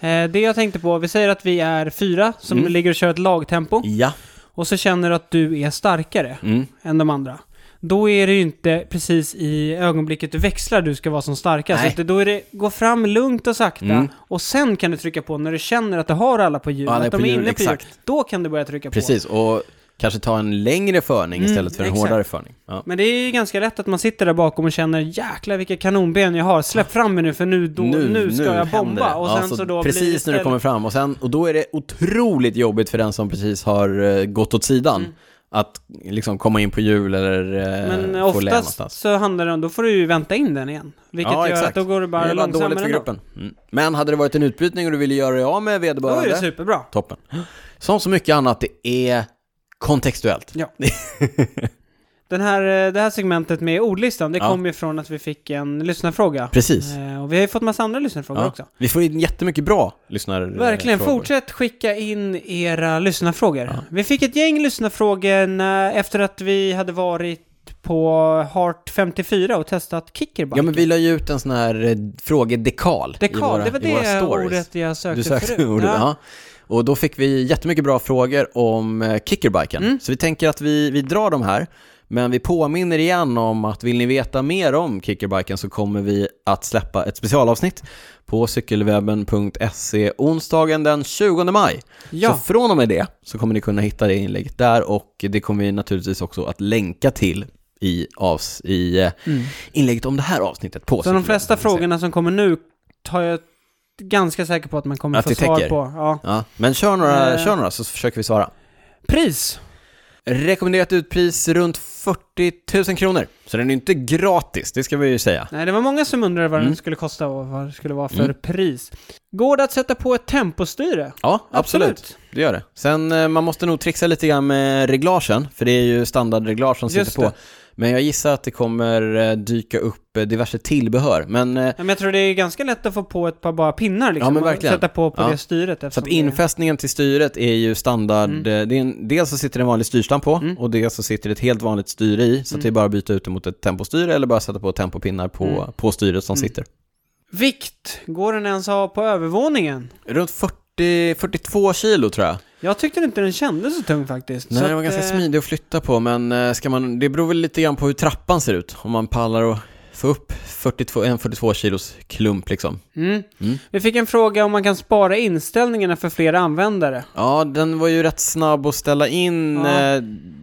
S2: Eh, Det jag tänkte på, vi säger att vi är fyra som
S1: Mm.
S2: ligger och kör ett lagtempo
S1: Ja.
S2: och så känner du att du är starkare
S1: Mm.
S2: än de andra. Då är det ju inte precis i ögonblicket du växlar du ska vara som starkast.
S1: Nej.
S2: utan Då är det, gå fram lugnt och sakta
S1: Mm.
S2: och sen kan du trycka på när du känner att du har alla på hjulet,
S1: Ja, nej,
S2: att de
S1: på
S2: är
S1: hjul,
S2: inne på hjulet.
S1: exakt.
S2: Då kan du börja trycka på.
S1: Precis, och kanske ta en längre förning
S2: Mm,
S1: istället för en
S2: exakt.
S1: hårdare förning. Ja.
S2: Men det är ju ganska lätt att man sitter där bakom och känner jäklar vilka kanonben jag har, släpp fram mig nu för nu, då, nu, ska jag
S1: händer
S2: bomba.
S1: det.
S2: Och
S1: Ja,
S2: sen så då
S1: precis
S2: blir det
S1: när du
S2: istället-
S1: kommer fram och, sen, och då är det otroligt jobbigt för den som precis har eh, gått åt sidan
S2: Mm.
S1: att liksom komma in på hjul eller eh,
S2: Men
S1: få lä
S2: oftast
S1: någonstans.
S2: så handlar det om, då får du ju vänta in den igen. Vilket
S1: Ja,
S2: gör
S1: exakt.
S2: att då går det bara
S1: det var
S2: långsammare
S1: dåligt för
S2: ändå.
S1: gruppen. Mm. Men hade det varit en utbrytning och du ville göra dig av med
S2: Då är
S1: vederbörande,
S2: det superbra.
S1: toppen. Som så mycket annat, det är kontextuellt. [laughs]
S2: Ja. Den här, eh, det här segmentet med ordlistan, det
S1: Ja.
S2: kom ju från att vi fick en lyssnarfråga.
S1: Precis.
S2: Eh, Och vi har ju fått massa andra lyssnarfrågor
S1: Ja. Eh,
S2: också.
S1: Vi får in jättemycket bra eh, lyssnare.
S2: Verkligen, fortsätt skicka in era lyssnarfrågor. Vi fick ett gäng lyssnarfrågor när- efter att vi hade varit på Heart 54 och testat kickerback.
S1: Ja, men vi la ju ut en sån här eh, frågedekal i
S2: Dekal,
S1: våra,
S2: det var
S1: i våra
S2: det
S1: stories.
S2: ordet jag sökte,
S1: Du sökte
S2: förut.
S1: [laughs] ordet, ja.
S2: Ja.
S1: Och då fick vi jättemycket bra frågor om eh, kickerbiken.
S2: Mm.
S1: Så vi tänker att vi, vi drar de här. Men vi påminner igen om att vill ni veta mer om kickerbiken så kommer vi att släppa ett specialavsnitt på cykelwebben.se onsdagen den 20 maj.
S2: Ja.
S1: Så från och med det så kommer ni kunna hitta det inlägget där och det kommer vi naturligtvis också att länka till i, avs, i eh,
S2: Mm.
S1: inlägget om det här avsnittet på
S2: Så de
S1: cykelwebben.
S2: flesta frågorna som kommer nu tar jag ganska säker på att man kommer
S1: Att
S2: få
S1: det
S2: svar
S1: täcker.
S2: på. Ja.
S1: Ja, men kör några,
S2: Eh.
S1: kör några så försöker vi svara.
S2: Pris!
S1: Rekommenderat utpris runt 40 000 kronor. Så den är inte gratis, det ska vi ju säga.
S2: Nej, det var många som undrade vad
S1: Mm.
S2: den skulle kosta och vad det skulle vara för pris. Går det att sätta på ett tempostyre?
S1: Ja, absolut.
S2: Absolut.
S1: Det gör det. Sen, eh, man måste nog trixa lite grann med reglagen, för det är ju standardreglage som
S2: Just
S1: sitter på.
S2: det.
S1: Men jag gissar att det kommer eh, dyka upp eh, diverse tillbehör. Men, eh,
S2: Ja, men jag tror det är ganska lätt att få på ett par bara pinnar liksom.
S1: Ja, men
S2: och
S1: verkligen.
S2: Sätta på på
S1: Ja.
S2: det styret.
S1: så
S2: eftersom
S1: att
S2: det är- Mm.
S1: infästningen till styret är ju standard. eh, Det är en, dels så sitter det en vanlig styrstam på och dels så sitter det ett helt vanligt styre i. Så att det
S2: Mm.
S1: är bara att byta ut det mot ett tempostyre eller bara sätta på tempopinnar på, på styret
S2: Mm.
S1: som sitter.
S2: Vikt! Går den ens ha på övervåningen?
S1: Runt 40, 42 kilo tror jag.
S2: Jag tyckte inte den kändes så tung faktiskt.
S1: Nej,
S2: så
S1: den var
S2: att,
S1: ganska
S2: eh,
S1: smidig att flytta på, men eh, ska man, det beror väl lite grann på hur trappan ser ut. Om man pallar att få upp 42, en 42 kilos klump liksom.
S2: Mm. Vi fick en fråga om man kan spara inställningarna för fler användare.
S1: Ja, den var ju rätt snabb att ställa in.
S2: Ja.
S1: Eh,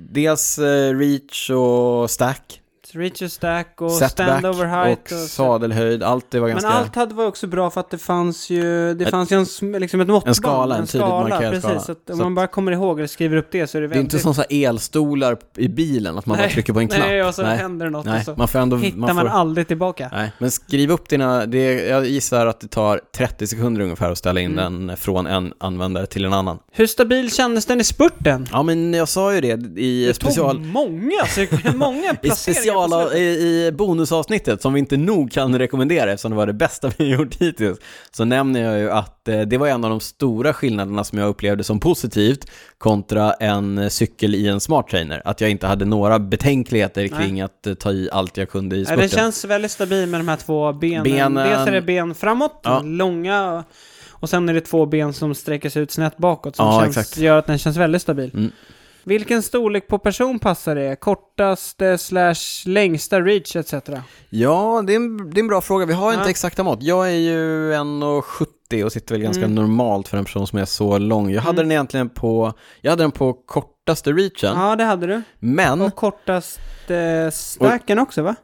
S1: dels eh, reach och stack.
S2: Richard Stack och
S1: Setback
S2: Standover
S1: och
S2: Height.
S1: sadelhöjd, allt det var
S2: Men
S1: ganska...
S2: allt hade var också bra för att det fanns ju, det fanns ju en, sm- liksom ett måttband.
S1: en skala, en tydligt markerad
S2: precis,
S1: skala.
S2: Så att om
S1: Så
S2: man bara kommer ihåg eller skriver upp det så är det
S1: Det är
S2: väldigt...
S1: inte som så här elstolar i bilen, att man bara
S2: Nej,
S1: trycker på en knapp.
S2: Nej, och så
S1: nej,
S2: händer det något och
S1: nej.
S2: så
S1: man får ändå...
S2: hittar
S1: får,
S2: man, aldrig tillbaka.
S1: nej. Men skriv upp dina, det, jag gissar att det tar 30 sekunder ungefär att ställa in den från en användare till en annan.
S2: Hur stabil kändes den i spurten?
S1: Ja, men jag sa ju det i special...
S2: Det tog många, sek- [laughs] många
S1: I,
S2: placeringar på
S1: speciala,
S2: slutet.
S1: i, I bonusavsnittet, som vi inte nog kan rekommendera eftersom det var det bästa [laughs] vi gjort hittills, så nämner jag ju att eh, det var en av de stora skillnaderna som jag upplevde som positivt kontra en eh, cykel i en smart trainer. Att jag inte hade några betänkligheter
S2: Nej.
S1: kring att eh, ta i allt jag kunde i
S2: Nej,
S1: spurten.
S2: det känns väldigt stabil med de här två benen.
S1: Benen-
S2: Dels är det ben framåt,
S1: Ja.
S2: långa, och sen är det två ben som sträcker sig ut snett bakåt som
S1: Ja,
S2: känns,
S1: exakt.
S2: gör att den känns väldigt stabil.
S1: Mm.
S2: Vilken storlek på person passar det? Kortaste slash längsta reach etc.
S1: Ja, det är, en, det är en bra fråga. Vi har
S2: Ja.
S1: inte exakta mått. Jag är ju 1,70 och sitter väl ganska
S2: Mm.
S1: normalt för en person som är så lång. Jag hade
S2: Mm.
S1: den egentligen på, jag hade den på kortaste reachen,
S2: Ja, det hade du.
S1: men
S2: Och kortaste stacken också va?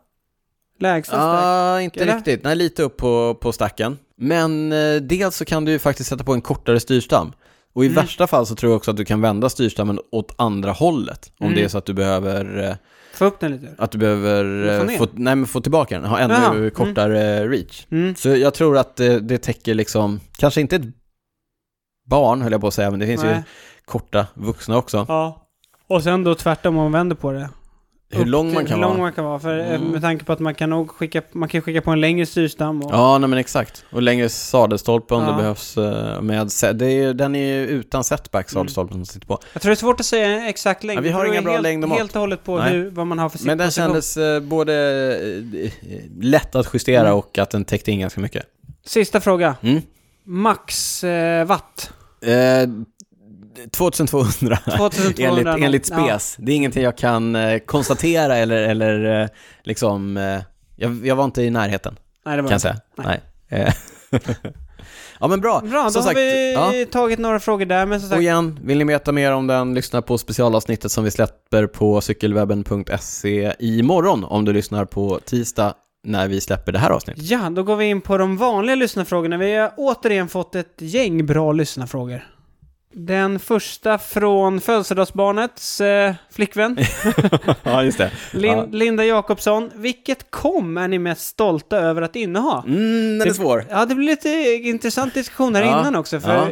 S2: Lägsta stack.
S1: Ah, inte
S2: eller?
S1: riktigt. Nej, lite upp på, på stacken. Men eh, dels så kan du ju faktiskt sätta på en kortare styrstam. Och i
S2: Mm.
S1: värsta fall så tror jag också att du kan vända styrstammen åt andra hållet. Om
S2: Mm.
S1: det är så att du behöver, eh,
S2: Få upp den lite.
S1: att du behöver
S2: Få
S1: eh,
S2: ner.
S1: få, nej, men få tillbaka den, ha ännu
S2: Jaha, mm.
S1: kortare reach.
S2: Mm.
S1: Så jag tror att eh, det täcker liksom, kanske inte ett barn höll jag på att säga, men det finns ju
S2: Nej.
S1: korta vuxna också.
S2: Ja. Och sen då tvärtom om man vänder på det.
S1: Hur
S2: Upp
S1: lång
S2: till-
S1: man kan
S2: hur lång
S1: vara.
S2: man kan vara. För, eh,
S1: Mm.
S2: Med tanke på att man kan nog skicka, man kan skicka på en längre styrstam. Och,
S1: Ja, nej men exakt. Och längre sadelstolpe om
S2: Ja.
S1: det behövs eh, med, se- det är, den är ju utan
S2: Mm.
S1: setback sadelstolpen som sitter på.
S2: Jag tror det är svårt att säga en exakt längd.
S1: Ja, vi har
S2: Det beror
S1: inga bra
S2: helt,
S1: längdmått.
S2: Helt och hållet på
S1: Nej.
S2: hur, vad man har för
S1: Men den
S2: siktposition.
S1: kändes eh, både eh, lätt att justera
S2: Mm.
S1: och att den täckte in ganska mycket.
S2: Sista fråga.
S1: Mm.
S2: Max eh, watt.
S1: Eh, 2200,
S2: 2200
S1: enligt, enligt
S2: Ja.
S1: Spes. Det är ingenting jag kan eh, konstatera eller, eller eh, liksom, eh, jag, jag var inte i närheten
S2: Nej, det var
S1: kan jag säga. Nej.
S2: Nej.
S1: Eh, [laughs] ja men bra,
S2: Bra, då
S1: som
S2: har
S1: sagt.
S2: vi
S1: ja.
S2: tagit några frågor där, men som
S1: Och
S2: sagt,
S1: igen, vill ni veta mer om den, lyssna på specialavsnittet som vi släpper på cykelwebben.se imorgon om du lyssnar på tisdag när vi släpper det här avsnittet.
S2: ja, då går vi in på de vanliga lyssnarfrågorna. Vi har återigen fått ett gäng bra lyssnarfrågor. Den första från födelsedagsbarnets eh, flickvän,
S1: [laughs] ja, just det.
S2: Lin
S1: Ja.
S2: Linda Jakobsson. Vilket kom är ni mest stolta över att inneha?
S1: Mm, den är svår.
S2: Ja, det blir lite intressant diskussion här
S1: Ja,
S2: innan också, för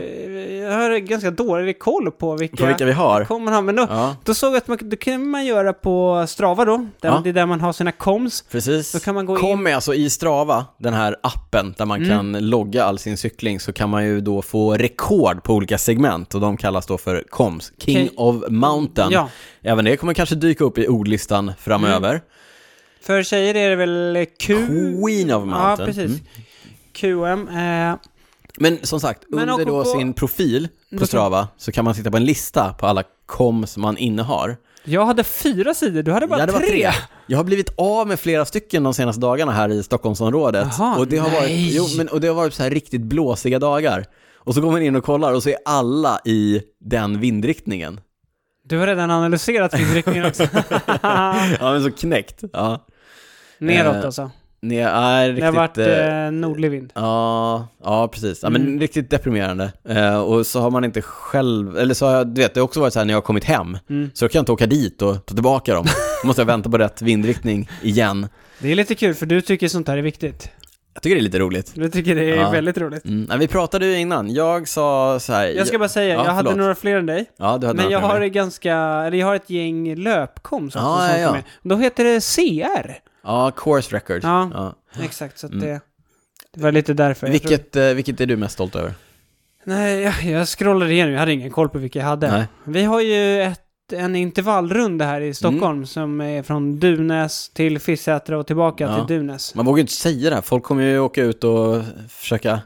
S2: jag har ganska dålig koll på vilka,
S1: På vilka vi har.
S2: kom man har. Men då,
S1: Ja,
S2: då såg jag att man, det kan man göra på Strava då, där,
S1: Ja.
S2: det är där man har sina koms.
S1: precis.
S2: Då kan man gå in- Mm.
S1: Kom med alltså i Strava, den här appen där man kan logga all sin cykling, så kan man ju då få rekord på olika segment och de kallas då för KOMS, King
S2: Okej.
S1: of Mountain.
S2: Ja. Mm.
S1: Även det kommer kanske dyka upp i ordlistan framöver.
S2: För tjejer är det väl Q...
S1: Queen of Mountain.
S2: Ja, precis.
S1: Mm.
S2: QM. Eh,
S1: Men som sagt,
S2: Men
S1: under då
S2: och på-
S1: sin profil på
S2: kan-
S1: Strava så kan man titta på en lista på alla koms man innehar.
S2: jag hade fyra sidor, du hade bara
S1: Ja, det var
S2: tre.
S1: Jag har blivit av med flera stycken de senaste dagarna här i Stockholmsområdet.
S2: Jaha,
S1: och, det har varit,
S2: nej.
S1: jo, men, och det har varit så här riktigt blåsiga dagar. Och så går man in och kollar och så är alla i den vindriktningen.
S2: Du har redan analyserat
S1: [laughs]
S2: vindriktningen också. [laughs]
S1: Ja, men så knäckt. Ja.
S2: Neråt
S1: Eh,
S2: alltså.
S1: Nej, nej, riktigt,
S2: Det har varit
S1: eh,
S2: eh, nordlig vind.
S1: Ja, ja precis. Ja, men
S2: Mm.
S1: Riktigt deprimerande. Eh, och så har man inte själv, eller så har jag, du vet, det har också varit så här när jag har kommit hem,
S2: Mm.
S1: så kan jag inte åka dit och ta tillbaka
S2: [laughs]
S1: dem. Då måste jag vänta på rätt vindriktning igen.
S2: Det är lite kul, för du tycker sånt här är viktigt.
S1: Jag tycker det är lite roligt.
S2: Du tycker det är
S1: Ja.
S2: väldigt roligt.
S1: Mm. Nej, vi pratade ju innan, jag sa så här...
S2: Jag ska bara säga,
S1: ja,
S2: jag hade
S1: förlåt.
S2: några fler än dig.
S1: Ja, du hade
S2: Men
S1: några
S2: jag
S1: frågor.
S2: har ganska, eller jag har ett gäng löpkoms också
S1: Ja,
S2: som
S1: ja, ja.
S2: kom med. Då heter det CR.
S1: Ja, course record.
S2: Ja.
S1: Ja. Mm.
S2: Exakt, så att det, det var lite därför. jag tror-
S1: Vilket, eh, vilket är du mest stolt över?
S2: Nej, jag, jag scrollade igenom, jag hade ingen koll på vilka jag hade.
S1: Nej.
S2: Vi har ju ett, en intervallrunda här i Stockholm
S1: Mm.
S2: som är från Dunäs till Fisksätra och tillbaka
S1: Ja.
S2: till Dunäs.
S1: Man vågar ju inte säga det här, folk kommer ju åka ut och försöka...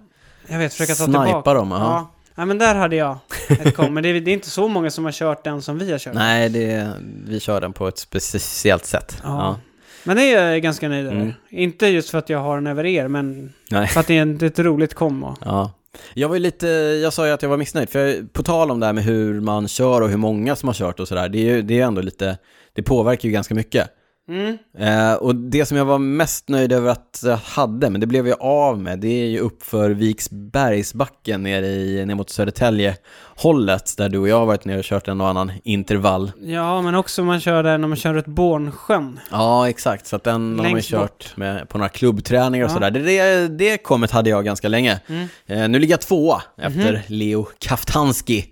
S2: Jag vet, försöka ta
S1: Snipa
S2: tillbaka.
S1: dem, ja.
S2: ja. Ja, men där hade jag ett kom. Men det är, det är inte så många som har kört den som vi har kört.
S1: Nej, det, vi kör den på ett speciellt sätt.
S2: Ja. Men det är jag ganska nöjd över.
S1: Mm.
S2: Inte just för att jag har den över er, men
S1: Nej.
S2: för att det är en- det är ett roligt kom. Och...
S1: Ja. Jag var ju lite, jag sa ju att jag var missnöjd, för jag, på tal om det här med hur man kör och hur många som har kört och sådär, det är ju det är ändå lite, det påverkar ju ganska mycket.
S2: Mm.
S1: Eh, och det som jag var mest nöjd över att jag hade, men det blev jag av med, det är ju uppför Viksbergsbacken nere, i, ner mot Södertälje hållet, där du och jag har varit nere och kört en och annan intervall.
S2: Ja, men också man kör där när man kör ett Bornsjön.
S1: Ja, exakt. Så att den har man ju
S2: Längst
S1: kört med, på några klubbträningar och
S2: Ja.
S1: sådär. Det, det, det kommet hade jag ganska länge.
S2: Mm. Mhm.
S1: Eh, nu ligger jag tvåa efter Leo Kaftanski.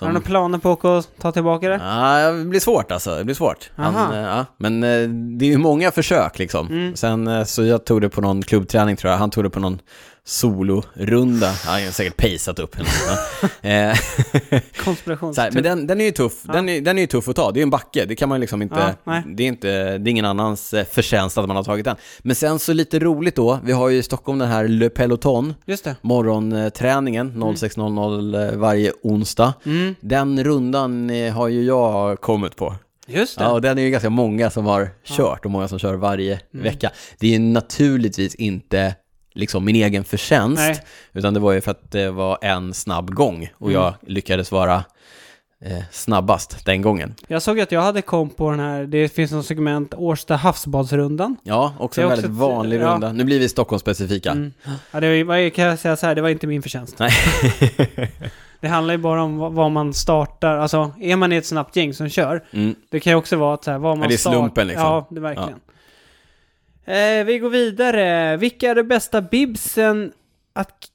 S2: Har du några planer på att ta tillbaka det?
S1: Ja, det blir svårt alltså. Det blir svårt. Han,
S2: Aha.
S1: eh, ja. Men eh, det är ju många försök liksom.
S2: Mm.
S1: Sen eh, så jag tog det på någon klubbträning tror jag. Han tog det på någon solorunda. Ja, Han har säkert paceat upp henne.
S2: [laughs]
S1: Men, eh,
S2: Konspirations...
S1: så här, men den, den är ju tuff. Den, är, den är ju tuff att ta. Det är en backe. Det kan man ju liksom inte...
S2: Ja, nej.
S1: det, är inte det är ingen annans eh, förtjänst att man har tagit den. Men sen så lite roligt då. Vi har ju i Stockholm den här Le Peloton.
S2: Just det.
S1: Morgonträningen 06.00 eh, varje onsdag.
S2: Mm.
S1: Den rundan eh, har ju jag kommit på.
S2: Just det.
S1: Ja, och den är ju ganska många som har kört och många som kör varje
S2: Mm.
S1: vecka. Det är ju naturligtvis inte liksom min egen förtjänst,
S2: Nej.
S1: utan det var ju för att det var en snabb gång och
S2: Mm.
S1: jag lyckades vara eh, snabbast den gången.
S2: Jag såg att jag hade kom på den här, det finns något segment, Årsta havsbadsrundan.
S1: Ja, också
S2: Det är
S1: en
S2: också
S1: väldigt
S2: ett-
S1: vanlig
S2: ja. Mm.
S1: runda. Nu blir vi Stockholmsspecifika.
S2: Ja, det var, jag kan säga så här, det var inte min förtjänst.
S1: Nej.
S2: [laughs] Det handlar ju bara om vad- vad man startar, alltså är man i ett snabbt gäng som kör,
S1: Mm.
S2: det kan ju också vara att så här, vad man
S1: Ja, det är
S2: start-
S1: slumpen, liksom.
S2: Ja, det är verkligen. Eh, vi går vidare. Vilka är de bästa bibsen att...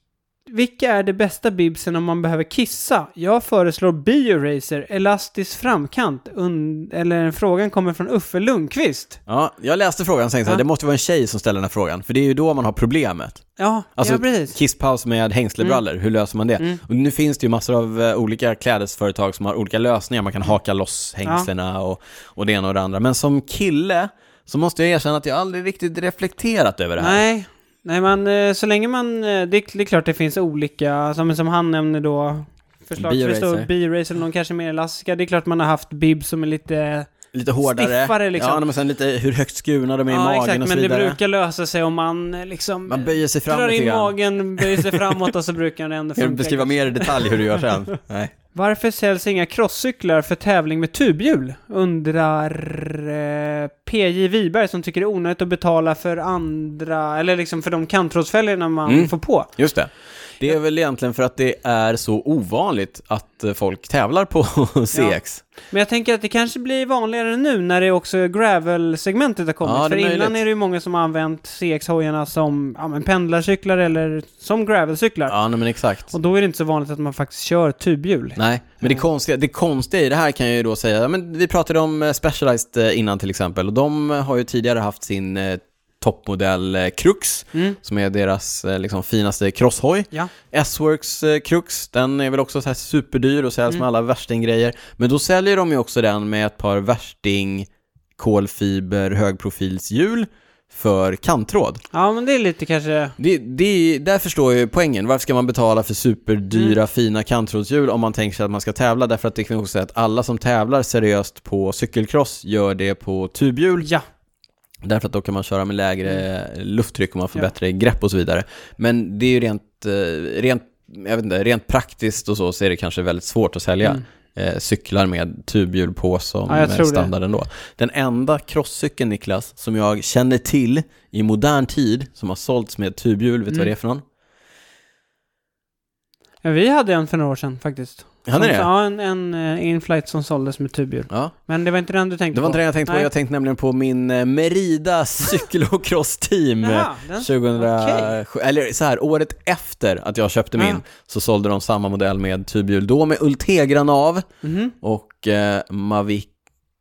S2: Vilka är de bästa bibsen om man behöver kissa? Jag föreslår Bioracer, elastisk framkant, und- eller frågan kommer från Uffe Lundqvist.
S1: Ja, jag läste frågan och tänkte att
S2: Ja.
S1: det måste vara en tjej som ställer den här frågan, för det är ju då man har problemet.
S2: Ja,
S1: Alltså,
S2: ja precis.
S1: Kisspaus med hängslebrallor,
S2: Mm.
S1: hur löser man det? Och nu finns det ju massor av eh, olika klädesföretag som har olika lösningar. Man kan
S2: Mm.
S1: haka loss hängslena och, och det ena och det andra. Men som kille så måste jag erkänna att jag aldrig riktigt reflekterat över det här.
S2: Nej, nej men eh, så länge man... eh, Det, är- det är klart det finns olika, som, som han nämner då, förslagsvis då,
S1: Bioracer.
S2: Bioracer eller någon kanske mer elastiska. Det är klart man har haft bibs som är lite...
S1: Lite hårdare.
S2: Stiffare, liksom.
S1: Ja, men sen lite hur högt skurna de är i magen och så
S2: men det
S1: vidare.
S2: brukar lösa sig om man eh, liksom...
S1: Man böjer sig fram
S2: drar
S1: lite
S2: in
S1: grann.
S2: magen,
S1: [laughs]
S2: böjer sig framåt och så brukar det ändå
S1: Kan du
S2: funka.
S1: beskriva mer i detalj hur du gör
S2: [laughs]
S1: sen? Nej.
S2: Varför säljs inga crosscyklar för tävling med tubhjul? Undrar eh, PJ Wiberg som tycker det är onödigt att betala för andra, eller liksom för de kantrådsfällorna man
S1: Mm.
S2: får på.
S1: Just det. Det är väl egentligen för att det är så ovanligt att eh, folk tävlar på [laughs] CX.
S2: Men jag tänker att det kanske blir vanligare nu när det också gravel-segmentet har kommit.
S1: Ja, det
S2: för
S1: är
S2: innan
S1: möjligt.
S2: är det ju många som har använt CX-hojarna som ja, men pendlarcyklar eller som gravelcyklar.
S1: Ja, nej, men exakt.
S2: Och då är det inte så vanligt att man faktiskt kör tubhjul.
S1: Nej, men det konstiga, det konstiga i det här kan jag ju då säga, ja, men vi pratade om eh, Specialized eh, innan till exempel, och de eh, har ju tidigare haft sin eh, toppmodell eh, Crux,
S2: Mm.
S1: som är deras eh, liksom, finaste crosshoj.
S2: Ja.
S1: S-Works eh, Crux, den är väl också så här superdyr och
S2: Mm.
S1: säljs med alla värstinggrejer, men då säljer de ju också den med ett par värsting kolfiber högprofilshjul för kantråd.
S2: Ja, men det är lite kanske...
S1: Det, det, där förstår jag ju poängen. Varför ska man betala för superdyra
S2: Mm.
S1: fina kantrådshjul om man tänker sig att man ska tävla? Därför att det kan också säga att alla som tävlar seriöst på cykelcross gör det på tubhjul.
S2: Ja.
S1: Därför att då kan man köra med lägre
S2: Mm.
S1: lufttryck och man får bättre grepp och så vidare. Men det är ju rent, eh, rent, jag vet inte, rent praktiskt och så, så är det kanske väldigt svårt att sälja. eh, cyklar med tubhjul på som
S2: Mm. Ja, jag
S1: eh,
S2: tror det.
S1: standard ändå. Den enda crosscykeln, Niklas, som jag känner till i modern tid, som har sålts med tubhjul, vet du vad
S2: Mm.
S1: det är för någon?
S2: ja, vi hade en för några år sedan faktiskt.
S1: Hade
S2: som,
S1: ni det?
S2: Ja, en, en eh, inflight som såldes med tubhjul.
S1: Ja.
S2: Men det var inte den du tänkte
S1: Det var
S2: på? [laughs]
S1: inte det jag tänkte på,
S2: Nej.
S1: jag tänkte nämligen på min eh, Merida cykel och crossteam eh,
S2: Jaha, den-
S1: 2007, eller så här, året efter att jag köpte min
S2: Ja.
S1: så sålde de samma modell med tubhjul, då med Ultegra-nav
S2: Mhm.
S1: och eh, Mavic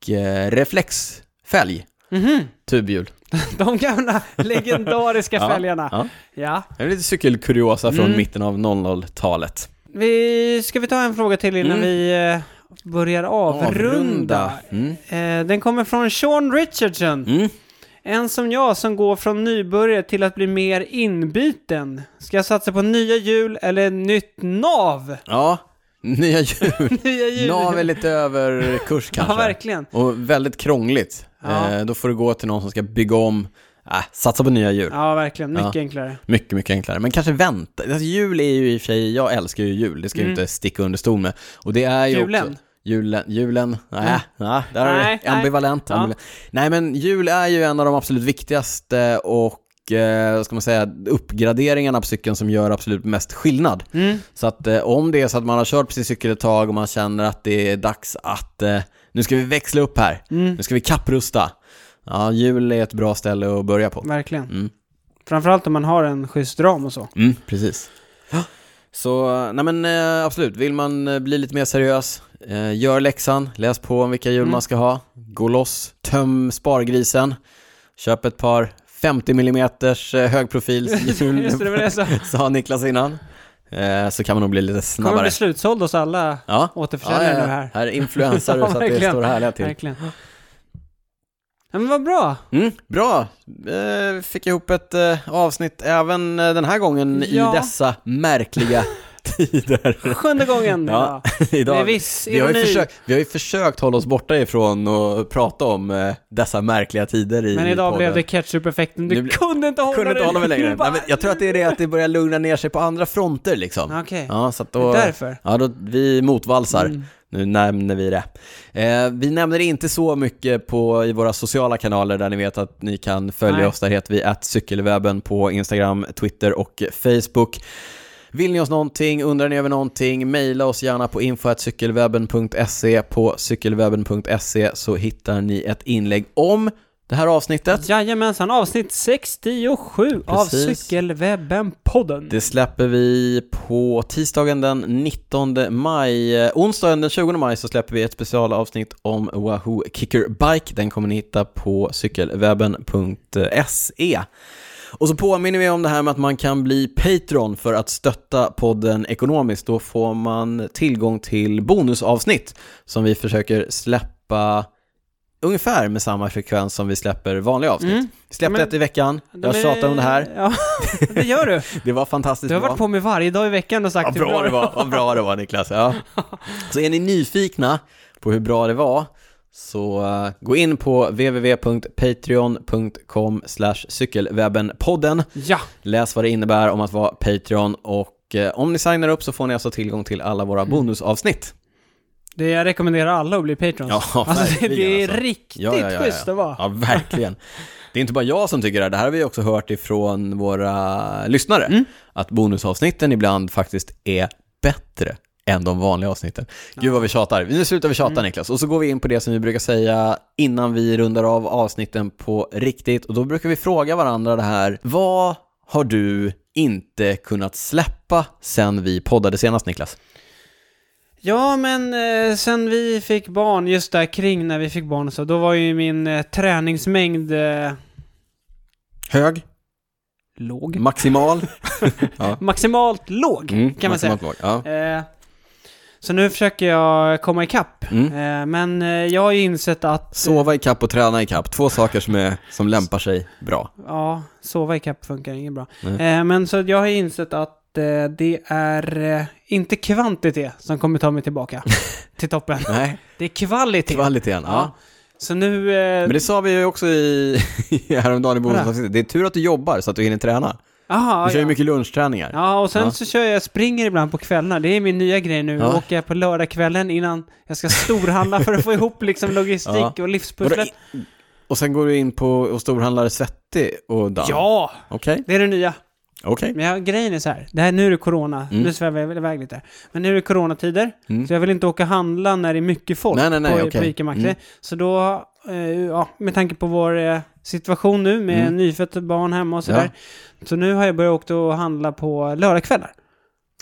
S1: eh, reflexfälg,
S2: Mhm.
S1: tubhjul.
S2: De
S1: [laughs]
S2: gamla legendariska
S1: Ja,
S2: fälgarna.
S1: ja.
S2: ja.
S1: Det är lite cykelkuriosa från
S2: Ah. Mm.
S1: mitten av 00-talet.
S2: Vi, ska vi ta en fråga till innan
S1: Mm.
S2: vi eh, börjar avrunda?
S1: Mm.
S2: Eh, den kommer från Sean Richardson.
S1: Mm.
S2: En som jag som går från nybörjare till att bli mer inbiten. Ska jag satsa på nya hjul eller nytt nav? [laughs]
S1: Ja, nya hjul.
S2: Nya hjul.
S1: Nav är lite över kurs kanske.
S2: Ja, verkligen.
S1: Och väldigt krångligt.
S2: Ja.
S1: Eh, då får du gå till någon som ska bygga om, äh, satsa på nya hjul.
S2: Ja, verkligen. Mycket
S1: Ja.
S2: enklare.
S1: Mycket, mycket enklare. Men kanske vänta. Alltså, jul är ju i och för sig, jag älskar ju jul, det ska jag ju inte sticka under stol med. Och det är ju
S2: Mm. Julen? Mm.
S1: Också, Julen, julen, nej, nej, där är
S2: Nej,
S1: det ambivalent.
S2: nej.
S1: ambivalent. Nej men jul är ju en av de absolut viktigaste och, eh, vad ska man säga, uppgraderingarna på cykeln som gör absolut mest skillnad.
S2: Mm.
S1: Så att eh, om det är så att man har kört på sin cykel ett tag och man känner att det är dags att eh, nu ska vi växla upp här,
S2: Mm.
S1: nu ska vi kapprusta. Ja, jul är ett bra ställe att börja på.
S2: Verkligen.
S1: Mm.
S2: Framförallt om man har en schysst ram och så.
S1: Mm, precis. Så, nej men eh, absolut, vill man eh, bli lite mer seriös, eh, gör läxan, läs på om vilka hjul
S2: Mm.
S1: man ska ha, gå loss, töm spargrisen, köp ett par 50 mm
S2: [laughs]
S1: högprofils
S2: Just det, det var det
S1: [laughs]
S2: jag sa.
S1: sa Niklas innan. Eh, Så kan man nog bli lite
S2: Kommer bli
S1: snabbare.
S2: slutsåld hos alla
S1: Ja.
S2: återförsäljare nu här.
S1: Här influensar du
S2: [laughs] Ja,
S1: så att det
S2: verkligen.
S1: står härliga till.
S2: Verkligen. Ja, men vad bra!
S1: Mm, bra! Eh, Fick ihop ett eh, avsnitt även eh, den här gången
S2: Ja.
S1: i dessa märkliga [laughs] tider.
S2: Sjunde gången
S1: Ja,
S2: ja.
S1: Idag.
S2: Med viss
S1: Vi har, ju
S2: ironi.
S1: försökt, vi har ju försökt hålla oss borta ifrån och prata om eh, dessa märkliga tider i
S2: Men idag
S1: podden.
S2: blev det ketchup-effekten. Du
S1: Nu bli-
S2: kunde inte hålla
S1: kunde inte
S2: dig.
S1: hålla mig längre.
S2: Du bara-
S1: Nej, men jag tror att det är det att det börjar lugna ner sig på andra fronter liksom.
S2: Okej,
S1: Ja, så att
S2: det är
S1: då,
S2: därför.
S1: ja, då, vi motvalsar.
S2: Mm.
S1: Nu nämner vi det. Eh, vi nämner det inte så mycket på, i våra sociala kanaler där ni vet att ni kan följa
S2: Nej.
S1: oss. Där heter vi att cykelwebben på Instagram, Twitter och Facebook. Vill ni oss någonting, undrar ni över någonting, mejla oss gärna på info.cykelwebben.se. På cykelwebben.se så hittar ni ett inlägg om det här avsnittet.
S2: Jajamensan, avsnitt 67 av
S1: Precis.
S2: Cykelwebben-podden.
S1: Det släpper vi på tisdagen den 19 maj. Eh, Onsdagen den 20 maj så släpper vi ett specialavsnitt om Wahoo Kicker Bike. Den kommer ni hitta på cykelwebben.se. E. Och så påminner vi om det här med att man kan bli Patreon för att stötta podden ekonomiskt. Då får man tillgång till bonusavsnitt som vi försöker släppa ungefär med samma frekvens som vi släpper vanliga avsnitt.
S2: Mm.
S1: Vi släppte
S2: Men-
S1: ett i veckan, jag tjatar om det här,
S2: Ja, [laughs] det gör du.
S1: [laughs] det var fantastiskt
S2: Du har
S1: bra.
S2: varit på mig varje dag i veckan och sagt
S1: Vad bra det var, vad bra det var Niklas. Ja. Så är ni nyfikna på hur bra det var så eh, gå in på www.patreon.com cykelwebbenpodden.
S2: Ja,
S1: Läs vad det innebär om att vara Patreon och eh, om ni signar upp så får ni alltså tillgång till alla våra bonusavsnitt.
S2: det jag rekommenderar alla att bli patrons.
S1: Ja,
S2: [laughs] alltså, det, det är
S1: verkligen, alltså.
S2: riktigt
S1: Ja, ja, ja, ja.
S2: schysst att vara.
S1: Ja, verkligen. Det är inte bara jag som tycker det här, det här har vi också hört ifrån våra lyssnare.
S2: Mm.
S1: Att bonusavsnitten ibland faktiskt är bättre än de vanliga avsnitten. Gud vad vi tjatar. Nu slutar vi tjata
S2: Mm.
S1: Niklas. Och så går vi in på det som vi brukar säga innan vi rundar av avsnitten på riktigt. Och då brukar vi fråga varandra det här, vad har du inte kunnat släppa sen vi poddade senast Niklas?
S2: Ja, men eh, sen vi fick barn, just där kring när vi fick barn och så, då var ju min eh, träningsmängd eh,
S1: Hög,
S2: låg.
S1: maximal.
S2: maximalt låg, kan man säga.
S1: maximalt låg. Ja.
S2: Eh, så nu försöker jag komma ikapp.
S1: Mm.
S2: Eh, men eh, jag har ju insett att...
S1: Sova i kapp och träna i kapp. Två saker som, är, som lämpar sig bra.
S2: Ja, sova ikapp funkar inget bra.
S1: Nej.
S2: Eh, men så jag har insett att eh, det är eh, inte kvantitet som kommer ta
S1: [laughs]
S2: mig tillbaka till toppen.
S1: Nej,
S2: Det är kvalitet.
S1: kvaliteten. Ja.
S2: Ja. Så nu... Eh,
S1: Men det sa vi ju också i, [laughs] häromdagen i bonusavsnittet. Det är tur att du jobbar så att du hinner träna.
S2: aha,
S1: Du kör ju
S2: ja.
S1: mycket lunchträningar.
S2: ja, och sen
S1: Ja.
S2: så kör jag, springer ibland på kvällarna. Det är min nya grej nu.
S1: Ja.
S2: Åker jag på lördagskvällen innan jag ska storhandla för att få
S1: [laughs]
S2: ihop liksom logistik
S1: Ja.
S2: och
S1: och, då,
S2: livspusslet.
S1: och sen går du in på och storhandlar svettig och damm.
S2: Ja!
S1: Okej,
S2: Det är det nya.
S1: okej.
S2: Men jag, grejen är så här, det här, nu är det corona, nu svävar jag väl iväg lite. här. Men nu är det coronatider,
S1: Mm.
S2: så jag vill inte åka och handla när det är mycket folk
S1: Nej, nej, nej,
S2: på,
S1: okej.
S2: på Ica Maxi.
S1: Mm.
S2: Så då, eh, ja, med tanke på vår eh, situation nu med
S1: Mm.
S2: nyfött barn hemma och
S1: Ja.
S2: sådär. Så nu har jag börjat åka och handla på lördagskvällar.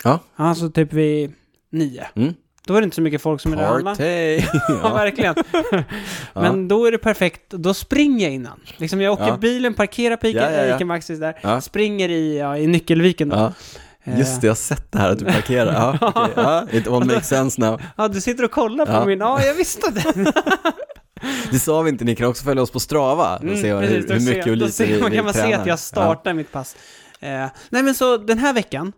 S1: Ja.
S2: Alltså typ vid nio.
S1: Mm.
S2: Då är det inte så mycket folk som är där och handlar.
S1: Party!
S2: [laughs] Ja,
S1: [laughs] ja.
S2: verkligen. Men då är det perfekt, då springer jag innan. Liksom jag åker
S1: Ja.
S2: bilen, parkerar på Ica,
S1: Ja, ja, ja.
S2: Ica Maxis där,
S1: Ja.
S2: springer i, ja, i Nyckelviken då.
S1: ja. Just det, jag har sett det här att du parkerar. Ja, okej.
S2: [laughs]
S1: ja. It all makes sense now.
S2: Ja, du sitter och kollar på
S1: Ja.
S2: min. Ja, jag visste det.
S1: Det sa vi inte, ni kan också följa oss på Strava och se hur,
S2: Mm, precis, då
S1: hur
S2: ser-
S1: mycket och
S2: då
S1: lite
S2: ser-
S1: vi,
S2: man
S1: vi
S2: kan man se
S1: tränar.
S2: att jag startar mitt pass. Eh, nej, men så den här veckan,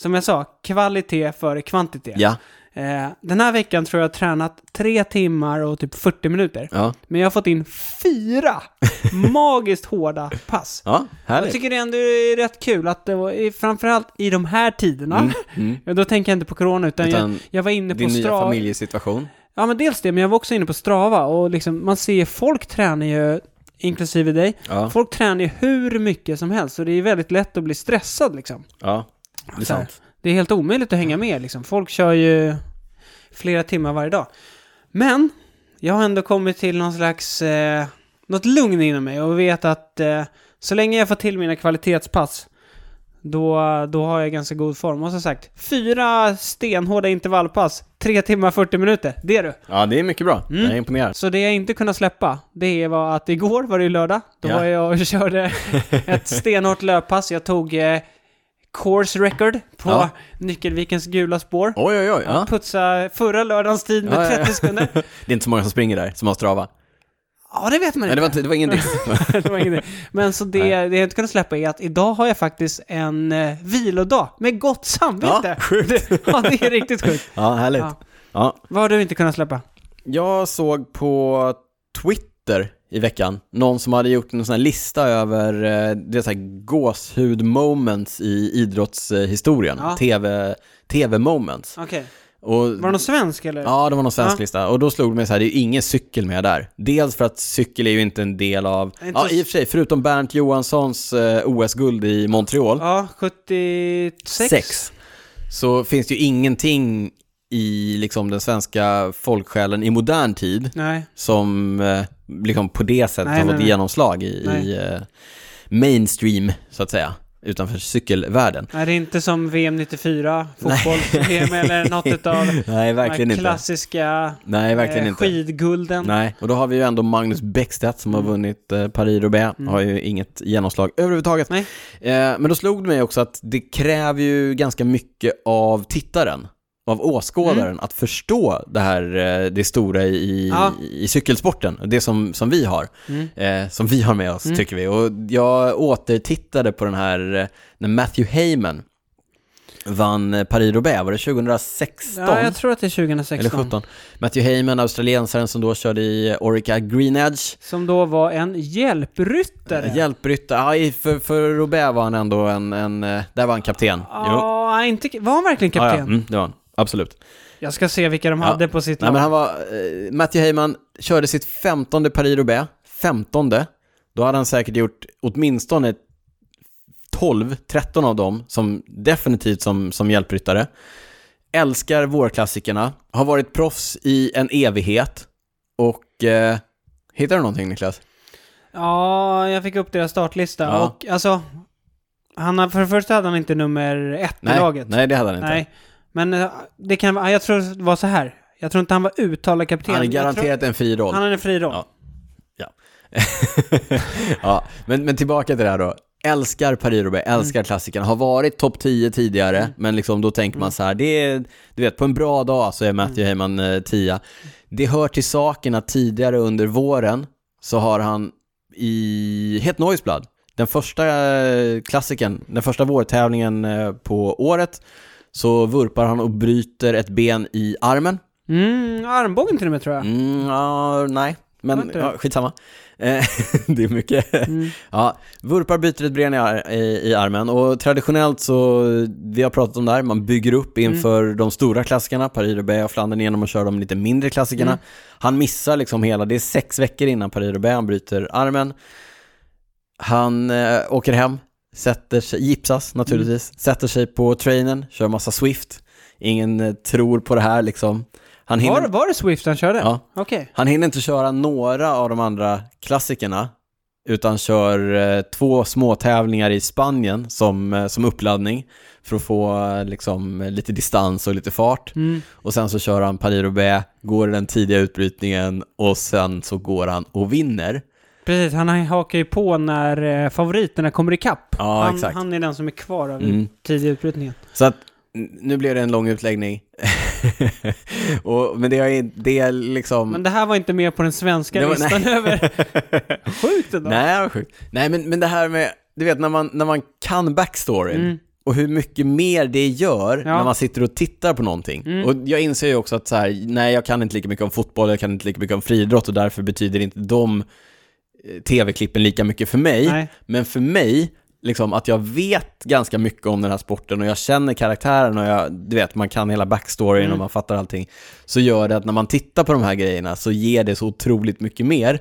S2: som jag sa, kvalitet före kvantitet.
S1: Ja,
S2: Eh, den här veckan tror jag har tränat tre timmar och typ 40 minuter.
S1: ja,
S2: Men jag har fått in
S1: [laughs]
S2: fyra magiskt hårda pass.
S1: ja.
S2: Jag
S1: härligt.
S2: tycker det ändå är rätt kul att det var, i- framförallt i de här tiderna,
S1: mm.
S2: ja, då tänker jag inte på corona utan,
S1: Utan
S2: jag, jag var inne på
S1: Din nya
S2: Strava.
S1: familjesituation.
S2: Ja men dels det, men jag var också inne på Strava och liksom, man ser folk tränar ju, inklusive dig,
S1: Ja,
S2: folk tränar ju hur mycket som helst och det är väldigt lätt att bli stressad liksom.
S1: ja. Det är
S2: Så här.
S1: sant.
S2: Det är helt omöjligt att hänga med liksom. Folk kör ju flera timmar varje dag. Men jag har ändå kommit till någon slags, eh, något lugn inom mig och vet att eh, så länge jag får till mina kvalitetspass då, då har jag ganska god form. Och som sagt, fyra stenhårda intervallpass, tre timmar 40 minuter. Det är du.
S1: Ja, det är mycket bra.
S2: Mm.
S1: Jag är imponerad.
S2: Så det jag inte kunnat släppa, det var att igår var det ju lördag. Då
S1: Ja.
S2: var jag och
S1: [laughs]
S2: körde ett stenhårt löppass. Jag tog eh, course record på
S1: Ja.
S2: Nyckelvikens gula spår.
S1: Oj, oj, oj. Ja.
S2: Putsa förra lördagens tid med
S1: Ja, ja, ja.
S2: 30
S1: [laughs]
S2: sekunder.
S1: Det är inte så många som springer där, som har Strava.
S2: Ja, det vet man
S1: Nej, det
S2: inte.
S1: var, inte, det var ingen
S2: [laughs]
S1: diss.
S2: det var ingen idé. Men så det, det jag inte kunnat släppa är att idag har jag faktiskt en eh, vilodag med gott samvete.
S1: ja, sjukt.
S2: [laughs] Ja, det är riktigt sjukt.
S1: Ja, härligt.
S2: Ja.
S1: ja,
S2: Vad har du inte kunnat släppa?
S1: Jag såg på Twitter i veckan, någon som hade gjort en sån här lista över eh, det är så här gåshud-moments i idrottshistorien,
S2: Ja.
S1: TV, TV-moments.
S2: Okej.
S1: Och,
S2: Var det någon svensk eller?
S1: Ja, det var någon svensk
S2: Ja.
S1: lista. Och då slog det mig så här, det är ju ingen cykel med där. Dels för att cykel är ju inte en del av,
S2: Inte
S1: ja
S2: så-
S1: i och för sig, förutom Bernt Johanssons eh, OS-guld i Montreal,
S2: Ja, 76?
S1: sex, så finns det ju ingenting i liksom den svenska folksjälen i modern tid
S2: Nej.
S1: som eh, liksom på det sättet
S2: Nej,
S1: har
S2: nej,
S1: fått
S2: nej.
S1: genomslag i,
S2: Nej.
S1: i eh, mainstream, så att säga, utanför cykelvärlden.
S2: Nej, det är inte som VM 94, fotbolls-VM eller
S1: [laughs]
S2: något utav
S1: Nej, verkligen
S2: de här
S1: inte.
S2: klassiska
S1: Nej, verkligen
S2: eh,
S1: inte.
S2: skidgulden.
S1: Nej, och då har vi ju ändå Magnus Bäckstedt som har
S2: Mm.
S1: vunnit eh, Paris-Roubaix, har ju inget genomslag överhuvudtaget.
S2: Nej.
S1: Eh, men då slog det mig också att det kräver ju ganska mycket av tittaren, av åskådaren, att förstå det här, eh, det stora i,
S2: Mm. Ja.
S1: i, i cykelsporten, det som, som vi har.
S2: Mm.
S1: eh, som vi har med oss, tycker vi. Och jag återtittade på den här eh, när Matthew Heyman vann eh, Paris-Roubaix, var det 2016?
S2: Ja, jag tror att det är 2016.
S1: Eller 17. Matthew Heyman, australiensaren som då körde i eh, Orica Green Edge.
S2: Som då var en hjälpryttare.
S1: Eh, Hjälpryttare, ja, i- för, för Roubaix var han ändå en, en eh, där var han kapten. Jo.
S2: Ja, nej, inte, var han verkligen
S1: Ja,
S2: kapten?
S1: ja, mm, det var han. Absolut.
S2: Jag ska se vilka de
S1: Ja.
S2: hade på sitt
S1: Nej,
S2: lag.
S1: men han var, eh, Matthew Heyman körde sitt femtonde Paris-Roubaix, femtonde. Då hade han säkert gjort åtminstone 12-13 av dem, som definitivt som, som hjälpryttare. Älskar vårklassikerna, har varit proffs i en evighet och... Eh, hittar du någonting Niklas?
S2: Ja, jag fick upp deras startlista
S1: Ja.
S2: och alltså... Han, har- för det första hade han inte nummer ett i
S1: Nej,
S2: laget.
S1: nej det hade han inte.
S2: Nej. Men eh, det kan vara- jag tror det var så här. Jag tror inte han var uttalad kapten.
S1: Han är
S2: Jag tror-
S1: garanterat en fri roll.
S2: Han hade en fri roll.
S1: Ja. ja, men, men tillbaka till det här då. Älskar Paris-Roubaix, älskar klassikerna. Har varit topp 10 tidigare, men liksom då tänker man så här, det är, du vet, på en bra dag så är Matthew Heyman eh, 10. Det hör till saken att tidigare under våren så har han i Het Noisblad, den första eh, klassikern, den första vårtävlingen eh, på året, så vurpar han och bryter ett ben i armen.
S2: Mm, armbågen till och med tror jag.
S1: Mm, ja, nej,
S2: Var
S1: men
S2: inte det?
S1: ja, skitsamma. Eh, [laughs] det är mycket. Ja, vurpar byter ett ben i, ar- i, i armen och traditionellt så, vi har pratat om det här, man bygger upp inför de stora klassikerna, Paris-Roubaix och Flandern genom att köra de lite mindre klassikerna. Han missar liksom hela, det är sex veckor innan Paris-Roubaix, han bryter armen. Han eh, åker hem, sätter sig, gipsas naturligtvis, sätter sig på trainen, kör massa Swift. Ingen eh, tror på det här liksom. Han hinner...
S2: Var, var det Swift han körde?
S1: Ja.
S2: Okej.
S1: Han hinner inte köra några av de andra klassikerna, utan kör eh, två små tävlingar i Spanien som, eh, som uppladdning för att få eh, liksom, eh, lite distans och lite fart.
S2: Mm.
S1: Och sen så kör han Paris-Roubaix, går i den tidiga utbrytningen och sen så går han och vinner.
S2: Precis, han hakar ju på när eh, favoriterna kommer ikapp.
S1: Ja,
S2: han,
S1: exakt.
S2: han är den som är kvar av
S1: Mm.
S2: tidig utbrytningen.
S1: Så att, n- nu blev det en lång utläggning. [laughs] och, men det är, det är liksom...
S2: Men det här var inte med på den svenska
S1: Det var-
S2: listan över...
S1: [laughs]
S2: Sjukt ändå.
S1: Nej, vad sjukt. Nej, men, men det här med, du vet när man, när man kan backstoryn
S2: Mm.
S1: och hur mycket mer det gör när man sitter och tittar på någonting.
S2: Mm.
S1: Och jag inser ju också att så här, nej, jag kan inte lika mycket om fotboll, jag kan inte lika mycket om friidrott och därför betyder inte de eh, tv-klippen lika mycket för mig.
S2: Nej.
S1: Men för mig liksom, att jag vet ganska mycket om den här sporten och jag känner karaktären och jag, du vet, man kan hela backstoryn
S2: Mm.
S1: och man fattar allting, så gör det att när man tittar på de här grejerna så ger det så otroligt mycket mer.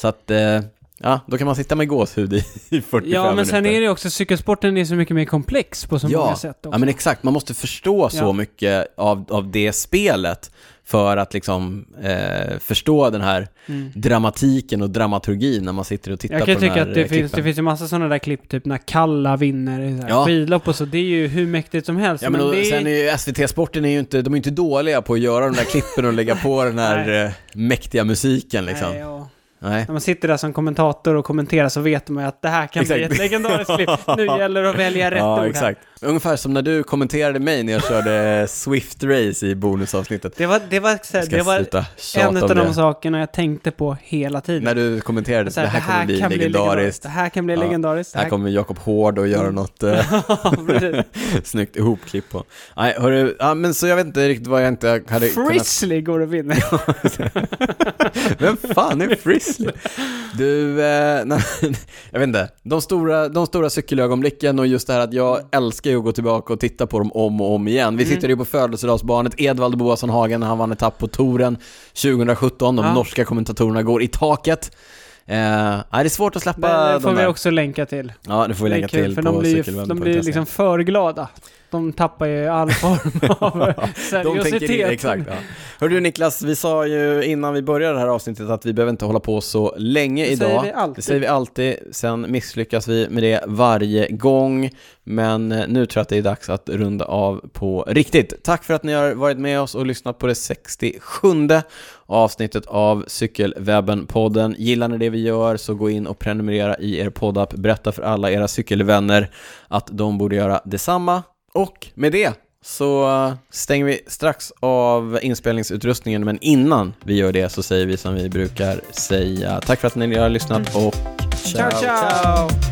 S1: Så att, eh, ja, då kan man sitta med gåshud i, [laughs] i 45
S2: Ja, men sen
S1: minuter.
S2: är det ju också, cykelsporten är så mycket mer komplex på så många sätt också.
S1: Ja, men exakt. Man måste förstå
S2: Ja.
S1: så mycket av, av det spelet för att liksom eh, förstå den här dramatiken och dramaturgin när man sitter och tittar
S2: Mm. jag kan ju
S1: på den
S2: tycka
S1: här
S2: att det
S1: eh,
S2: finns, det
S1: klippen.
S2: finns ju massa sådana där klipp, typ när Kalla vinner i så här
S1: Ja.
S2: skidlopp och så, det är ju hur mäktigt som helst.
S1: Ja, men och,
S2: det
S1: Sen är ju SVT-sporten är ju inte, de är ju inte dåliga på att göra de där klippen och lägga på den
S2: [laughs]
S1: här eh, mäktiga musiken liksom.
S2: Nej,
S1: Nej.
S2: och När man sitter där som kommentator och kommenterar så vet man ju att det här kan bli
S1: Exakt.
S2: ett legendariskt klipp.
S1: [laughs]
S2: Nu gäller det att välja rätt ord
S1: Ja,
S2: här.
S1: exakt. Ungefär som när du kommenterade mig när jag
S2: [laughs]
S1: körde Swift Race i bonusavsnittet.
S2: Det var, det var, så här,
S1: Jag ska
S2: det var
S1: sluta tjata
S2: en
S1: om
S2: av
S1: det.
S2: de sakerna jag tänkte på hela tiden.
S1: När du kommenterade
S2: Så
S1: det här kommer bli legendariskt.
S2: Det här kan bli
S1: Ja.
S2: legendariskt. Det
S1: Här kommer Jakob Hård och
S2: Mm.
S1: göra något eh, [laughs]
S2: kommer...
S1: snyggt ihopklipp på. Nej, hörru, ja, men så jag vet inte riktigt vad jag inte hade kunnat...
S2: Frizzly går
S1: [laughs]
S2: och vinner.
S1: Vem fan är Frizzly? Du, eh, [laughs] nej, jag vet inte. De stora, de stora cykelögonblicken och just det här att jag älskar ju att gå tillbaka och titta på dem om och om igen.
S2: Mm.
S1: Vi tittade ju på födelsedagsbarnet Edvald Boasson Hagen när han vann etapp på touren 2017. De
S2: Ja.
S1: norska kommentatorerna går i taket. Eh, nej, det är svårt att släppa
S2: Men det
S1: de
S2: får vi
S1: där.
S2: också länka till.
S1: Ja, det får vi
S2: Det är
S1: lägga
S2: kul,
S1: till
S2: för
S1: på
S2: de blir, ju-
S1: cykelwebben.se.
S2: de blir liksom för glada. De tappar ju
S1: [laughs]
S2: all form av
S1: De tänker in,
S2: seriositet.
S1: exakt. Ja. Hörru du Niklas, vi sa ju innan vi började det här avsnittet att vi behöver inte hålla på så länge
S2: Det
S1: idag.
S2: säger vi alltid.
S1: Det säger vi alltid, sen misslyckas vi med det varje gång. Men eh, nu tror jag att det är dags att runda av på riktigt. Tack för att ni har varit med oss och lyssnat på det 67 avsnittet av Cykelwebben-podden. Gillar ni det vi gör så gå in och prenumerera i er poddapp. Berätta för alla era cykelvänner att de borde göra detsamma. Och med det så eh, stänger vi strax av inspelningsutrustningen, men innan vi gör det så säger vi som vi brukar säga. Tack för att ni har lyssnat och
S2: Mm. Ciao, ciao!